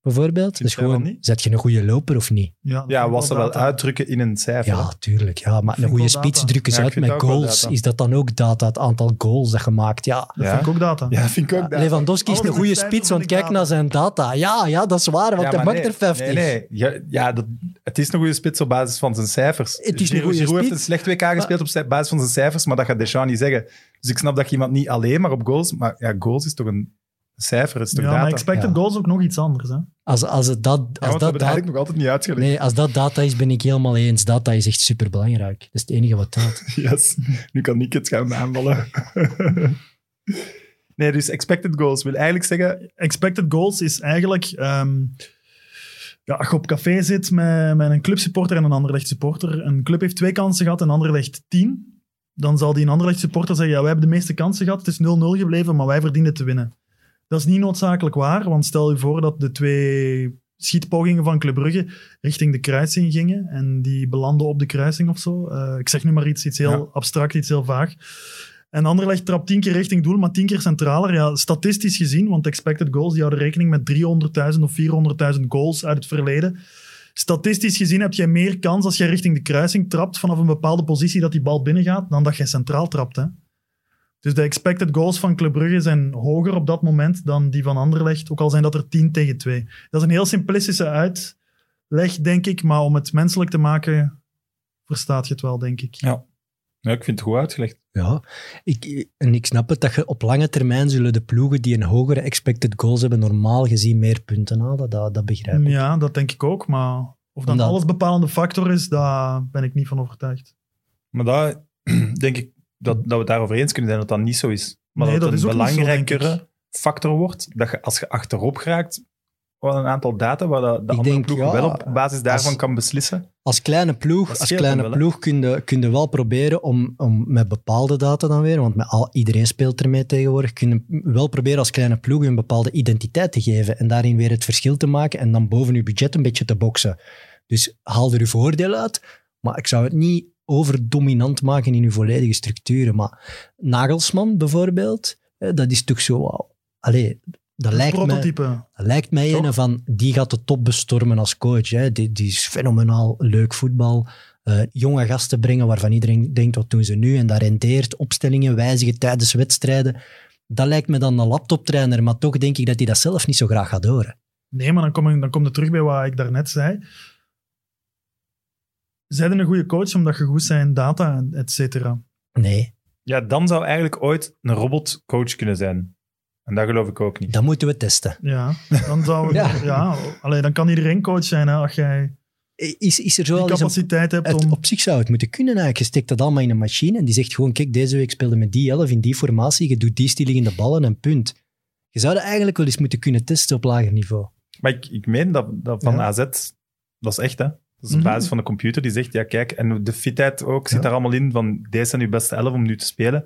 Speaker 2: Bijvoorbeeld?
Speaker 1: Vind
Speaker 2: Dus
Speaker 1: jij wel
Speaker 2: gewoon,
Speaker 1: niet?
Speaker 2: zet je een goede loper of niet?
Speaker 4: Ja, dat
Speaker 1: Ja,
Speaker 4: is
Speaker 1: was ze wel
Speaker 4: data.
Speaker 1: uitdrukken in een cijfer.
Speaker 2: Ja, tuurlijk. Ja, maar
Speaker 4: Vind
Speaker 2: een
Speaker 4: ik
Speaker 2: goede
Speaker 4: wel
Speaker 2: spits
Speaker 4: data.
Speaker 2: drukken ze
Speaker 1: Ja, ik
Speaker 2: uit
Speaker 1: vind
Speaker 2: met
Speaker 1: dat ook wel
Speaker 2: goals.
Speaker 1: data.
Speaker 2: Is dat dan ook data, het aantal goals dat je maakt? Ja.
Speaker 4: Dat
Speaker 1: Ja.
Speaker 4: vind ik ook data.
Speaker 1: Ja, vind ik ook. data.
Speaker 2: Lewandowski is
Speaker 4: Alles
Speaker 2: een
Speaker 4: met
Speaker 2: goede
Speaker 4: cijfers
Speaker 2: spits, want
Speaker 4: vind ik
Speaker 2: kijk naar zijn data. Ja, ja, dat is waar, want
Speaker 1: Ja,
Speaker 2: hij
Speaker 1: maar
Speaker 2: maakt
Speaker 1: nee.
Speaker 2: er 50.
Speaker 1: Nee, nee. Ja, ja, dat, het is een goede spits op basis van zijn cijfers.
Speaker 2: Het is een
Speaker 1: Giroud-
Speaker 2: goede
Speaker 1: Giroud heeft
Speaker 2: spits.
Speaker 1: een slecht WK gespeeld op zijn- basis van zijn cijfers, maar dat gaat Deschamps niet zeggen. Dus ik snap dat je iemand niet alleen maar op goals... Maar ja, goals is toch een cijfer, het is toch
Speaker 4: Ja,
Speaker 1: data.
Speaker 4: maar expected
Speaker 2: Ja.
Speaker 4: goals ook nog iets anders. Hè?
Speaker 2: Als, als, het
Speaker 1: Ja,
Speaker 2: dat, als,
Speaker 1: want we hebben het
Speaker 2: dat data,
Speaker 1: eigenlijk nog altijd niet uitgelegd.
Speaker 2: nee, als dat data is, ben ik helemaal eens. Data is echt superbelangrijk. Dat is het enige wat telt.
Speaker 1: Yes. Nu kan Nick het gaan aanvallen. (laughs) nee, dus expected goals wil eigenlijk zeggen...
Speaker 4: Expected goals is eigenlijk... ehm, ja, als je op café zit met, met een clubsupporter en een Anderlecht supporter. Een club heeft twee kansen gehad en Anderlecht tien. Dan zal die een Anderlecht supporter zeggen, ja, wij hebben de meeste kansen gehad. Het is 0-0 gebleven, maar wij verdienen te winnen. Dat is niet noodzakelijk waar, want stel je voor dat de twee schietpogingen van Club Brugge richting de kruising gingen en die belanden op de kruising of zo. Eh, ik zeg nu maar iets, iets heel
Speaker 1: Ja.
Speaker 4: abstract, iets heel vaag. En Anderlecht trapt tien keer richting doel, maar tien keer centraler. Ja, statistisch gezien, want expected goals die houden rekening met 300.000 of 400.000 goals uit het verleden. Statistisch gezien heb jij meer kans als jij richting de kruising trapt vanaf een bepaalde positie dat die bal binnengaat, dan dat jij centraal trapt. Hè? Dus de expected goals van Club Brugge zijn hoger op dat moment dan die van Anderlecht, ook al zijn dat er 10 tegen 2. Dat is een heel simplistische uitleg, denk ik, maar om het menselijk te maken, verstaat je het wel, denk ik.
Speaker 1: Ja, ik vind het goed uitgelegd.
Speaker 2: Ja, ik, en ik snap het dat je op lange termijn zullen de ploegen die een hogere expected goals hebben normaal gezien meer punten halen. Dat, dat begrijp ik.
Speaker 4: Ja, dat denk ik ook, maar of dat een
Speaker 2: Omdat-
Speaker 4: allesbepalende factor is, daar ben ik niet van overtuigd.
Speaker 1: Maar daar (clears throat) denk ik dat, dat we het daarover eens kunnen zijn dat dat niet zo is. Maar
Speaker 4: Nee,
Speaker 1: dat
Speaker 4: dat
Speaker 1: het
Speaker 4: is
Speaker 1: een
Speaker 4: ook niet zo, denk
Speaker 1: belangrijkere factor wordt, dat je als je achterop geraakt, wel een aantal data waar de, de andere
Speaker 2: denk,
Speaker 1: ploeg
Speaker 2: ja,
Speaker 1: wel op basis daarvan
Speaker 2: als-
Speaker 1: kan beslissen.
Speaker 2: Als kleine
Speaker 1: Dat
Speaker 2: ploeg, als
Speaker 1: scheelt
Speaker 2: kleine
Speaker 1: dan wel, hè?
Speaker 2: ploeg kun, je, kun je wel proberen om, om met bepaalde data dan weer, want met al, iedereen speelt ermee tegenwoordig, kun je wel proberen als kleine ploeg een bepaalde identiteit te geven en daarin weer het verschil te maken en dan boven je budget een beetje te boksen. Dus haal er je voordeel uit, maar ik zou het niet overdominant maken in je volledige structuren. Maar Nagelsman bijvoorbeeld, eh, dat is toch zo... wauw. Allee, dat
Speaker 4: Het
Speaker 2: lijkt me...
Speaker 4: prototype.
Speaker 2: Dat lijkt mij
Speaker 1: Toch?
Speaker 2: een van, die gaat de top bestormen als coach. Hè. Die, die is fenomenaal leuk voetbal. Eh, jonge gasten brengen waarvan iedereen denkt, wat doen ze nu? En dat rendeert opstellingen wijzigen tijdens wedstrijden. Dat lijkt me dan een laptoptrainer, maar toch denk ik dat hij dat zelf niet zo graag gaat horen.
Speaker 4: Nee, maar dan kom, ik, dan kom je terug bij wat ik daarnet zei. Zij een goede coach omdat je goed zijn in data, et cetera.
Speaker 2: Nee,
Speaker 1: Ja, dan zou eigenlijk ooit een robotcoach kunnen zijn. En dat geloof ik ook niet.
Speaker 2: dat moeten we testen.
Speaker 4: Ja, dan zou
Speaker 2: Ja.
Speaker 4: ja. allee, dan kan iedereen coach zijn hè, als jij
Speaker 2: Eh, Is, is er zo
Speaker 4: die
Speaker 2: al eens een
Speaker 4: capaciteit hebt
Speaker 2: Het,
Speaker 4: om...
Speaker 2: op zich zou het moeten kunnen eigenlijk. Je steekt dat allemaal in een machine en die zegt gewoon, kijk, deze week speelde met die elf in die formatie, je doet die stilliggende ballen en punt. Je zou dat eigenlijk wel eens moeten kunnen testen op lager niveau.
Speaker 1: Maar ik, ik meen dat, dat van
Speaker 4: Ja.
Speaker 1: AZ, dat is echt hè. Dat is op
Speaker 4: Mhm.
Speaker 1: basis van de computer die zegt, ja kijk, en de fitheid ook zit
Speaker 2: Ja.
Speaker 1: daar allemaal in, van deze zijn uw beste elf om nu te spelen.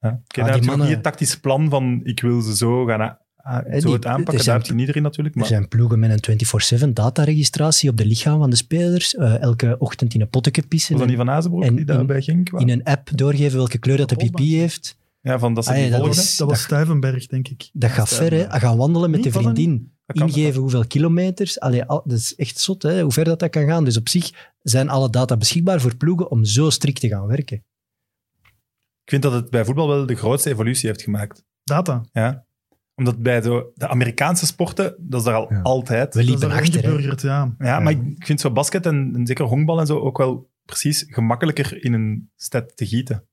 Speaker 1: Ja. Oké,
Speaker 2: Ah,
Speaker 1: daar
Speaker 2: die
Speaker 1: heb je nog
Speaker 2: mannen-
Speaker 1: niet het tactische plan van, ik wil ze zo gaan a- Ah,
Speaker 2: Hè,
Speaker 1: zo
Speaker 2: die-
Speaker 1: het aanpakken,
Speaker 2: er
Speaker 1: daar
Speaker 2: zijn-
Speaker 1: heeft niet iedereen natuurlijk.
Speaker 2: Er
Speaker 1: Maar,
Speaker 2: zijn ploegen met een 24-7 dataregistratie op de lichaam van de spelers. eh, elke ochtend in een potje pissen.
Speaker 1: was dat
Speaker 2: en
Speaker 1: niet Van Azenbroek
Speaker 2: en
Speaker 1: die daarbij ging?
Speaker 2: in een app doorgeven welke kleur dat de
Speaker 4: Voetbal.
Speaker 2: pipi heeft.
Speaker 1: Ja, van dat ze
Speaker 2: Ah, ja,
Speaker 1: die
Speaker 2: dat
Speaker 1: volgen.
Speaker 2: is-
Speaker 4: Dat was Stuyvenberg, denk ik.
Speaker 2: Dat gaat
Speaker 1: is,
Speaker 2: ver,
Speaker 1: eh,
Speaker 2: hè. Gaan wandelen met
Speaker 1: niet,
Speaker 2: de
Speaker 1: was dat
Speaker 2: vriendin.
Speaker 1: Dat kan-
Speaker 2: ingeven hoeveel kilometers. Allee, al- dat is echt zot, hè, hoe ver dat, dat kan gaan. Dus op zich zijn alle data beschikbaar voor ploegen om zo strikt te gaan werken.
Speaker 1: Ik vind dat het bij voetbal wel de grootste evolutie heeft gemaakt.
Speaker 4: Data.
Speaker 1: Ja. Omdat bij de, de Amerikaanse sporten, dat is daar al
Speaker 2: Ja.
Speaker 1: altijd.
Speaker 2: We liepen
Speaker 4: dat is
Speaker 2: achter, hè.
Speaker 4: ingeburgerd, ja.
Speaker 1: Ja, maar ik ik vind zo basket en, en zeker honkbal en zo ook wel precies gemakkelijker in een stad te gieten.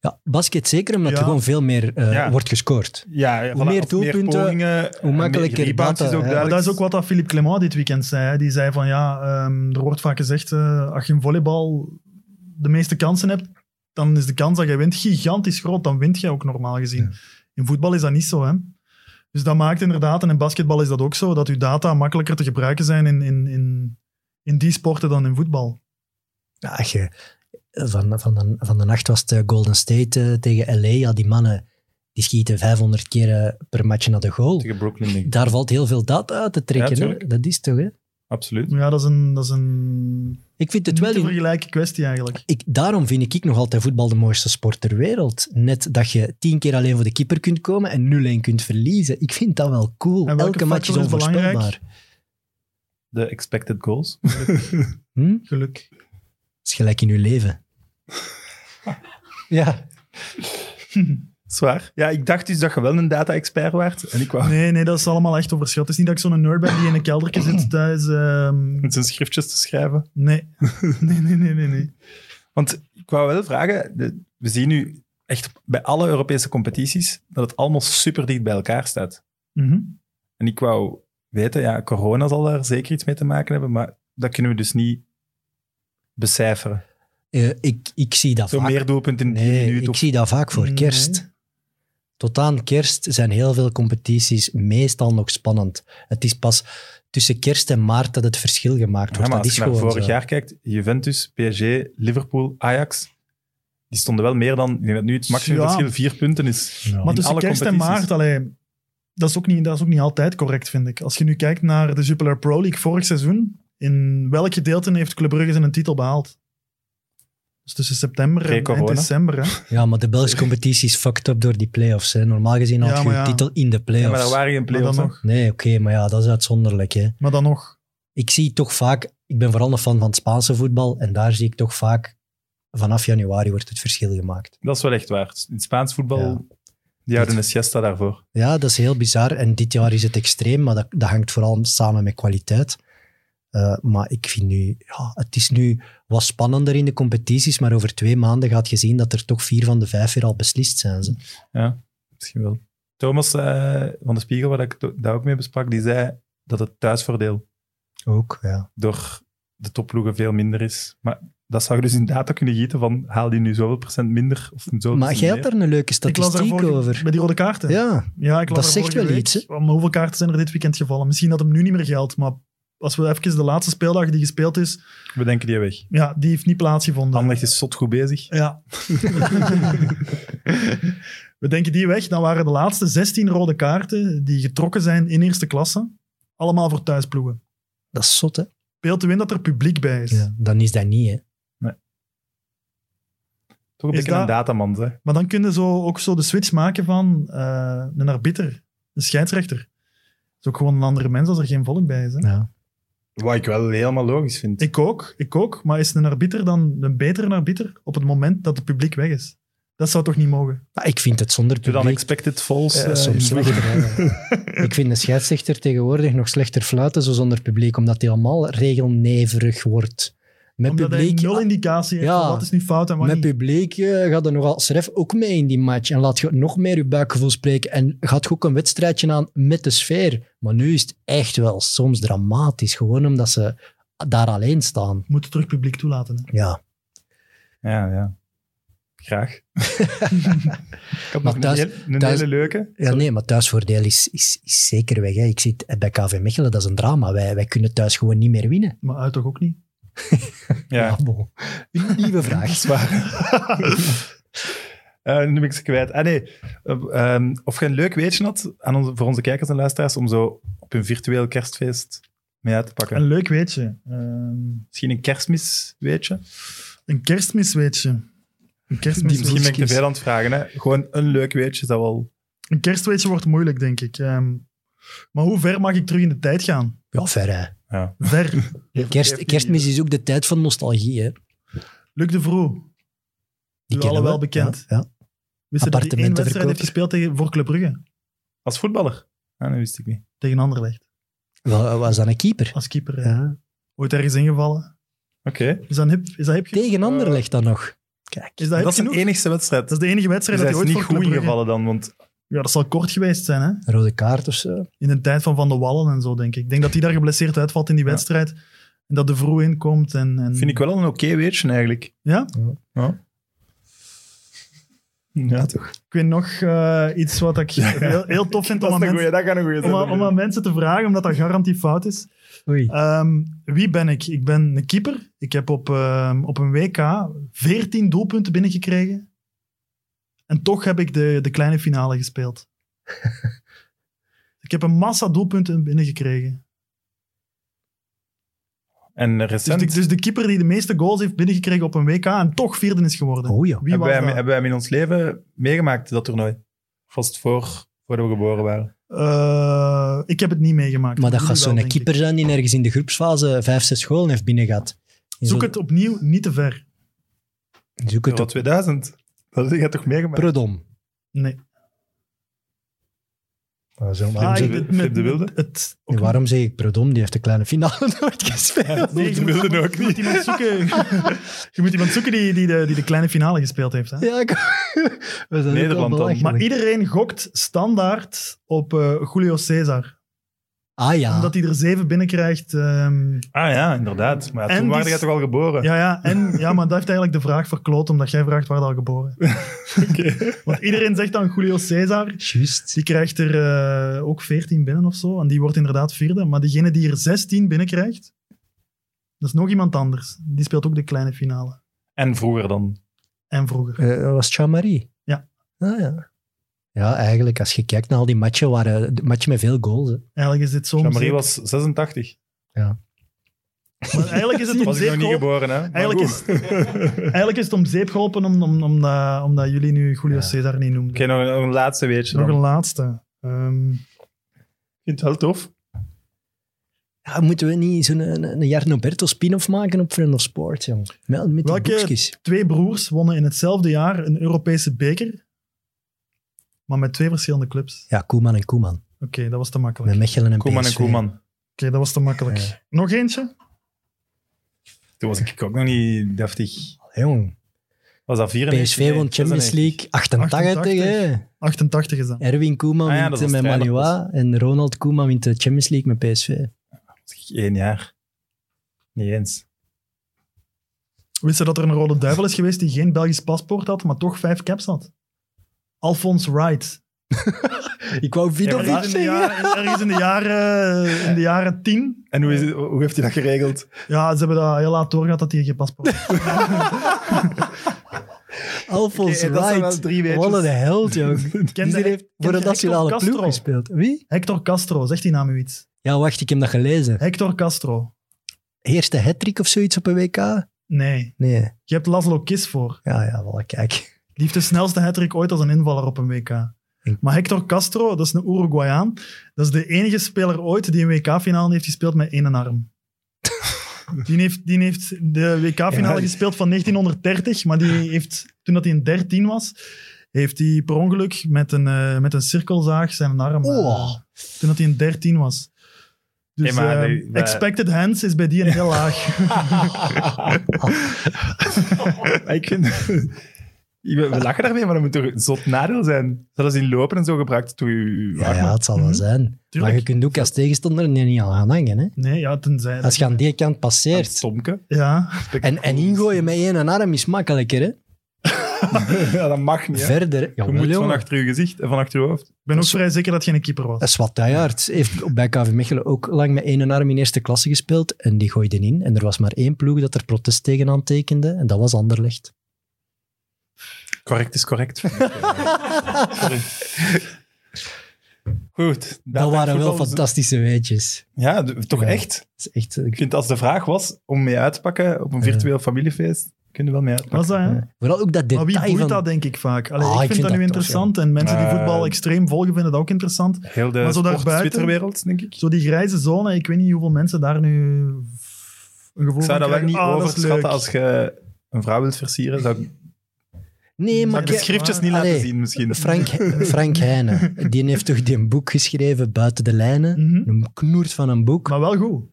Speaker 2: Ja, basket zeker, omdat
Speaker 4: Ja.
Speaker 2: er gewoon veel meer eh,
Speaker 1: Ja.
Speaker 2: wordt gescoord.
Speaker 1: Ja, ja,
Speaker 2: Hoe meer
Speaker 1: of
Speaker 2: doelpunten,
Speaker 1: pogingen, eh,
Speaker 2: hoe makkelijker
Speaker 1: meer rebounds
Speaker 2: dat,
Speaker 1: is ook
Speaker 2: hè.
Speaker 4: Maar
Speaker 1: duidelijk.
Speaker 4: dat is ook wat dat Philippe Clement dit weekend zei. hè. Die zei van ja, ehm, er wordt vaak gezegd, eh, als je in volleybal de meeste kansen hebt, dan is de kans dat je wint gigantisch groot. Dan wint je ook normaal gezien. In voetbal is dat niet zo, hè. Dus dat maakt inderdaad, en in basketbal is dat ook zo, dat uw data makkelijker te gebruiken zijn in, in, in, in die sporten dan in voetbal.
Speaker 2: Ja, als je, van, van, de, van de nacht was het Golden State eh, tegen LA. Ja, die mannen die schieten 500 keer eh, per match naar de goal.
Speaker 1: Tegen Brooklyn, denk ik.
Speaker 2: Daar valt heel veel data uit te trekken.
Speaker 1: Ja,
Speaker 2: hè.
Speaker 1: tuurlijk.
Speaker 2: dat is toch, hè?
Speaker 1: Absoluut.
Speaker 4: Maar ja, dat is een, dat is een
Speaker 2: Ik vind het
Speaker 4: niet
Speaker 2: wel...
Speaker 4: te
Speaker 2: in-
Speaker 4: vergelijken kwestie eigenlijk.
Speaker 2: Ik, daarom vind ik nog altijd voetbal de mooiste sport ter wereld. Net dat je tien keer alleen voor de keeper kunt komen en 0-1 kunt verliezen. Ik vind dat wel cool.
Speaker 4: En welke
Speaker 2: Elke match is
Speaker 4: factor is belangrijk?
Speaker 2: onvoorspelbaar.
Speaker 1: De expected goals. (laughs)
Speaker 2: Hm? Het
Speaker 4: Geluk.
Speaker 2: is gelijk in je
Speaker 4: (laughs)
Speaker 2: leven. ja.
Speaker 1: Zwaar. Ja, ik dacht dus dat je wel een data-expert waart. En ik wou (laughs)
Speaker 4: Nee, nee, dat is allemaal echt overschat. Het is niet dat ik zo'n nerd ben die in een keldertje zit thuis. ehm,
Speaker 1: met zijn schriftjes te schrijven.
Speaker 4: Nee. (laughs) nee, nee, nee, nee, nee.
Speaker 1: Want ik wou wel vragen, de- we zien nu echt bij alle Europese competities dat het allemaal super dicht bij elkaar staat.
Speaker 4: Mhm.
Speaker 1: En ik wou weten, ja, corona zal daar zeker iets mee te maken hebben, maar dat kunnen we dus niet becijferen.
Speaker 2: Eh, ik, ik zie dat
Speaker 1: Zo
Speaker 2: vaak.
Speaker 1: meer doelpunten in die
Speaker 2: nee,
Speaker 1: minuut.
Speaker 2: ik
Speaker 1: Of,
Speaker 2: zie dat vaak voor
Speaker 4: Nee.
Speaker 2: kerst. Tot aan kerst zijn heel veel competities meestal nog spannend. Het is pas tussen kerst en maart dat het verschil gemaakt
Speaker 1: Ja,
Speaker 2: wordt.
Speaker 1: maar als
Speaker 2: dat is
Speaker 1: je naar
Speaker 2: gewoon
Speaker 1: vorig
Speaker 2: zo.
Speaker 1: jaar kijkt, Juventus, PSG, Liverpool, Ajax, die stonden wel meer dan, ik denk dat nu het maximum
Speaker 4: Ja.
Speaker 1: verschil vier punten is.
Speaker 2: Ja.
Speaker 4: Maar
Speaker 1: In
Speaker 4: tussen
Speaker 1: alle
Speaker 4: kerst en
Speaker 1: competities.
Speaker 4: maart, allee, dat, is ook niet, dat is ook niet altijd correct, vind ik. Als je nu kijkt naar de Jupiler Pro League vorig seizoen, in welk gedeelte heeft Club Brugge zijn titel behaald? Dus tussen september en, en
Speaker 1: Pre-corona.
Speaker 4: (laughs) december. Hè?
Speaker 2: Ja, maar de Belgische competitie is fucked up door die play-offs. Hè. Normaal gezien had
Speaker 4: Ja,
Speaker 2: je
Speaker 4: maar
Speaker 2: je
Speaker 4: ja.
Speaker 2: titel in de
Speaker 1: Ja, maar
Speaker 2: play-offs.
Speaker 1: daar waren geen
Speaker 4: Maar dan
Speaker 1: play-offs nog.
Speaker 4: nog.
Speaker 2: Nee, oké, maar ja, dat is uitzonderlijk. Hè.
Speaker 4: Maar dan nog.
Speaker 2: Ik zie toch vaak, ik ben vooral een fan van het Spaanse voetbal en daar zie ik toch vaak, vanaf januari wordt het verschil gemaakt.
Speaker 1: Dat is wel echt waar. In het Spaans voetbal,
Speaker 2: Ja.
Speaker 1: die houden een siesta daarvoor.
Speaker 2: Ja, dat is heel bizar en dit jaar is het extreem, maar dat, dat hangt vooral samen met kwaliteit. Eh, maar ik vind nu, ja, het is nu wat spannender in de competities, maar over twee maanden gaat je zien dat er toch vier van de vijf weer al beslist zijn. Ze.
Speaker 1: Misschien wel. Thomas eh, van de Spiegel, waar ik to- daar ook mee besprak, die zei dat het thuisvoordeel
Speaker 2: Ook, ja.
Speaker 1: door de topploegen veel minder is. Maar dat zou je dus in data kunnen gieten van haal die nu zoveel procent minder of zoveel
Speaker 2: Maar jij
Speaker 1: procent
Speaker 2: had daar een leuke
Speaker 4: Ik las
Speaker 2: statistiek
Speaker 4: vorige-
Speaker 2: over.
Speaker 4: Bij die rode kaarten.
Speaker 2: Ja,
Speaker 4: Ja, ik las
Speaker 2: Dat
Speaker 4: daar
Speaker 2: zegt
Speaker 4: vorige
Speaker 2: wel
Speaker 4: week.
Speaker 2: iets, hè?
Speaker 4: Maar hoeveel kaarten zijn er dit weekend gevallen? Misschien dat hem nu niet meer geldt, maar als we even de laatste speeldag die gespeeld is,
Speaker 1: meer. We denken die weg.
Speaker 4: ja, die heeft niet plaatsgevonden.
Speaker 1: Anderlecht is zot goed bezig.
Speaker 4: Ja. (laughs) We denken die weg. Dan waren de laatste 16 rode kaarten die getrokken zijn in eerste klasse. Allemaal voor thuisploegen.
Speaker 2: dat is zot, hè?
Speaker 4: Beeld te win dat er publiek bij is.
Speaker 2: Ja, dan is dat niet, hè?
Speaker 1: Toch een
Speaker 4: Is
Speaker 1: beetje een
Speaker 4: dat-
Speaker 1: dataman, hè.
Speaker 4: Maar dan kunnen ze ook zo de switch maken van eh, een arbiter, een scheidsrechter. Dat is ook gewoon een andere mens als er geen volk bij is. Hè?
Speaker 2: Ja.
Speaker 1: Wat ik wel helemaal logisch vind.
Speaker 4: Ik ook, ik ook. Maar is een arbiter dan een betere arbiter op het moment dat het publiek weg is? Dat zou toch niet mogen?
Speaker 2: Maar ik vind het zonder
Speaker 1: Doe dan
Speaker 2: publiek
Speaker 1: expected falls.
Speaker 2: eh,
Speaker 1: eh,
Speaker 2: soms
Speaker 1: in ploegen.
Speaker 2: slechter. hè. (laughs) ik vind een scheidsrechter tegenwoordig nog slechter fluiten zo zonder publiek, omdat hij allemaal regelneverig wordt. Met
Speaker 4: Omdat
Speaker 2: publiek, ah,
Speaker 4: hij nul indicatie heeft
Speaker 2: Ja.
Speaker 4: van wat is nu fout en wat
Speaker 2: met
Speaker 4: niet.
Speaker 2: publiek eh, gaat er nogal ref ook mee in die match. En laat je nog meer je buikgevoel spreken. En gaat je ook een wedstrijdje aan met de sfeer. Maar nu is het echt wel soms dramatisch, gewoon omdat ze daar alleen staan.
Speaker 4: Moeten terug publiek toelaten. hè.
Speaker 2: Ja,
Speaker 1: Ja, ja.
Speaker 2: (laughs)
Speaker 1: Graag. ik had
Speaker 2: Maar
Speaker 1: nog
Speaker 2: thuis-
Speaker 1: een, heel- een
Speaker 2: thuis-
Speaker 1: hele leuke.
Speaker 2: Ja, nee, maar thuisvoordeel is, is, is zeker weg. Hè. Ik zie het bij KV Mechelen, dat is een drama. Wij, wij kunnen thuis gewoon niet meer winnen.
Speaker 4: Maar uit toch ook niet?
Speaker 1: Ja.
Speaker 2: bon. Een nieuwe vraag.
Speaker 1: Zwaar. (laughs) Eh, nu ben ik ze kwijt. Ah nee, Eh, ehm, of je een leuk weetje had aan onze, voor onze kijkers en luisteraars om zo op een virtueel kerstfeest mee uit te pakken.
Speaker 4: Een leuk weetje. Ehm,
Speaker 1: Misschien een kerstmis weetje?
Speaker 4: een kerstmisweetje. Een
Speaker 1: Die misschien ben ik te
Speaker 4: kerstmisweetje.
Speaker 1: veel aan het vragen. Hè? Gewoon een leuk weetje, dat wel...
Speaker 4: Een kerstweetje wordt moeilijk, denk ik. Ehm, maar hoe ver mag ik terug in de tijd gaan?
Speaker 2: Ja, ver hè.
Speaker 4: Ver.
Speaker 2: (laughs) Kerst, kerstmis is ook de tijd van nostalgie. Hè.
Speaker 4: Luc de Vroe.
Speaker 2: Die
Speaker 4: Nu
Speaker 2: kennen
Speaker 4: allemaal
Speaker 2: we.
Speaker 4: bekend.
Speaker 2: Ja, ja.
Speaker 4: Wist je dat hij één wedstrijd
Speaker 2: Appartementenverkoper.
Speaker 4: heeft gespeeld tegen, voor Club Brugge?
Speaker 1: Als voetballer? Ah, dat wist ik niet.
Speaker 4: Tegen Anderlecht.
Speaker 2: Wa- Was dan een keeper?
Speaker 4: Als keeper. eh,
Speaker 2: Ja.
Speaker 4: Ooit ergens ingevallen.
Speaker 1: Oké.
Speaker 4: Is dat hip? Is dat hip?
Speaker 2: Tegen Anderlecht dan nog. Kijk.
Speaker 4: Is dat, hip
Speaker 1: Dat is
Speaker 4: genoeg?
Speaker 1: zijn enigste wedstrijd.
Speaker 4: Dat is de enige wedstrijd
Speaker 1: Dus hij
Speaker 4: dat
Speaker 1: is
Speaker 4: hij ooit
Speaker 1: niet
Speaker 4: voor
Speaker 1: goed
Speaker 4: Club Brugge-
Speaker 1: ingevallen dan, want
Speaker 4: Ja, dat zal kort geweest zijn, hè?
Speaker 2: Een rode kaart of zo.
Speaker 4: In de tijd van Van de Wallen en zo, denk ik. Ik denk dat hij daar geblesseerd uitvalt in die
Speaker 1: Ja.
Speaker 4: wedstrijd. En dat de vroeg inkomt. En, en...
Speaker 1: vind ik wel een oké weetje eigenlijk.
Speaker 4: Ja?
Speaker 1: Ja. Ja, toch.
Speaker 4: Ik weet nog eh, iets
Speaker 1: (laughs)
Speaker 4: wat ik heel, heel tof vind om aan, mensen,
Speaker 1: dat kan een
Speaker 4: om, aan, om aan mensen te vragen, omdat dat garantie fout is.
Speaker 2: Oei.
Speaker 4: Ehm, wie ben ik? Ik ben een keeper. Ik heb op, ehm, op een WK 14 doelpunten binnengekregen. En toch heb ik de, de kleine
Speaker 1: (laughs)
Speaker 4: finale gespeeld. ik heb een massa doelpunten binnengekregen.
Speaker 1: En
Speaker 4: Dus
Speaker 1: recent
Speaker 4: de, dus de keeper die de meeste goals heeft binnengekregen op een WK en toch vierde is geworden.
Speaker 2: Oh ja.
Speaker 4: Wie
Speaker 1: hebben,
Speaker 4: was
Speaker 1: wij,
Speaker 4: dat?
Speaker 1: hebben wij hem in ons leven meegemaakt, dat toernooi. Vast voor, voordat we geboren waren.
Speaker 4: Eh, ik heb het niet meegemaakt.
Speaker 2: Maar dat gaat
Speaker 4: Jullie wel,
Speaker 2: zo'n
Speaker 4: denk ik.
Speaker 2: keeper zijn die ergens in de groepsfase vijf, zes scholen heeft binnengehad. En
Speaker 4: Zoek
Speaker 2: zo-
Speaker 4: het opnieuw niet te ver.
Speaker 2: Zoek het
Speaker 1: Euro
Speaker 2: op.
Speaker 1: 2000. Dat heb je toch meegemaakt?
Speaker 2: Prudom.
Speaker 4: Nee.
Speaker 1: Flip
Speaker 4: Ah,
Speaker 1: de
Speaker 4: ik-
Speaker 1: Wi-
Speaker 4: het-
Speaker 1: Flip de Wilde?
Speaker 4: Het,
Speaker 2: En waarom zeg ik Prudom? Die heeft de kleine finale (laughs) nooit gespeeld.
Speaker 4: Nee,
Speaker 1: de Wilde ook
Speaker 4: je moet iemand
Speaker 1: (laughs)
Speaker 4: zoeken, je moet iemand zoeken die, die, de, die de kleine finale gespeeld heeft. Hè?
Speaker 2: Ja, ik... (laughs) We zijn
Speaker 1: Nederland dan.
Speaker 2: ook al belachelijk.
Speaker 4: Maar iedereen gokt standaard op eh, Julio Cesar.
Speaker 2: Ah ja.
Speaker 4: Omdat hij er zeven binnenkrijgt. ehm
Speaker 1: Ah ja, inderdaad. Maar ja,
Speaker 4: En
Speaker 1: toen waren
Speaker 4: die-
Speaker 1: jij toch al geboren?
Speaker 4: ja, ja, en, ja, maar dat heeft eigenlijk de vraag verkloot, omdat jij vraagt waar dat al geboren
Speaker 1: (laughs)
Speaker 4: is. Want iedereen zegt dan Julio Cesar.
Speaker 2: Juist.
Speaker 4: Die krijgt er eh, ook 14 binnen of zo. En die wordt inderdaad vierde. Maar degene die er 16 binnenkrijgt, dat is nog iemand anders. Die speelt ook de kleine finale.
Speaker 1: En vroeger dan.
Speaker 4: En vroeger.
Speaker 2: Eh, dat was Jean-Marie?
Speaker 4: Ja.
Speaker 2: Ah ja. Ja, eigenlijk, als je kijkt naar al die matchen, waren de matchen met veel goals. hè.
Speaker 4: Eigenlijk is dit zo. om
Speaker 1: Jean-Marie
Speaker 4: zeep-
Speaker 1: was
Speaker 4: (laughs)
Speaker 1: 86.
Speaker 4: maar eigenlijk
Speaker 1: (laughs)
Speaker 4: is het om
Speaker 1: Was ik nog
Speaker 4: zeep
Speaker 1: niet
Speaker 4: geholpen-
Speaker 1: geboren, hè? Maar
Speaker 4: Eigenlijk
Speaker 1: goed.
Speaker 4: is, eigenlijk is het om zeep geholpen om, om, omdat, omdat jullie nu Julio
Speaker 2: Ja.
Speaker 4: Cesar niet
Speaker 1: (laughs)
Speaker 4: noemden.
Speaker 1: Oké, nog een, nog een laatste weetje
Speaker 4: Nog
Speaker 1: dan.
Speaker 4: een laatste. Ehm,
Speaker 1: Ik vind het wel tof.
Speaker 2: Ja, moeten we niet zo'n eh, een, een Jarno Berto spin-off maken op Friend of Sport, jong? Met, met die
Speaker 4: Welke-
Speaker 2: boekjes.
Speaker 4: twee broers wonnen in hetzelfde jaar een Europese beker, maar met twee verschillende clubs.
Speaker 2: Ja, Koeman en Koeman.
Speaker 4: Oké, dat was te makkelijk.
Speaker 2: Met
Speaker 4: Oké,
Speaker 2: Mechelen en
Speaker 1: Koeman en
Speaker 2: PSV.
Speaker 1: Koeman.
Speaker 4: dat was te makkelijk.
Speaker 2: Ja.
Speaker 4: Nog eentje?
Speaker 1: Toen was ik ook nog niet deftig.
Speaker 2: Jong,
Speaker 1: Was dat 94?
Speaker 2: PSV won Champions
Speaker 1: 96?
Speaker 2: League 88, hè.
Speaker 4: 88 is dat.
Speaker 2: Erwin Koeman
Speaker 1: Ah ja, dat
Speaker 2: wint eh,
Speaker 1: was
Speaker 2: met
Speaker 1: vrijdag
Speaker 2: Manua en Ronald Koeman wint de Champions League met PSV.
Speaker 1: Was ik één jaar. Niet eens.
Speaker 4: Wist je dat er een rode duivel is geweest die geen Belgisch paspoort had, maar toch vijf caps had? Alphonse Wright.
Speaker 2: Ik wou Vidovic
Speaker 4: Ergens in de
Speaker 2: zeggen.
Speaker 4: jaren, ergens in de jaren, in de jaren tien
Speaker 1: En hoe, is het- hoe heeft hij dat geregeld?
Speaker 4: Ja, ze hebben dat heel laat doorgehad dat hij geen paspoort had.
Speaker 2: Alphonse
Speaker 1: Oké, dat zijn wel
Speaker 2: Wright.
Speaker 1: drie weetjes.
Speaker 2: Wat een
Speaker 1: (laughs)
Speaker 2: held, jong.
Speaker 4: Kent
Speaker 2: Die
Speaker 4: je-
Speaker 2: heeft voor de
Speaker 4: je
Speaker 2: nationale
Speaker 4: Hector
Speaker 2: ploeg
Speaker 4: Castro?
Speaker 2: gespeeld. Wie?
Speaker 4: Hector Castro, zegt die naam u iets?
Speaker 2: Ja, wacht, ik heb dat gelezen.
Speaker 4: Hector Castro.
Speaker 2: Eerste hat of zoiets op een WK?
Speaker 4: Nee,
Speaker 2: Nee.
Speaker 4: je hebt Laszlo Kiss voor.
Speaker 2: Ja, ja, wel, kijk.
Speaker 4: Die heeft de snelste hat ooit als een invaller op een WK. Maar Hector Castro, dat is een Uruguayaan, dat is de enige speler ooit die een WK-finale heeft gespeeld met één arm. Die heeft, die heeft de WK-finale
Speaker 1: Ja.
Speaker 4: gespeeld van 1930, maar die heeft, toen dat hij in 13 was, heeft hij per ongeluk met een, eh, met een cirkelzaag zijn arm... eh,
Speaker 2: Oh.
Speaker 4: Toen dat hij in 13 was. Dus
Speaker 1: Hey, maar
Speaker 4: eh,
Speaker 1: die- wij-
Speaker 4: expected hands is bij die een heel laag.
Speaker 1: ik vind... Ik ben- We lachen daarmee, maar dat moet toch een zot nadeel zijn? Zelfs in lopen en zo gebruikt toen je...
Speaker 2: Ja, ja, het
Speaker 1: Mhm.
Speaker 2: zal wel zijn. Maar
Speaker 4: Tuurlijk.
Speaker 2: je kunt ook als tegenstander er niet aan gaan hangen. Hè?
Speaker 4: Nee, ja, tenzij...
Speaker 2: Als je aan die kant passeert.
Speaker 1: Stomke.
Speaker 4: Ja,
Speaker 2: En, en ingooien met één arm is makkelijker. Hè?
Speaker 1: (laughs) ja, dat mag niet. hè.
Speaker 2: Verder.
Speaker 1: Je
Speaker 2: Jawel,
Speaker 1: moet van
Speaker 2: jongen.
Speaker 1: achter je gezicht en van achter je hoofd.
Speaker 4: ik ben ook vrij zeker dat je een keeper was.
Speaker 2: Swatajaert heeft bij KV Mechelen ook lang met één arm in eerste klasse gespeeld. En die gooide in. En er was maar één ploeg dat er protest tegen tekende. En dat was Anderlecht.
Speaker 1: Correct is (laughs) correct. vind ik, eh. Sorry. Goed.
Speaker 2: Dat waren wel
Speaker 1: voetbal-
Speaker 2: fantastische weetjes.
Speaker 1: Ja, d- toch
Speaker 2: Ja.
Speaker 1: echt.
Speaker 2: Dat is echt...
Speaker 1: Ik vind als de vraag was om mee uit te pakken op een virtueel familiefeest, kun je wel mee uitpakken.
Speaker 4: Was dat, hè?
Speaker 2: Vooral ook dat
Speaker 4: Maar wie
Speaker 2: detail
Speaker 4: boeit
Speaker 2: van...
Speaker 4: dat, denk ik, vaak? Allee,
Speaker 2: Ah,
Speaker 4: ik, vind dat, nu
Speaker 2: tof,
Speaker 4: interessant. En mensen die
Speaker 1: Eh,
Speaker 4: voetbal extreem volgen, vinden dat ook interessant.
Speaker 1: Heel de
Speaker 4: Maar zo
Speaker 1: sport-
Speaker 4: daarbuiten-
Speaker 1: Twitterwereld, denk ik.
Speaker 4: Zo die grijze zone, ik weet niet hoeveel mensen daar nu een gevoel
Speaker 1: Ik zou dat
Speaker 4: van
Speaker 1: wel
Speaker 4: krijgen.
Speaker 1: niet
Speaker 4: Ah, dat is
Speaker 1: overschatten
Speaker 4: leuk.
Speaker 1: als je een vrouw wilt versieren. Zou ik
Speaker 2: Nee,
Speaker 1: zou
Speaker 2: maar...
Speaker 1: ik de
Speaker 2: kijk,
Speaker 1: schriftjes niet laten
Speaker 2: ah, Allee.
Speaker 1: zien, misschien.
Speaker 2: Frank, Frank Heijnen, die heeft toch die een boek geschreven, Buiten de Lijnen?
Speaker 4: Mhm.
Speaker 2: Een knoert van een boek.
Speaker 4: Maar wel goed.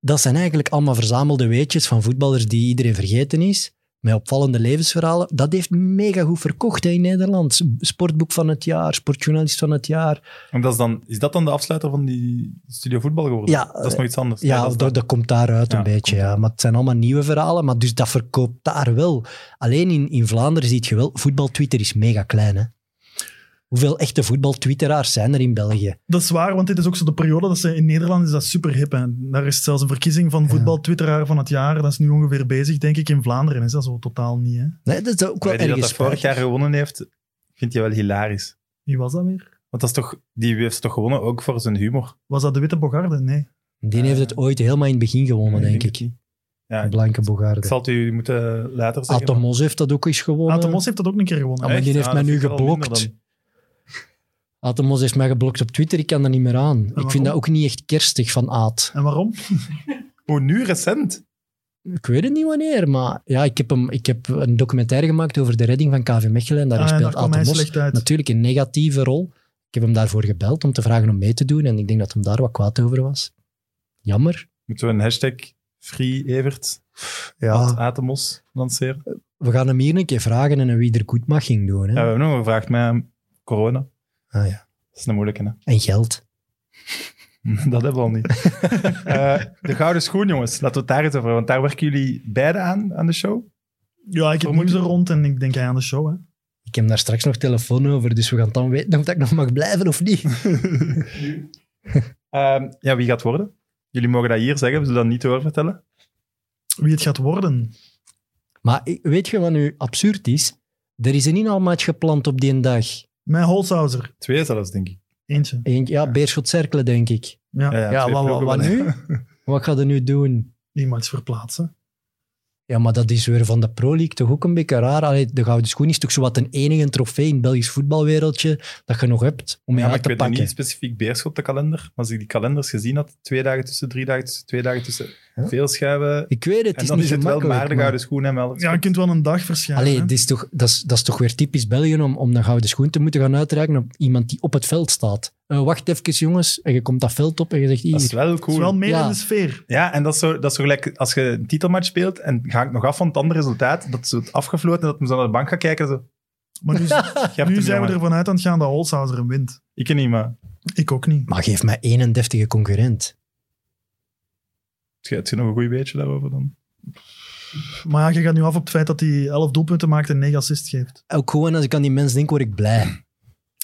Speaker 2: Dat zijn eigenlijk allemaal verzamelde weetjes van voetballers die iedereen vergeten is. Met opvallende levensverhalen. Dat heeft mega goed verkocht hè, in Nederland. Sportboek van het jaar, sportjournalist van het jaar.
Speaker 1: En dat is, dan, is dat dan de afsluiter van die studio voetbal geworden?
Speaker 2: Ja,
Speaker 1: dat is nog iets anders.
Speaker 2: Ja,
Speaker 1: dat is
Speaker 2: dat, dat komt daaruit
Speaker 1: Ja,
Speaker 2: een beetje.
Speaker 1: komt
Speaker 2: Ja. Maar het zijn allemaal nieuwe verhalen, maar dus dat verkoopt daar wel. Alleen in, in Vlaanderen zie je wel, voetbaltwitter is mega klein. Hè. Hoeveel echte voetbaltwitteraars zijn er in België?
Speaker 4: Dat is waar, want dit is ook zo de periode dat ze in Nederland is dat super hip. En daar is zelfs een verkiezing van voetbal-twitteraar van het jaar. Dat is nu ongeveer bezig, denk ik. In Vlaanderen is dat zo totaal niet. Hè?
Speaker 2: Nee, dat is ook wel
Speaker 1: Weet je dat
Speaker 2: ergens
Speaker 1: dat vorig
Speaker 2: spijtig.
Speaker 1: jaar gewonnen heeft, Ik vind je wel hilarisch.
Speaker 4: Wie was dat weer?
Speaker 1: Want dat is toch, die heeft toch gewonnen ook voor zijn humor?
Speaker 4: Was dat de Witte Bogarde? Nee.
Speaker 2: Die heeft het ooit helemaal in het begin gewonnen,
Speaker 1: Nee,
Speaker 2: denk
Speaker 1: denk
Speaker 2: ik.
Speaker 1: het niet. Ja, ik
Speaker 2: Blanke
Speaker 1: ik
Speaker 2: Bogarde.
Speaker 1: zal het u moeten later zeggen.
Speaker 2: Atomos heeft dat ook eens gewonnen.
Speaker 4: Atemos heeft dat ook een keer gewonnen.
Speaker 2: eh, Ah, maar die
Speaker 1: Echt?
Speaker 2: heeft
Speaker 1: Ah,
Speaker 2: mij
Speaker 1: dat
Speaker 2: nu
Speaker 1: vind ik wel minder
Speaker 2: geblokt.
Speaker 1: dan-
Speaker 2: Atomos heeft mij geblokt op Twitter, ik kan er niet meer aan. ik
Speaker 4: waarom?
Speaker 2: vind dat ook niet echt kerstig van Aad.
Speaker 4: En waarom?
Speaker 1: Oh, nu recent?
Speaker 2: Ik weet het niet wanneer, maar ja, ik, heb hem, ik heb een documentaire gemaakt over de redding van KV Mechelen. En daarin
Speaker 4: Ah,
Speaker 2: speelt
Speaker 4: daar kwam hij
Speaker 2: Atomos
Speaker 4: slecht uit.
Speaker 2: natuurlijk een negatieve rol. Ik heb hem daarvoor gebeld om te vragen om mee te doen en ik denk dat hem daar wat kwaad over was. Jammer.
Speaker 1: Moeten we een hashtag Free Evert
Speaker 2: Ja.
Speaker 1: Atemos lanceren?
Speaker 2: We gaan hem hier een keer vragen en een wie er goed mag ging doen.
Speaker 1: Ja,
Speaker 2: Hè?
Speaker 1: we hebben nog gevraagd met corona.
Speaker 2: Ah, ja.
Speaker 1: Dat is een moeilijke, hè? (laughs)
Speaker 2: En geld.
Speaker 1: Dat hebben we al
Speaker 2: (laughs)
Speaker 1: niet. Eh, de gouden schoen, jongens. Laten we het daar eens over hebben, Want daar werken jullie beide aan, aan de show.
Speaker 4: Ja, ik heb
Speaker 1: Vermoed
Speaker 4: nieuws
Speaker 1: je?
Speaker 4: er rond en ik denk hij aan de show. Hè.
Speaker 2: Ik heb daar straks nog telefoon over, dus we gaan dan weten of dat ik nog mag blijven of
Speaker 4: (laughs)
Speaker 2: niet.
Speaker 1: Ehm, ja, wie gaat worden? Jullie mogen dat hier zeggen, we zullen dat niet doorvertellen.
Speaker 4: Wie het gaat worden.
Speaker 2: Maar ik- weet je wat nu absurd is? Er is een inhaalmatch gepland op die dag.
Speaker 4: Mijn Holshouser.
Speaker 1: Twee zelfs, denk ik.
Speaker 4: Eentje.
Speaker 2: Eén- ja, Beerschot Cerkelen, denk ik.
Speaker 4: Ja,
Speaker 1: Ja,
Speaker 2: Ja,
Speaker 1: twee
Speaker 2: wat, wat,
Speaker 1: ploegen
Speaker 2: wat
Speaker 1: wel, hè.
Speaker 2: nu? (laughs) Wat gaat er nu doen?
Speaker 4: die match verplaatsen.
Speaker 2: Ja, maar dat is weer van de Pro League toch ook een beetje raar. Allee, de Gouden Schoen is toch zowat een enige trofee in het Belgisch voetbalwereldje dat je nog hebt om je
Speaker 1: Ja, maar
Speaker 2: uit
Speaker 1: ik
Speaker 2: te
Speaker 1: weet nu
Speaker 2: pakken.
Speaker 1: niet specifiek Beerschot de kalender. Maar als ik die kalenders gezien had, twee dagen tussen, drie dagen tussen, twee dagen tussen,
Speaker 2: Ja.
Speaker 1: veel schuiven.
Speaker 2: Ik weet het, het
Speaker 1: En
Speaker 2: is
Speaker 1: dan
Speaker 2: niet
Speaker 1: is het wel maar de
Speaker 2: gemakkelijk,
Speaker 1: gouden schoen en wel.
Speaker 4: Ja, je kunt wel een dag verschijnen.
Speaker 2: Allee,
Speaker 4: hè.
Speaker 2: dit is toch, dat, is, dat is toch weer typisch België om, om een gouden schoen te moeten gaan uitreiken op iemand die op het veld staat. Eh, wacht even, jongens. En je komt dat veld op en je zegt
Speaker 1: dat is
Speaker 2: hier.
Speaker 1: wel
Speaker 4: Het is
Speaker 1: cool.
Speaker 4: wel meer
Speaker 2: Ja.
Speaker 4: in de sfeer.
Speaker 1: Ja, en dat is, zo, dat is zo gelijk als je een titelmatch speelt en je hangt nog af van het andere resultaat, dat is zo het afgefloten en dat men zo naar de bank gaat kijken. Zo,
Speaker 4: Maar
Speaker 2: (laughs)
Speaker 4: nu,
Speaker 1: je hebt hem,
Speaker 4: nu zijn we
Speaker 1: jongen.
Speaker 4: ervan uit aan het gaan dat Holshouser hem wint.
Speaker 1: Ik niet, maar
Speaker 4: Ik ook niet.
Speaker 2: Maar geef mij 31 concurrent.
Speaker 1: het is nog een goed beetje daarover dan.
Speaker 4: Maar ja, je gaat nu af op het feit dat hij 11 doelpunten maakt en 9 assists geeft.
Speaker 2: Ook gewoon als ik aan die mens denk, word ik blij.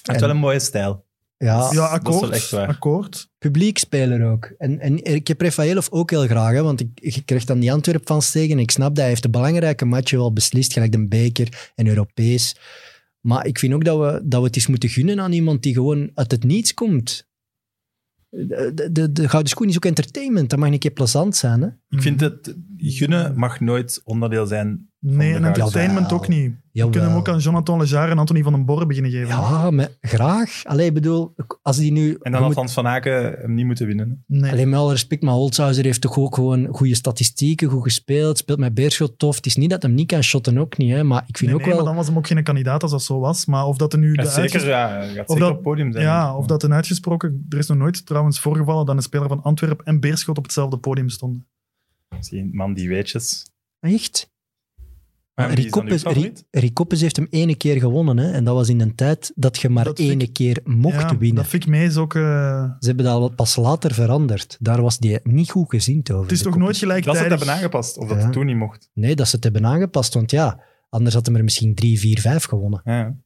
Speaker 1: Het is wel een mooie stijl.
Speaker 2: Ja,
Speaker 4: ja,
Speaker 1: Ah, dat is
Speaker 4: akkoord.
Speaker 1: wel echt waar.
Speaker 4: Akkoord.
Speaker 2: publiekspeler ook. En, en ik heb Rafaelov ook heel graag, hè, want ik, ik kreeg dan die Antwerp van tegen. Ik snap dat hij heeft de belangrijke matchen wel beslist, gelijk de beker en Europees. Maar ik vind ook dat we, dat we het eens moeten gunnen aan iemand die gewoon uit het niets komt. De, de- de, de Gouden Schoen is ook entertainment. Dat mag een keer plezant zijn. Hè?
Speaker 1: Ik vind het, gunnen mag nooit onderdeel zijn.
Speaker 4: Nee, en
Speaker 1: Jawel.
Speaker 4: entertainment ook niet. We
Speaker 2: Jawel.
Speaker 4: kunnen hem ook aan Jonathan Lejar en Anthony van den Borre beginnen geven.
Speaker 2: Ja, maar graag. Allee, ik bedoel, als die
Speaker 1: En
Speaker 2: nu... je
Speaker 1: dan
Speaker 2: moet-
Speaker 1: had Hans van Aken hem niet moeten winnen.
Speaker 4: Nee.
Speaker 2: Alleen met alle respect, maar Holzhauser heeft toch ook gewoon goede statistieken, goed gespeeld, speelt met Beerschot tof. Het is niet dat hem niet kan shotten, ook niet. Hè, maar ik vind
Speaker 4: Nee,
Speaker 2: ook
Speaker 4: nee,
Speaker 2: wel...
Speaker 4: maar dan was hem ook geen kandidaat als dat zo was. Maar of dat er nu...
Speaker 1: Ja,
Speaker 4: de
Speaker 1: zeker,
Speaker 4: uitges-
Speaker 1: ja, hij gaat
Speaker 4: Of
Speaker 1: zeker
Speaker 4: dat-
Speaker 1: op het podium zijn.
Speaker 4: Ja, of dat een uitgesproken... Er is nog nooit trouwens voorgevallen dat een speler van Antwerpen en Beerschot op hetzelfde podium stonden.
Speaker 1: Zie je, man die weetjes.
Speaker 2: Echt?
Speaker 1: Maar wie is dan uw
Speaker 2: Ricoppes,
Speaker 1: favoriet?
Speaker 2: Ri- Ricoppes heeft hem ene keer gewonnen. Hè? En dat was in een tijd dat je maar
Speaker 4: Dat vind
Speaker 2: ene keer mocht
Speaker 4: ja,
Speaker 2: winnen.
Speaker 4: Dat vind ik mee is ook... eh,
Speaker 2: Ze hebben dat al pas later veranderd. Daar was die niet goed gezien over.
Speaker 4: het is toch
Speaker 2: Ricoppes.
Speaker 4: nooit
Speaker 1: Dat ze
Speaker 4: gelijktijdig...
Speaker 1: het hebben aangepast, of dat
Speaker 2: Ja.
Speaker 1: het toen niet mocht.
Speaker 2: Nee, dat ze het hebben aangepast. Want ja, anders had hem er misschien drie, vier, vijf gewonnen.
Speaker 1: Ja.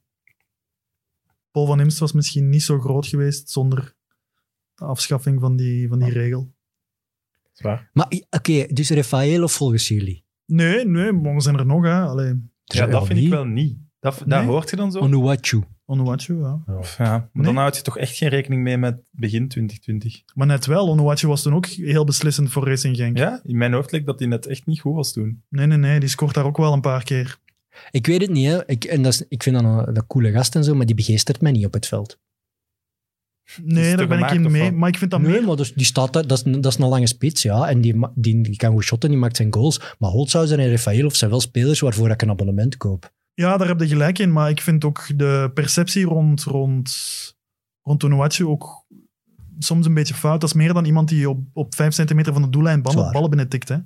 Speaker 4: Paul van Imst was misschien niet zo groot geweest zonder de afschaffing van die, van die regel.
Speaker 1: Zwaar.
Speaker 2: Maar i- oké, dus Rafael of volgens jullie?
Speaker 4: Nee, nee, maar we zijn er nog. Hè. Allee,
Speaker 2: Er
Speaker 1: Ja,
Speaker 2: zijn
Speaker 1: dat
Speaker 2: er
Speaker 1: vind ik
Speaker 2: wie?
Speaker 1: wel niet. Dat, dat
Speaker 4: Nee.
Speaker 1: hoort je dan zo?
Speaker 2: Onuwachu.
Speaker 4: Onuachu, ja.
Speaker 1: Of, ja, maar dan
Speaker 4: Nee. Hm.
Speaker 1: houd je toch echt geen rekening mee met begin 2020.
Speaker 4: Maar net wel, Onuachu was toen ook heel beslissend voor Racing Genk.
Speaker 1: Ja, in mijn hoofd leek dat hij net echt niet goed was toen.
Speaker 4: Nee, nee, nee, die scoort daar ook wel een paar keer.
Speaker 2: Ik weet het niet, hè. Ik, en dat is, ik vind dan een, dat coole gast en zo, maar die begeestert mij niet op het veld.
Speaker 1: Is
Speaker 4: Nee,
Speaker 1: het
Speaker 4: daar
Speaker 1: er
Speaker 4: ben ik
Speaker 1: gemaakt
Speaker 4: in
Speaker 1: of
Speaker 4: mee.
Speaker 1: wat?
Speaker 4: Maar ik vind dat
Speaker 2: nee,
Speaker 4: meer...
Speaker 2: maar dus, die staat daar, dat is, een- dat is een lange spits, ja. En die, ma- die, die kan goed shotten, die maakt zijn goals. Maar Holtzhauser en Rafael zijn wel spelers waarvoor ik een abonnement koop.
Speaker 4: Ja, daar heb je gelijk in. Maar ik vind ook de perceptie rond, rond, rond Onuachu ook soms een beetje fout. Dat is meer dan iemand die op, op vijf centimeter van de doellijn ballen,
Speaker 2: Zwaar.
Speaker 4: ballen binnen tikt. Hè.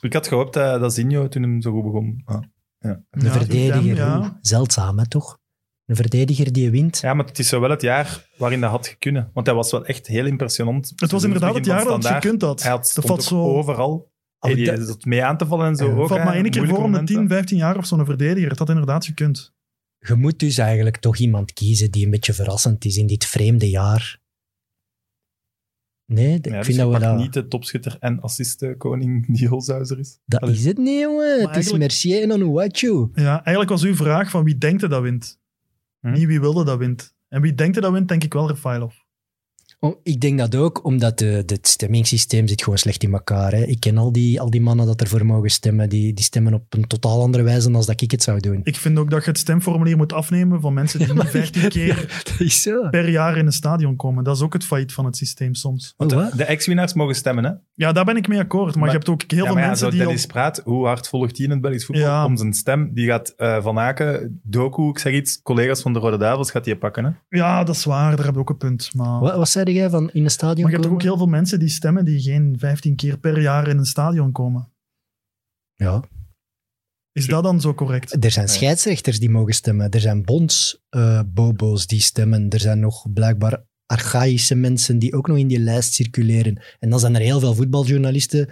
Speaker 1: Ik had gehoopt dat, dat Zinho toen hem zo goed begon. Ah.
Speaker 2: Een
Speaker 4: Ja,
Speaker 2: verdediger,
Speaker 4: Zidane, ja.
Speaker 2: oeh, zeldzaam, hè, toch? Een verdediger die wint.
Speaker 1: Ja, maar het is zo wel het jaar waarin dat had kunnen. Want hij was wel echt heel impressionant.
Speaker 4: Het was inderdaad het
Speaker 1: Dus begin
Speaker 4: jaar
Speaker 1: van
Speaker 4: dat je
Speaker 1: Standaard.
Speaker 4: kunt dat.
Speaker 1: Hij had,
Speaker 4: dat
Speaker 1: stond
Speaker 4: valt
Speaker 1: ook
Speaker 4: zo... Ah,
Speaker 1: overal. Hey, die
Speaker 2: dat-
Speaker 1: zat mee aan te vallen en zo
Speaker 2: Ja,
Speaker 1: ook.
Speaker 4: valt
Speaker 1: hè.
Speaker 4: maar één keer
Speaker 1: Moeilijke
Speaker 4: voor om de
Speaker 1: momenten.
Speaker 4: 10, 15 jaar of zo'n verdediger. Het had inderdaad gekund.
Speaker 2: Je moet dus eigenlijk toch iemand kiezen die een beetje verrassend is in dit vreemde jaar. Nee, d-
Speaker 1: Ja,
Speaker 2: ik
Speaker 1: dus
Speaker 2: vind
Speaker 1: je
Speaker 2: dat we
Speaker 1: pakt
Speaker 2: dat... Oh,
Speaker 1: niet de topschutter en assistenkoning die Holzhuizer is.
Speaker 2: Dat
Speaker 1: Allee.
Speaker 2: is het niet, jongen. Het is
Speaker 4: eigenlijk-
Speaker 2: Mercier en Onuachu.
Speaker 4: Ja, eigenlijk was uw vraag van wie denkt er dat wint?
Speaker 1: Hm?
Speaker 4: Niet wie wilde dat wint. En wie denkt er dat wint, denk ik wel Rafailov.
Speaker 2: Om- Oh, Ik denk dat ook, omdat de, het stemmingssysteem zit gewoon slecht in elkaar. Hè. Ik ken al die, al die mannen dat ervoor mogen stemmen. Die, die stemmen op een totaal andere wijze dan dat ik het zou doen.
Speaker 4: Ik vind ook dat je het stemformulier moet afnemen van mensen die
Speaker 2: Ja, maar-
Speaker 1: (laughs)
Speaker 4: 15 keer
Speaker 2: (laughs) Dat is zo.
Speaker 4: per jaar in een stadion komen. Dat is ook het failliet van het systeem soms.
Speaker 2: Oh, wat?
Speaker 1: De ex-winnaars mogen stemmen, hè?
Speaker 4: Ja, daar ben ik mee akkoord. Maar,
Speaker 1: Maar-
Speaker 4: je hebt ook heel
Speaker 1: ja,
Speaker 4: veel
Speaker 1: maar ja,
Speaker 4: mensen
Speaker 1: zo
Speaker 4: die...
Speaker 1: Dennis
Speaker 4: al-
Speaker 1: Praat, hoe hard volgt hij in het Belgisch voetbal
Speaker 4: Ja.
Speaker 1: om zijn stem? Die gaat eh, Van Aken, Doku, ik zeg iets, collega's van de Rode Duivels gaat die pakken, hè?
Speaker 4: Ja, dat is waar. Daar heb je ook een punt. Maar,
Speaker 2: Wat,
Speaker 4: maar
Speaker 2: wat zei jij van in een stadion
Speaker 4: je hebt toch
Speaker 2: komen?
Speaker 4: ook heel veel mensen die stemmen die geen 15 keer per jaar in een stadion komen.
Speaker 2: Ja.
Speaker 4: Is dat dan zo correct?
Speaker 2: Er zijn
Speaker 1: Ja.
Speaker 2: scheidsrechters die mogen stemmen. Er zijn bondsbobo's die stemmen. Er zijn nog blijkbaar archaïsche mensen die ook nog in die lijst circuleren. En dan zijn er heel veel voetbaljournalisten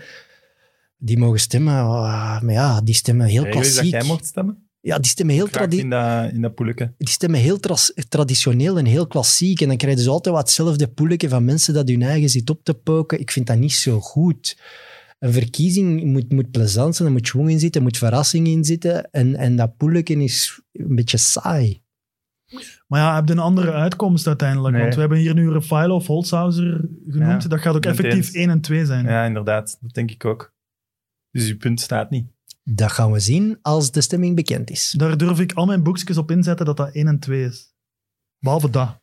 Speaker 2: die mogen stemmen. Ah, maar ja, die stemmen heel
Speaker 1: Regel is dat
Speaker 2: klassiek.
Speaker 1: jij mocht stemmen?
Speaker 2: Ja, die stemmen heel,
Speaker 1: Graag
Speaker 2: tradi
Speaker 1: in dat, in dat poeleke.
Speaker 2: die stemmen heel tras- traditioneel en heel klassiek. En dan krijgen ze altijd wat hetzelfde poeletje van mensen dat hun eigen zit op te poken. Ik vind dat niet zo goed. Een verkiezing moet, moet plezant zijn, er moet schwung in zitten, er moet verrassing in zitten. En, en dat poeletje is een beetje saai.
Speaker 4: Maar ja, heb je een andere uitkomst uiteindelijk?
Speaker 1: Nee.
Speaker 4: Want we hebben hier nu Rafael of Holzhauser genoemd.
Speaker 1: Ja,
Speaker 4: dat gaat ook
Speaker 1: ben het
Speaker 4: effectief
Speaker 1: eens.
Speaker 4: 1 en 2 zijn.
Speaker 1: Ja, inderdaad. Dat denk ik ook. Dus je punt staat
Speaker 2: (laughs)
Speaker 1: niet.
Speaker 2: Dat gaan we zien als de stemming bekend is.
Speaker 4: Daar durf ik al mijn boekjes op inzetten dat dat 1 en 2 is. Behalve dat.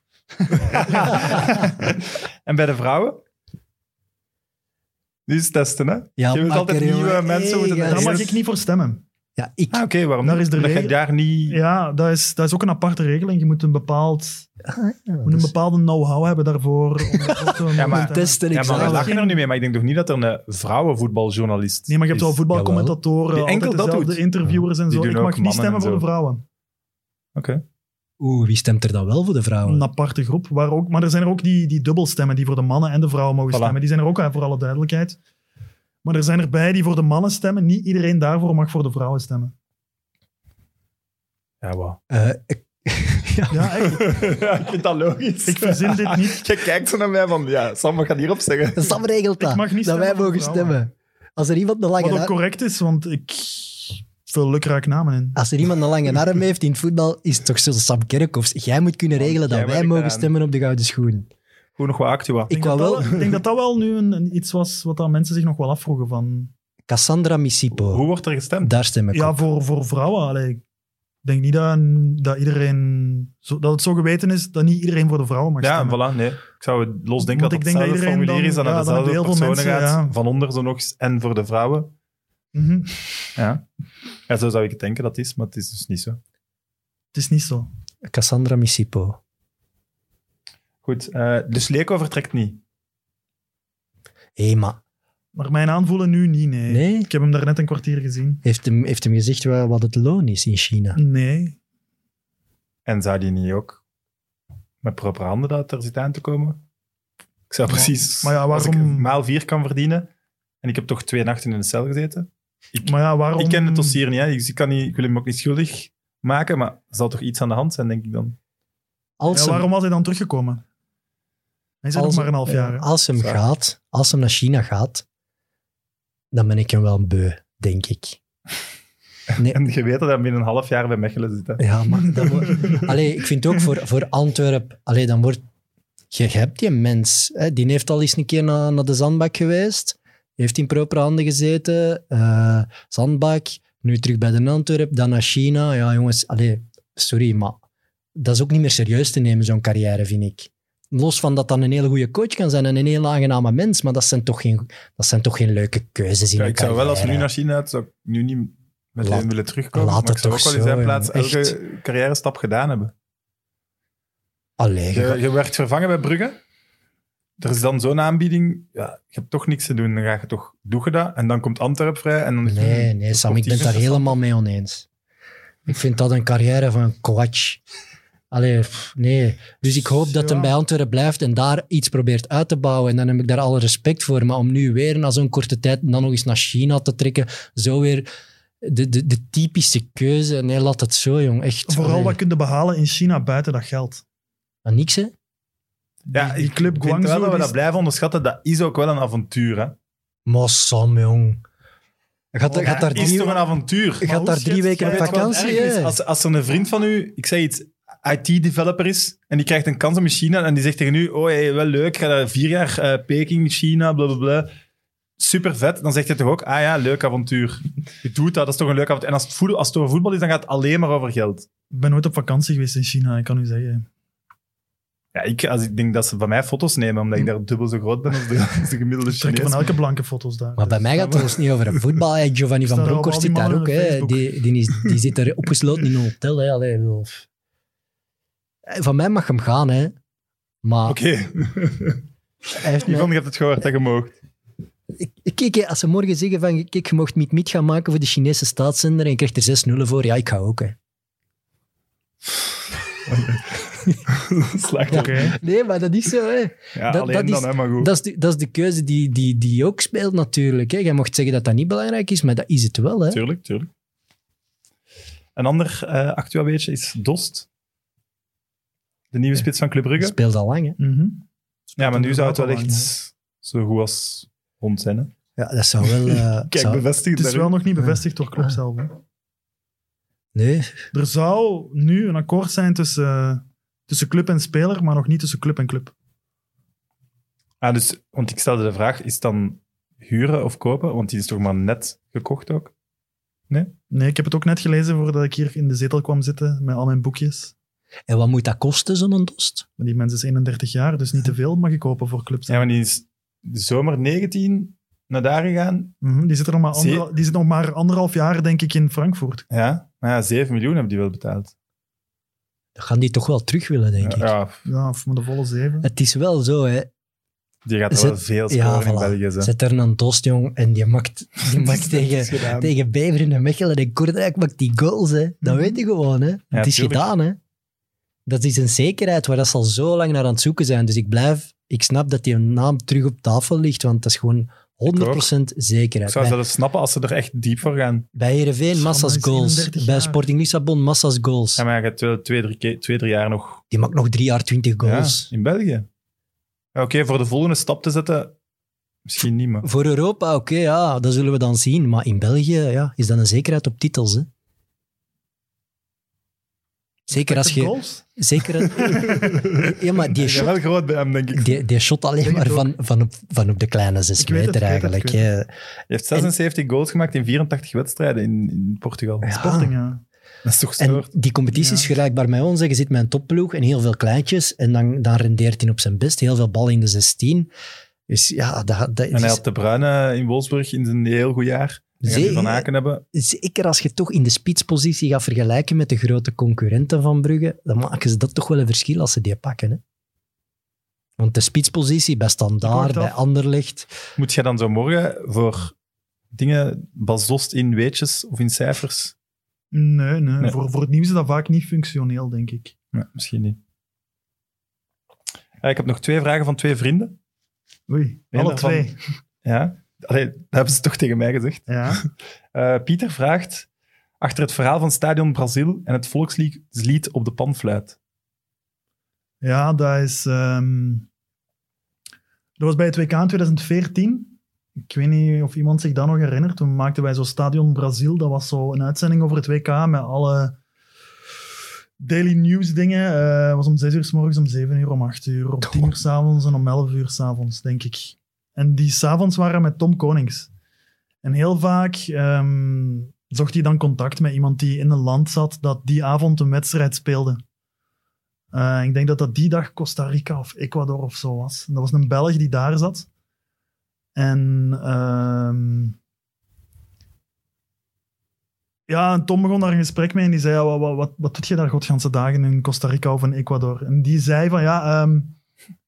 Speaker 1: en bij de vrouwen? Die is testen, hè?
Speaker 2: Ja,
Speaker 1: je wilt
Speaker 2: makker,
Speaker 1: altijd nieuwe
Speaker 2: jongen.
Speaker 1: mensen moeten
Speaker 2: Hey, ja, dus-
Speaker 1: testen.
Speaker 4: Daar mag
Speaker 2: dat-
Speaker 4: ik niet voor stemmen.
Speaker 2: Ja, ik,
Speaker 1: Ah, oké, waarom
Speaker 4: Daar
Speaker 1: niet?
Speaker 4: is de
Speaker 1: Omdat je
Speaker 4: regel-
Speaker 1: daar niet...
Speaker 4: Ja, dat is, dat is ook een aparte regeling. Je moet een, bepaald,
Speaker 2: ah, ja,
Speaker 4: je moet
Speaker 2: dus-
Speaker 4: een bepaalde know-how hebben daarvoor. Om daarvoor
Speaker 2: (laughs)
Speaker 4: te mogen
Speaker 1: maar-
Speaker 4: stemmen.
Speaker 2: testen,
Speaker 1: Ja, maar we
Speaker 2: examen.
Speaker 1: lachen er nu mee, maar ik denk toch niet dat er een vrouwenvoetbaljournalist
Speaker 4: Nee, maar je hebt wel
Speaker 1: is?
Speaker 4: voetbalcommentatoren,
Speaker 1: Die
Speaker 4: altijd
Speaker 1: enkel dat
Speaker 4: dezelfde
Speaker 1: doet.
Speaker 4: interviewers en
Speaker 1: Die
Speaker 4: zo.
Speaker 1: doen
Speaker 4: Ik
Speaker 1: ook
Speaker 4: mag niet
Speaker 1: mannen en
Speaker 4: stemmen voor de
Speaker 1: zo.
Speaker 4: vrouwen.
Speaker 1: Oké.
Speaker 2: Oeh, wie stemt er dan wel voor de
Speaker 1: Oh.
Speaker 2: vrouwen?
Speaker 4: Een aparte groep. Waar ook, maar er zijn er ook die, die dubbelstemmen, die voor de mannen en de vrouwen mogen
Speaker 1: Voilà.
Speaker 4: stemmen. Die zijn er ook, hè, voor alle duidelijkheid. Maar er zijn erbij die voor de mannen stemmen. Niet iedereen daarvoor mag voor de vrouwen
Speaker 1: (laughs)
Speaker 4: stemmen.
Speaker 1: Ja, wauw.
Speaker 2: Eh, ik- ja,
Speaker 4: Ja, echt.
Speaker 1: ja, (laughs) ik vind dat logisch.
Speaker 4: Ik verzin dit
Speaker 1: (laughs)
Speaker 4: niet.
Speaker 1: Je kijkt zo naar mij van, ja, Sam, wat gaat hierop zeggen?
Speaker 2: Eh, Sam regelt dat.
Speaker 4: Ik mag niet
Speaker 2: dat wij
Speaker 4: stemmen voor
Speaker 2: mogen
Speaker 4: vrouwen.
Speaker 2: stemmen. Als er iemand een lange
Speaker 4: Wat ook
Speaker 2: naam-
Speaker 4: correct is, want ik vul lukraak namen in.
Speaker 2: Als er iemand een
Speaker 4: (laughs)
Speaker 2: lange arm heeft in het voetbal, is het toch zo Sam Kerkhoffs. Jij moet kunnen regelen
Speaker 1: Jij
Speaker 2: dat wij
Speaker 1: werkt
Speaker 4: eh,
Speaker 2: mogen
Speaker 1: eraan.
Speaker 2: stemmen op de gouden schoen.
Speaker 1: Goed nog wat actua.
Speaker 2: Ik
Speaker 4: denk
Speaker 2: wou
Speaker 4: dat
Speaker 2: wel
Speaker 4: dat Ik denk dat dat wel nu een, een iets was wat dat mensen zich nog wel afvroegen van...
Speaker 2: Cassandra Missipo.
Speaker 1: Hoe wordt er gestemd?
Speaker 2: Daar stem ik
Speaker 4: Ja,
Speaker 2: op.
Speaker 4: voor, voor vrouwen. allee, ik denk niet dat, dat iedereen... Zo, dat het zo geweten is dat niet iedereen voor de vrouwen mag
Speaker 1: Ja,
Speaker 4: stemmen.
Speaker 1: voilà, nee. Ik zou het los denken dat
Speaker 4: Want ik
Speaker 1: het
Speaker 4: denk dat
Speaker 1: hetzelfde
Speaker 4: iedereen
Speaker 1: formulier
Speaker 4: dan-
Speaker 1: is en dat
Speaker 4: ja,
Speaker 1: het
Speaker 4: dan
Speaker 1: dezelfde
Speaker 4: hebben heel veel
Speaker 1: personen
Speaker 4: mensen,
Speaker 1: gaat.
Speaker 4: ja.
Speaker 1: Van onder zo nog eens en voor de vrouwen.
Speaker 4: Mhm.
Speaker 1: Ja. ja, zo zou ik het denken dat het is, maar het is dus niet zo.
Speaker 4: Het is niet zo.
Speaker 2: Cassandra Missipo.
Speaker 1: Goed, eh, dus Leko vertrekt niet.
Speaker 2: Hé, maar
Speaker 4: Maar mijn aanvoelen nu niet, nee.
Speaker 2: Nee?
Speaker 4: Ik heb hem daarnet een kwartier gezien.
Speaker 2: heeft hem, heeft hem gezegd wa- wat het loon is in China?
Speaker 4: Nee.
Speaker 1: En zou die niet ook met proper handen dat er zit aan te komen? Ik zou
Speaker 4: Maar-
Speaker 1: precies...
Speaker 4: maar ja,
Speaker 1: Als ik
Speaker 4: waarom-
Speaker 1: maal vier kan verdienen, en ik heb toch twee nachten in de cel gezeten.
Speaker 4: Maar ja, waarom...
Speaker 1: Ik ken het dossier niet, hè. dus ik, kan niet, ik wil hem ook niet schuldig maken, maar er zal toch iets aan de hand zijn, denk ik dan.
Speaker 2: Als
Speaker 4: Ja,
Speaker 2: hem-
Speaker 4: waarom was hij dan teruggekomen? Hij zit nog
Speaker 2: als-
Speaker 4: maar een half jaar. hè.
Speaker 2: Als hem
Speaker 1: Zwaar.
Speaker 2: gaat, als hem naar China gaat, dan ben ik hem wel beu, denk ik.
Speaker 1: (laughs)
Speaker 2: Nee.
Speaker 1: En je weet dat hij binnen een half jaar bij Mechelen zit. Hè.
Speaker 2: Ja, maar dat wordt- Allee, ik vind ook voor, voor Antwerp... Allee, dan wordt... Je hebt die mens. Hè, die heeft al eens een keer naar, naar de zandbak geweest. Heeft in propere handen gezeten. eh, zandbak. Nu terug bij de Antwerp. Dan naar China. Ja, jongens. Allee, sorry, maar... Dat is ook niet meer serieus te nemen, zo'n carrière, vind ik. Los van dat dan een hele goede coach kan zijn en een heel aangename mens, maar dat zijn toch geen, dat zijn toch geen leuke keuzes in
Speaker 1: Ja,
Speaker 2: een
Speaker 1: ik zou wel als
Speaker 2: carrière.
Speaker 1: nu naar China uit, zou ik nu niet met
Speaker 2: Laat-
Speaker 1: hem willen terugkomen.
Speaker 2: laat
Speaker 1: maar ik
Speaker 2: het
Speaker 1: zou ook
Speaker 2: toch
Speaker 1: wel in
Speaker 2: zo,
Speaker 1: zijn plaats
Speaker 2: jongen.
Speaker 1: elke carrière stap gedaan hebben.
Speaker 2: Allee, je
Speaker 1: Je, je werd vervangen bij Brugge. Er is dan zo'n aanbieding. Ja, je hebt toch niks te doen. Dan ga je toch, doe je dat. En dan komt Antwerp vrij. En dan is-
Speaker 2: Nee, nee, Sam, ik ben het daar
Speaker 1: competitie.
Speaker 2: helemaal mee oneens. Ik vind dat een carrière van kwatsch. Allee, pff, nee. Dus ik hoop dat
Speaker 4: Ja.
Speaker 2: hem bij Antwerpen blijft en daar iets probeert uit te bouwen. En dan heb ik daar alle respect voor. Maar om nu weer na zo'n korte tijd en dan nog eens naar China te trekken, zo weer de, de, de typische keuze. Nee, laat het zo, jong. Echt.
Speaker 4: Vooral
Speaker 2: allee.
Speaker 4: wat kunnen behalen in China buiten dat geld.
Speaker 2: Maar niks, hè?
Speaker 1: Ja,
Speaker 4: die club
Speaker 1: ik vind wel
Speaker 4: Guangzhou
Speaker 1: dat we
Speaker 4: is-
Speaker 1: dat blijven onderschatten. Dat is ook wel een avontuur. Hè.
Speaker 2: Maar Sam, jong. Gaat,
Speaker 1: Oh, Ja,
Speaker 2: gaat daar
Speaker 1: is
Speaker 2: drie,
Speaker 1: toch een avontuur?
Speaker 4: Maar
Speaker 2: gaat
Speaker 4: hoe
Speaker 2: daar drie
Speaker 4: shit,
Speaker 2: weken
Speaker 4: jij
Speaker 2: op
Speaker 1: Weet je wat
Speaker 2: vakantie?
Speaker 1: erg is?
Speaker 2: hè?
Speaker 1: Als, als er een vriend van u, ik zeg iets, IT-developer is en die krijgt een kans om in China en die zegt tegen u, oh hey, wel leuk, ga daar vier jaar eh, Peking, China, blablabla. Super vet, dan zegt je toch ook, ah ja, leuk avontuur. Je doet dat, dat is toch een leuk avontuur. En als het, voetbal, als het over voetbal is, dan gaat het alleen maar over geld.
Speaker 4: Ik ben nooit op vakantie geweest in China, ik kan u zeggen.
Speaker 1: Ja, ik, als ik denk dat ze van mij foto's nemen, omdat ik daar dubbel zo groot ben als
Speaker 2: (laughs)
Speaker 1: de, als de gemiddelde
Speaker 4: Ze trekken
Speaker 1: Chinees.
Speaker 4: van elke blanke foto's daar. Dus- Mhm.
Speaker 2: Maar bij mij gaat het ons niet over een voetbal. hè. Giovanni van
Speaker 4: Staan er al
Speaker 2: Bronckhorst
Speaker 4: die
Speaker 2: zit daar
Speaker 4: mannen
Speaker 2: ook.
Speaker 4: op
Speaker 2: Hè.
Speaker 4: Facebook?
Speaker 2: Die, die, is, die zit daar opgesloten in een hotel. Hè. Allee, ik bedoel, pff. Eh, Van mij mag hem gaan, hè. Maar
Speaker 1: Oké, (laughs)
Speaker 2: hij heeft mij-
Speaker 1: Yvonne, je hebt het gehoord, dat je moogt. (laughs)
Speaker 2: Ik- Kijk, hè, als ze morgen zeggen van... Kijk, je mocht niet gaan maken voor de Chinese staatszender en je krijgt er zes nullen voor. Ja, ik ga ook, hè.
Speaker 1: Slacht.
Speaker 4: Oké.
Speaker 2: Nee, maar dat is zo, hè.
Speaker 1: Ja,
Speaker 2: Dat-
Speaker 1: alleen
Speaker 2: dat is-
Speaker 1: dan, hè, maar goed.
Speaker 2: (laughs) Dat is de, dat is de keuze die, die, die ook speelt, natuurlijk. Hè. Jij mocht zeggen dat dat niet belangrijk is, maar dat is het wel, hè.
Speaker 1: Tuurlijk, tuurlijk. Een ander eh actueel beetje is Dost. De nieuwe spits van Club
Speaker 2: Dat
Speaker 1: Brugge.
Speaker 2: speelt al lang, hè.
Speaker 4: Mhm.
Speaker 1: Ja, maar nu zou het wel
Speaker 4: Lang,
Speaker 1: echt zo goed als rond zijn. Hè?
Speaker 2: Ja, dat zou wel... (laughs) eh,
Speaker 1: Kijk,
Speaker 2: zou-
Speaker 1: bevestigd.
Speaker 4: Het is
Speaker 1: daarin.
Speaker 4: wel nog niet bevestigd door Klopp zelf. hè.
Speaker 2: Nee,
Speaker 4: Er zou nu een akkoord zijn tussen, eh, tussen club en speler, maar nog niet tussen club en club.
Speaker 1: Ah, dus, want ik stelde de vraag, is het dan huren of kopen? Want die is toch maar net gekocht ook?
Speaker 4: Nee, ik heb het ook net gelezen voordat ik hier in de zetel kwam zitten met al mijn boekjes.
Speaker 2: En wat moet dat kosten, zo'n dost?
Speaker 4: Maar die mens is 31 jaar, dus niet te veel mag ik kopen voor clubs.
Speaker 1: Ja, maar die is de zomer 19 naar daar gegaan.
Speaker 4: Mhm, die, zit er nog maar
Speaker 1: Zie-
Speaker 4: anderhal- die zit nog maar anderhalf jaar, denk ik, in Frankfurt.
Speaker 1: Ja, maar ja, 7 miljoen hebben die wel betaald.
Speaker 2: Dan gaan die toch wel terug willen, denk ik.
Speaker 1: Ja,
Speaker 4: Ja, of maar de volle zeven.
Speaker 2: Het is wel zo, hè.
Speaker 1: die gaat er
Speaker 2: Zet-
Speaker 1: wel veel scoren
Speaker 2: Ja,
Speaker 1: in
Speaker 2: voilà.
Speaker 1: België. Ze.
Speaker 2: Zet er een dost, jong, en die maakt, die
Speaker 1: (laughs)
Speaker 2: maakt tegen, tegen Beveren en Mechelen en Kortrijk maakt die goals, hè. Dat
Speaker 4: Mhm.
Speaker 2: weet je gewoon, hè. het is
Speaker 1: tuurlijk.
Speaker 2: gedaan, hè. Dat is een zekerheid waar dat ze al zo lang naar aan het zoeken zijn. Dus ik blijf... Ik snap dat die naam terug op tafel ligt, want dat is gewoon 100%
Speaker 1: Ik
Speaker 2: zekerheid.
Speaker 1: zou
Speaker 2: Bij,
Speaker 1: zelfs snappen als ze er echt diep voor gaan.
Speaker 2: bij Heerenveen,
Speaker 4: Sam,
Speaker 2: massa's
Speaker 4: hij is
Speaker 2: goals.
Speaker 4: 31
Speaker 2: Bij
Speaker 4: jaar.
Speaker 2: Sporting Lissabon, massa's goals.
Speaker 1: Ja, maar hij gaat wel twee, drie, keer- twee, drie jaar nog
Speaker 2: Die maakt nog drie jaar 20 goals.
Speaker 1: Ja, in België. Ja, Oké, voor de volgende stap te zetten, misschien niet, maar...
Speaker 2: Voor Europa, oké, ja, dat zullen we dan zien. Maar in België ja, is dat een zekerheid op titels. Hè? Zeker als je.
Speaker 4: Goals?
Speaker 2: Zeker,
Speaker 4: (laughs)
Speaker 2: ja, maar die
Speaker 1: Ik ben
Speaker 2: shot,
Speaker 1: wel groot bij hem, denk ik.
Speaker 2: die, die shot alleen
Speaker 4: Denk
Speaker 2: maar
Speaker 4: het
Speaker 2: van, van, op, van op de kleine zes
Speaker 4: Ik weet het,
Speaker 2: meter
Speaker 4: ik weet het,
Speaker 2: eigenlijk.
Speaker 4: ik
Speaker 2: hè.
Speaker 1: Hij heeft 76 goals gemaakt in 84 wedstrijden in, in Portugal.
Speaker 2: Ja.
Speaker 4: Sporting, ja.
Speaker 1: Dat is toch
Speaker 2: En
Speaker 1: stoort.
Speaker 2: die competitie is
Speaker 4: Ja.
Speaker 2: vergelijkbaar met ons. hè. Je zit met een topploeg en heel veel kleintjes. En dan, dan rendeert hij op zijn best. Heel veel ballen in de 16. Dus ja, dat, dat
Speaker 1: En hij
Speaker 2: is
Speaker 1: had de Bruyne in Wolfsburg in zijn heel goed jaar. En gaat die Van Aken hebben.
Speaker 2: zeker als je toch in de spitspositie gaat vergelijken met de grote concurrenten van Brugge, dan maken ze dat toch wel een verschil als ze die pakken. Hè? Want de spitspositie bij Standaard,
Speaker 4: Kort af.
Speaker 2: bij Anderlecht,
Speaker 1: Moet jij dan zo morgen voor dingen basost in weetjes of in cijfers?
Speaker 4: Nee, nee.
Speaker 1: Nee.
Speaker 4: Voor, voor het nieuws is dat vaak niet functioneel, denk ik.
Speaker 1: Ja, misschien niet. Eh, ik heb nog twee vragen van twee vrienden.
Speaker 4: Oei,
Speaker 1: Nee,
Speaker 4: alle
Speaker 1: daarvan-
Speaker 4: twee.
Speaker 1: Ja? Allee, dat hebben ze toch tegen mij gezegd.
Speaker 4: Ja.
Speaker 1: Eh, Pieter vraagt achter het verhaal van Stadion Brazil en het volkslied op de panfluit.
Speaker 4: ja, dat is... ehm, dat was bij het WK in 2014. Ik weet niet of iemand zich dat nog herinnert. Toen maakten wij zo Stadion Brazil. Dat was zo een uitzending over het WK met alle daily news dingen. Eh, was om 6 uur s morgens, om 7 uur, om 8 uur, om 10 uur s'avonds en om 11 uur s'avonds, denk ik. En die s'avonds waren met Tom Konings. En heel vaak ehm, zocht hij dan contact met iemand die in een land zat dat die avond een wedstrijd speelde. Eh, ik denk dat dat die dag Costa Rica of Ecuador of zo was. En dat was een Belg die daar zat. En ehm, ja, en Tom begon daar een gesprek mee en die zei, ja, wat, wat, wat, wat doet je daar godganse dagen in Costa Rica of in Ecuador? En die zei van, ja, ehm,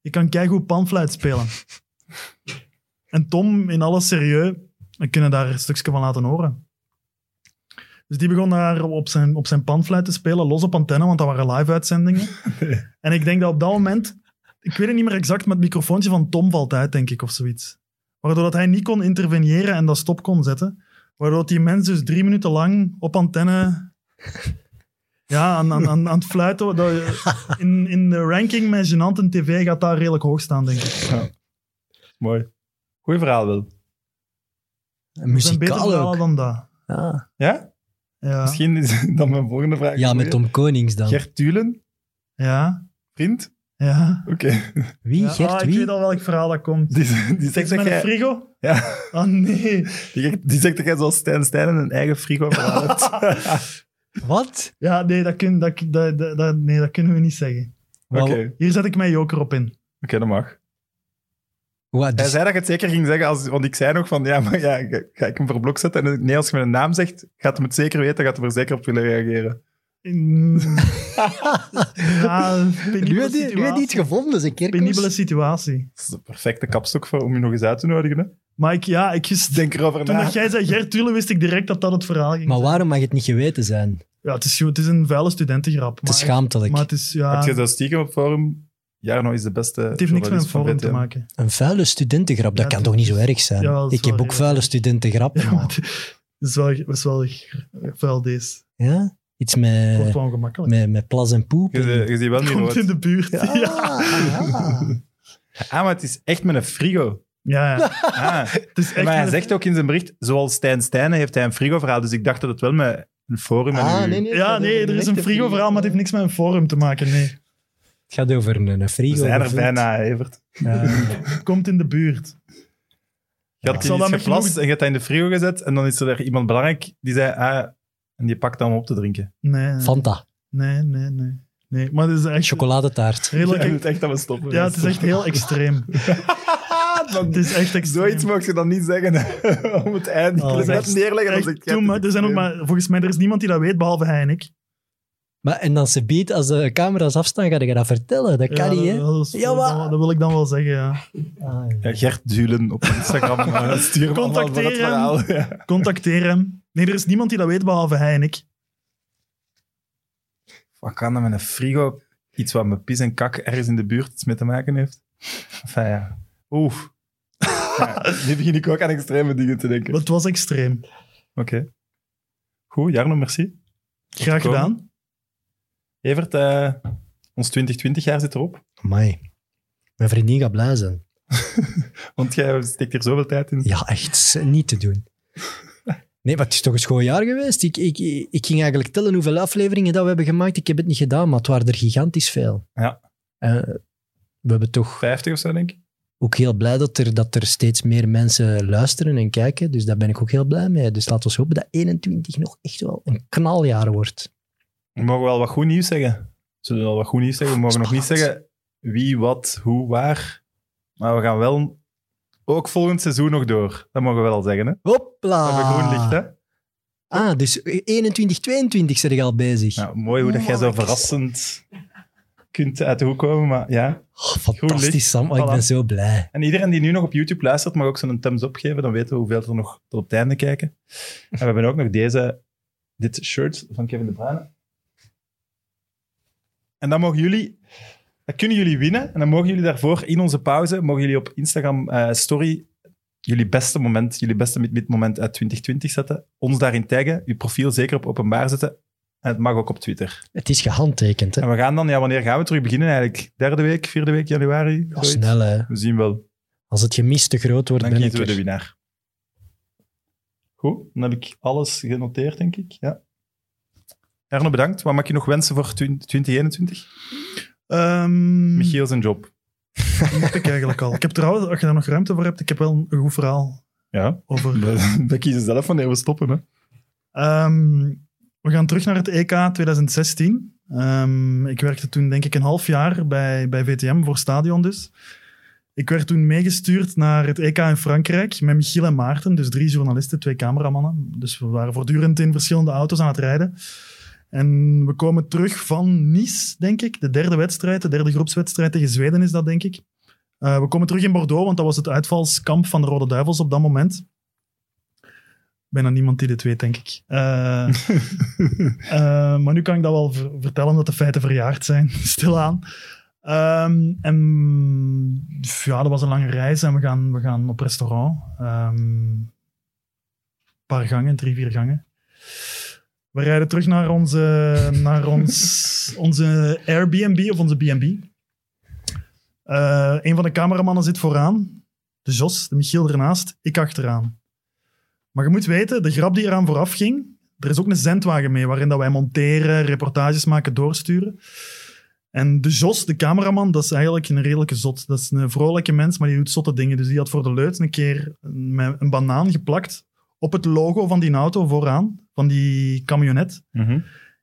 Speaker 4: ik kan keigoed panfluit spelen. en Tom, in alles serieus, we kunnen daar een stukje van laten horen. Dus die begon daar op zijn, op zijn panfluit te spelen, los op antenne, want dat waren live-uitzendingen. En ik denk dat op dat moment, ik weet het niet meer exact, maar het microfoontje van Tom valt uit, denk ik, of zoiets. Waardoor dat hij niet kon interveneren en dat stop kon zetten. Waardoor die mens dus drie minuten lang
Speaker 2: (laughs)
Speaker 4: op antenne ja, aan, aan, aan, aan het fluiten. Dat, in, in de ranking met Genante TV gaat daar redelijk hoog staan, denk ik.
Speaker 1: Mooi. Goeie verhaal wel.
Speaker 2: Een
Speaker 4: Er zijn betere
Speaker 2: muzikaal
Speaker 4: verhalen
Speaker 2: ook.
Speaker 4: dan dat.
Speaker 2: Ja.
Speaker 1: Ja?
Speaker 4: Ja.
Speaker 1: Misschien is (laughs) dan mijn volgende vraag.
Speaker 2: ja, met Tom Konings dan.
Speaker 1: Gert Tulen,
Speaker 4: Ja.
Speaker 1: vriend.
Speaker 4: Ja.
Speaker 1: Oké. (laughs)
Speaker 2: Wie?
Speaker 4: Ja,
Speaker 2: Gert
Speaker 4: ah, ik
Speaker 2: wie?
Speaker 4: weet al welk verhaal dat komt.
Speaker 1: Die, die zegt
Speaker 4: Seks met
Speaker 1: dat
Speaker 4: een
Speaker 1: jij...
Speaker 4: frigo?
Speaker 1: Ja,
Speaker 4: Ah, nee.
Speaker 1: die, die zegt dat jij zoals Stijn Stijn een eigen frigo verhaal
Speaker 2: (laughs)
Speaker 1: hebt.
Speaker 2: Wat?
Speaker 4: Ja, nee dat, kun, dat, dat, dat- dat- nee, dat kunnen we niet zeggen.
Speaker 1: Oké,
Speaker 2: Wauw.
Speaker 1: oké,
Speaker 4: Hier zet ik mijn joker op in.
Speaker 1: dat mag.
Speaker 2: Wat,
Speaker 1: Hij
Speaker 2: dus- (laughs)
Speaker 1: zei dat je het zeker ging zeggen, als, want ik zei nog van, ja, maar ja, ga- ga ik hem voor blok zetten? En nee, als je met een naam zegt, gaat hem het zeker weten, gaat hij er zeker op willen reageren.
Speaker 4: (laughs) Mm. ja, penibele
Speaker 2: Nu had hij- nu had hij
Speaker 4: situatie.
Speaker 2: iets gevonden, zijn
Speaker 4: Penibele
Speaker 2: kerkhoes.
Speaker 4: situatie.
Speaker 1: Dat is de perfecte kapstok voor, om je nog eens uit te nodigen. Hè?
Speaker 4: Maar ik, ja, ik wist,
Speaker 1: Denk erover
Speaker 4: toen
Speaker 1: na.
Speaker 4: dat jij zei Gert Tulle, wist ik direct dat dat het verhaal ging.
Speaker 2: Maar waarom mag het niet geweten zijn?
Speaker 4: Ja, het is, het is een vuile studentengrap.
Speaker 2: Het is
Speaker 4: maar,
Speaker 2: schaamtelijk.
Speaker 4: maar het is, ja,
Speaker 1: Heb je dat stiekem op forum? Jarno is de beste.
Speaker 4: Ah. het heeft niks met een
Speaker 1: journalist van
Speaker 4: forum te
Speaker 1: BTM.
Speaker 4: maken.
Speaker 2: Een vuile studentengrap,
Speaker 4: Ja,
Speaker 2: dat kan
Speaker 4: dat
Speaker 2: toch niet zo
Speaker 4: is-
Speaker 2: erg zijn?
Speaker 4: ja, dat is
Speaker 2: ik heb
Speaker 4: wel
Speaker 2: ook
Speaker 4: heel
Speaker 2: vuile studentengrap.
Speaker 4: Ja,
Speaker 1: Oh.
Speaker 2: Ja,
Speaker 4: maar het het is wel, het is wel vuil deze.
Speaker 2: ja? Iets
Speaker 4: Het wordt
Speaker 2: met,
Speaker 4: wel ongemakkelijk.
Speaker 2: met, met plas en poep.
Speaker 1: Je,
Speaker 2: en-
Speaker 1: zie- je ziet wel niet
Speaker 4: (laughs) Komt in
Speaker 1: rood.
Speaker 4: de
Speaker 1: (laughs)
Speaker 4: buurt.
Speaker 2: Ja,
Speaker 4: Ja.
Speaker 2: ja.
Speaker 1: Ah, maar het is echt met een frigo.
Speaker 4: Ja, ja.
Speaker 1: Ah.
Speaker 2: (laughs)
Speaker 4: Het is (laughs) echt
Speaker 1: maar hij
Speaker 4: een-
Speaker 1: zegt ook in zijn bericht, zoals Stijn Stijnen heeft hij een frigo-verhaal, dus ik dacht dat het wel met een forum en
Speaker 2: Ah,
Speaker 1: u-
Speaker 2: nee, nee, het
Speaker 4: Ja,
Speaker 2: gaat
Speaker 4: nee,
Speaker 2: over
Speaker 4: er is een
Speaker 2: echte
Speaker 4: frigo-verhaal, maar het heeft niks met een forum te maken. Nee.
Speaker 2: Het gaat over een, een frigo.
Speaker 1: We zijn er
Speaker 2: gevuld.
Speaker 1: bijna, Evert.
Speaker 4: (laughs)
Speaker 2: Ja.
Speaker 4: Het komt in de buurt.
Speaker 1: Je
Speaker 4: Ik
Speaker 1: had
Speaker 4: zal
Speaker 1: hier
Speaker 4: dat
Speaker 1: iets
Speaker 4: met
Speaker 1: geplast
Speaker 4: genoeg-
Speaker 1: en je hebt dat in de frigo gezet en dan is er iemand belangrijk die zei, ah, en die pakt dan om op te drinken.
Speaker 4: Nee, nee.
Speaker 2: Fanta,
Speaker 4: Nee, nee, nee. nee. Maar het is echt
Speaker 2: chocoladetaart.
Speaker 4: redelijk...
Speaker 1: Ja, het echt dat we stoppen.
Speaker 4: Ja, het is
Speaker 1: (laughs)
Speaker 4: echt heel extreem. Het is echt extreem.
Speaker 1: Zoiets mocht je dan niet zeggen (laughs) om het eind.
Speaker 2: Oh,
Speaker 1: Ik wil het
Speaker 2: dat
Speaker 1: net
Speaker 4: is
Speaker 1: neerleggen. dan
Speaker 4: Echt,
Speaker 1: zeg je,
Speaker 4: doe
Speaker 1: het is
Speaker 4: maar, er zijn ook
Speaker 1: extreem.
Speaker 4: maar, volgens mij er is niemand die dat weet, behalve hij en ik.
Speaker 2: Maar, en dan ze biedt, als de camera's afstaan, ga je dat vertellen. Dat kan
Speaker 4: Ja,
Speaker 2: niet, hè?
Speaker 4: dat, dat is-
Speaker 2: Ja, maar-
Speaker 4: dat, dat wil ik dan wel zeggen, ja.
Speaker 2: Ah, ja.
Speaker 1: Ja, Gert Dulen op Instagram. eh, Stuur hem allemaal voor het
Speaker 4: Contacteren.
Speaker 1: verhaal. Ja.
Speaker 4: Contacteer hem. Nee, er is niemand die dat weet, behalve hij en ik.
Speaker 1: Wat kan dat met een frigo? Iets wat met pis en kak ergens in de buurt iets mee te maken heeft? Enfin, ja. Oeh. Ja, nu begin ik ook aan extreme dingen te denken.
Speaker 4: Maar
Speaker 1: Oké.
Speaker 4: het was extreem.
Speaker 1: Goed, Jarno, merci.
Speaker 4: Graag
Speaker 1: Komen.
Speaker 4: gedaan.
Speaker 1: Evert, eh, ons 2020 jaar zit erop.
Speaker 2: Amai. Mijn vriendin gaat blij zijn.
Speaker 1: Want jij steekt hier zoveel tijd in.
Speaker 2: Ja, echt niet te doen. Nee, maar het is toch een schoon jaar geweest. Ik, ik, ik ging eigenlijk tellen hoeveel afleveringen dat we hebben gemaakt. Ik heb het niet gedaan, maar het waren er gigantisch veel.
Speaker 1: Ja.
Speaker 2: Eh, we hebben toch
Speaker 1: 50 of zo, denk ik.
Speaker 2: ook heel blij dat er, dat er steeds meer mensen luisteren en kijken. Dus daar ben ik ook heel blij mee. Dus laten we hopen dat 21 nog echt wel een knaljaar wordt.
Speaker 1: We mogen wel wat goed nieuws zeggen. Zullen we wel wat goed nieuws zeggen? We mogen nog niet
Speaker 2: Spannend.
Speaker 1: zeggen wie, wat, hoe, waar. Maar we gaan wel ook volgend seizoen nog door. Dat mogen we wel al zeggen, hè?
Speaker 2: Hopla!
Speaker 1: Dat we gewoon licht, hè?
Speaker 2: Ah, dus 21, 22 zijn ik al bezig.
Speaker 1: Nou, mooi hoe dat jij zo
Speaker 2: Mark.
Speaker 1: verrassend kunt uit de hoek komen. Maar ja.
Speaker 2: Oh,
Speaker 1: Goed licht.
Speaker 2: fantastisch, Sam. Oh, ik
Speaker 1: Voilà.
Speaker 2: ben zo blij.
Speaker 1: En iedereen die nu nog op YouTube luistert, mag ook zo'n thumbs up geven. Dan weten we hoeveel er nog tot het einde kijken. En we hebben ook nog deze, dit shirt van Kevin De Bruyne. En dan mogen jullie, dat kunnen jullie winnen. En dan mogen jullie daarvoor in onze pauze, mogen jullie op Instagram eh, story jullie beste moment, jullie beste mid moment uit 2020 zetten. Ons daarin taggen, uw profiel zeker op openbaar zetten. En het mag ook op Twitter.
Speaker 2: Het is gehandtekend, hè?
Speaker 1: En we gaan dan, ja, wanneer gaan we terug beginnen eigenlijk? Derde week, vierde week, januari?
Speaker 2: Oh,
Speaker 1: zoiets?
Speaker 2: snel, hè?
Speaker 1: We zien wel.
Speaker 2: Als het gemis te groot wordt,
Speaker 1: Dan
Speaker 2: ben ik
Speaker 1: kiezen we de
Speaker 2: er.
Speaker 1: winnaar. Goed, dan heb ik alles genoteerd, denk ik. Ja. Arno, bedankt. Wat mag je nog wensen voor 20- 2021?
Speaker 4: Ehm,
Speaker 1: Michiel zijn job.
Speaker 4: moet (laughs) ik eigenlijk al. Ik heb trouwens, als je daar nog ruimte voor hebt, ik heb wel een goed verhaal
Speaker 1: Ja, (laughs)
Speaker 4: over...
Speaker 1: we kiezen zelf wanneer we stoppen. Hè.
Speaker 4: Ehm, we gaan terug naar het EK 2016. Ehm, ik werkte toen denk ik een half jaar bij, bij VTM voor Stadion dus. Ik werd toen meegestuurd naar het EK in Frankrijk met Michiel en Maarten, dus drie journalisten, twee cameramannen. Dus we waren voortdurend in verschillende auto's aan het rijden. En we komen terug van Nice, denk ik. De derde wedstrijd, de derde groepswedstrijd tegen Zweden is dat, denk ik. Eh, we komen terug in Bordeaux, want dat was het uitvalskamp van de Rode Duivels op dat moment. Bijna niemand die dit weet, denk ik. Eh, eh, maar nu kan ik dat wel ver- vertellen, omdat de feiten verjaard zijn, (laughs) stilaan. Ehm en pff, ja, dat was een lange reis en we gaan, we gaan op restaurant. Ehm, Een paar gangen, drie, vier gangen. We rijden terug naar onze, naar ons, onze Airbnb of onze B&B. Eh, een van de cameramannen zit vooraan. De Jos, de Michiel ernaast, ik achteraan. Maar je moet weten, de grap die eraan vooraf ging, er is ook een zendwagen mee waarin dat wij monteren, reportages maken, doorsturen. En de Jos, de cameraman, dat is eigenlijk een redelijke zot. Dat is een vrolijke mens, maar die doet zotte dingen. Dus die had voor de leuts een keer een, een banaan geplakt op het logo van die auto vooraan, van die camionet.
Speaker 1: Mhm.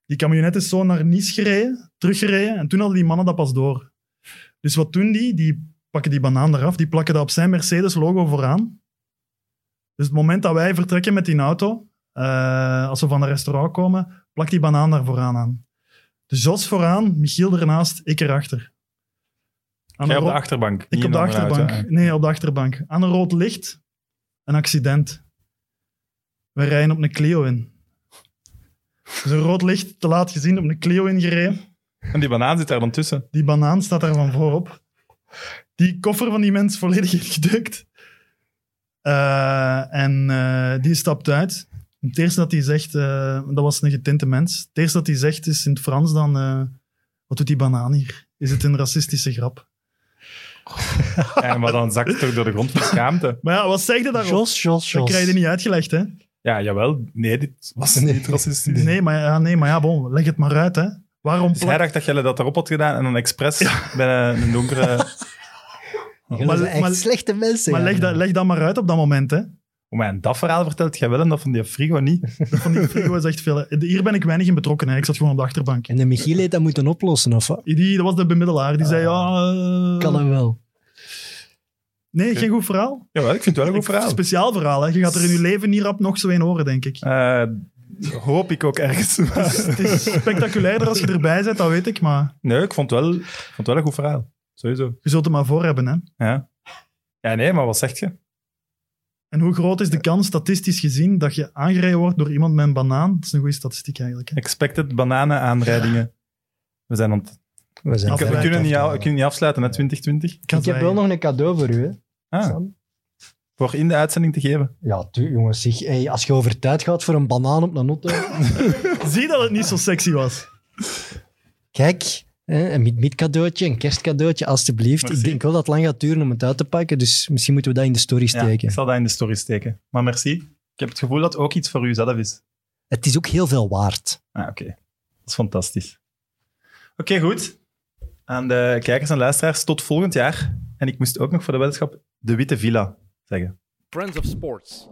Speaker 4: Die camionet is zo naar Nice gereden, teruggereden. En toen hadden die mannen dat pas door. Dus wat doen die? Die pakken die banaan eraf, die plakken dat op zijn Mercedes-logo vooraan. Dus het moment dat wij vertrekken met die auto, eh, als we van het restaurant komen, plakt die banaan daar vooraan aan. Dus Jos vooraan, Michiel ernaast, ik erachter. Aan
Speaker 1: Jij
Speaker 4: een
Speaker 1: op de
Speaker 4: ro-
Speaker 1: achterbank.
Speaker 4: ik
Speaker 1: Niet
Speaker 4: op de
Speaker 1: in andere auto,
Speaker 4: achterbank.
Speaker 1: hè.
Speaker 4: nee, op de achterbank. Aan een rood licht, een accident. We rijden op een Clio in. Dus een rood licht, te laat gezien, op een Clio ingereden.
Speaker 1: En die banaan zit daar dan (laughs) tussen.
Speaker 4: Die banaan staat daar van voorop. Die koffer van die mens volledig ingedukt. Eh, en eh, die stapt uit. Het eerste dat hij zegt, eh, dat was een getinte mens. Het eerste dat hij zegt is in het Frans dan, eh, wat doet die banaan hier? Is het een racistische grap?
Speaker 1: Ja, maar dan zakt het toch door de grond van schaamte.
Speaker 4: Maar ja, wat zeg je daarop?
Speaker 2: Jos, Jos,
Speaker 4: dat
Speaker 2: Jos.
Speaker 4: krijg je niet uitgelegd, hè?
Speaker 1: Ja, jawel. Nee, dit was niet racistisch.
Speaker 4: Nee, maar, ja, nee, maar ja, bon, leg het maar uit, hè? Waarom
Speaker 1: Dus hij
Speaker 4: plak-
Speaker 1: dacht dat jij dat erop had gedaan en dan expres bij een, een donkere... (laughs)
Speaker 2: Jullie
Speaker 4: Maar-
Speaker 2: zijn echt
Speaker 4: maar-
Speaker 2: slechte mensen.
Speaker 4: Maar
Speaker 2: ja.
Speaker 4: leg dat, leg dat maar uit op dat moment, hè?
Speaker 1: Oh, maar en dat verhaal vertelt jij wel en dat van die frigo (laughs) niet.
Speaker 4: Van die frigo is echt veel. Hier ben ik weinig in betrokken, hè? Ik zat gewoon op de achterbank.
Speaker 2: En de Michiel heeft dat moeten oplossen, of wat?
Speaker 4: Die, dat was de bemiddelaar. Die zei, ja... eh,
Speaker 2: Ah. Kan hem wel.
Speaker 4: Nee, geen goed verhaal.
Speaker 1: Jawel, ik vind het wel een goed verhaal.
Speaker 4: Speciaal verhaal, hè. Je gaat er in je leven niet rap nog zo een horen, denk ik.
Speaker 1: Eh, hoop ik ook ergens.
Speaker 4: Het is spectaculairder als je erbij bent, dat weet ik, maar
Speaker 1: Dus, Nee, ik vond het wel, ik vond het wel een goed verhaal. Sowieso.
Speaker 4: je zult er maar voor hebben, hè.
Speaker 1: Ja. ja, nee, maar wat zegt je?
Speaker 4: En hoe groot is de kans, statistisch gezien, dat je aangereden wordt door iemand met een banaan? Dat is een goede statistiek eigenlijk, hè.
Speaker 1: Expected bananen aanrijdingen. We zijn aan het-
Speaker 2: We, zijn
Speaker 4: Ik
Speaker 1: We
Speaker 4: heb-
Speaker 2: verder
Speaker 1: kunnen niet,
Speaker 2: af-
Speaker 1: we kunnen niet afsluiten na 2020.
Speaker 4: kan
Speaker 2: Ik heb wel
Speaker 4: zwijgen.
Speaker 2: nog een cadeau voor u, hè,
Speaker 1: Ah,
Speaker 2: Sam.
Speaker 1: voor in de uitzending te geven.
Speaker 2: Ja, tu, jongens. Zeg, hey, als je over tijd gaat voor een banaan op
Speaker 1: (laughs)
Speaker 2: een auto...
Speaker 4: Zie dat het niet zo sexy was.
Speaker 2: Kijk, hè, een mid cadeautje, een kerstcadeautje, alstublieft.
Speaker 1: Merci.
Speaker 2: Ik denk wel dat het lang gaat duren om het uit te pakken, dus misschien moeten we dat in de story
Speaker 1: Ja,
Speaker 2: steken.
Speaker 1: ik zal dat in de story steken. Maar merci. Ik heb het gevoel dat het ook iets voor u zelf is.
Speaker 2: Het is ook heel veel waard.
Speaker 1: Ah, oké. Dat is fantastisch. Oké, goed. Aan de kijkers en luisteraars, tot volgend jaar. En ik moest ook nog voor de weddenschap de Witte Villa zeggen.
Speaker 3: Friends of Sports.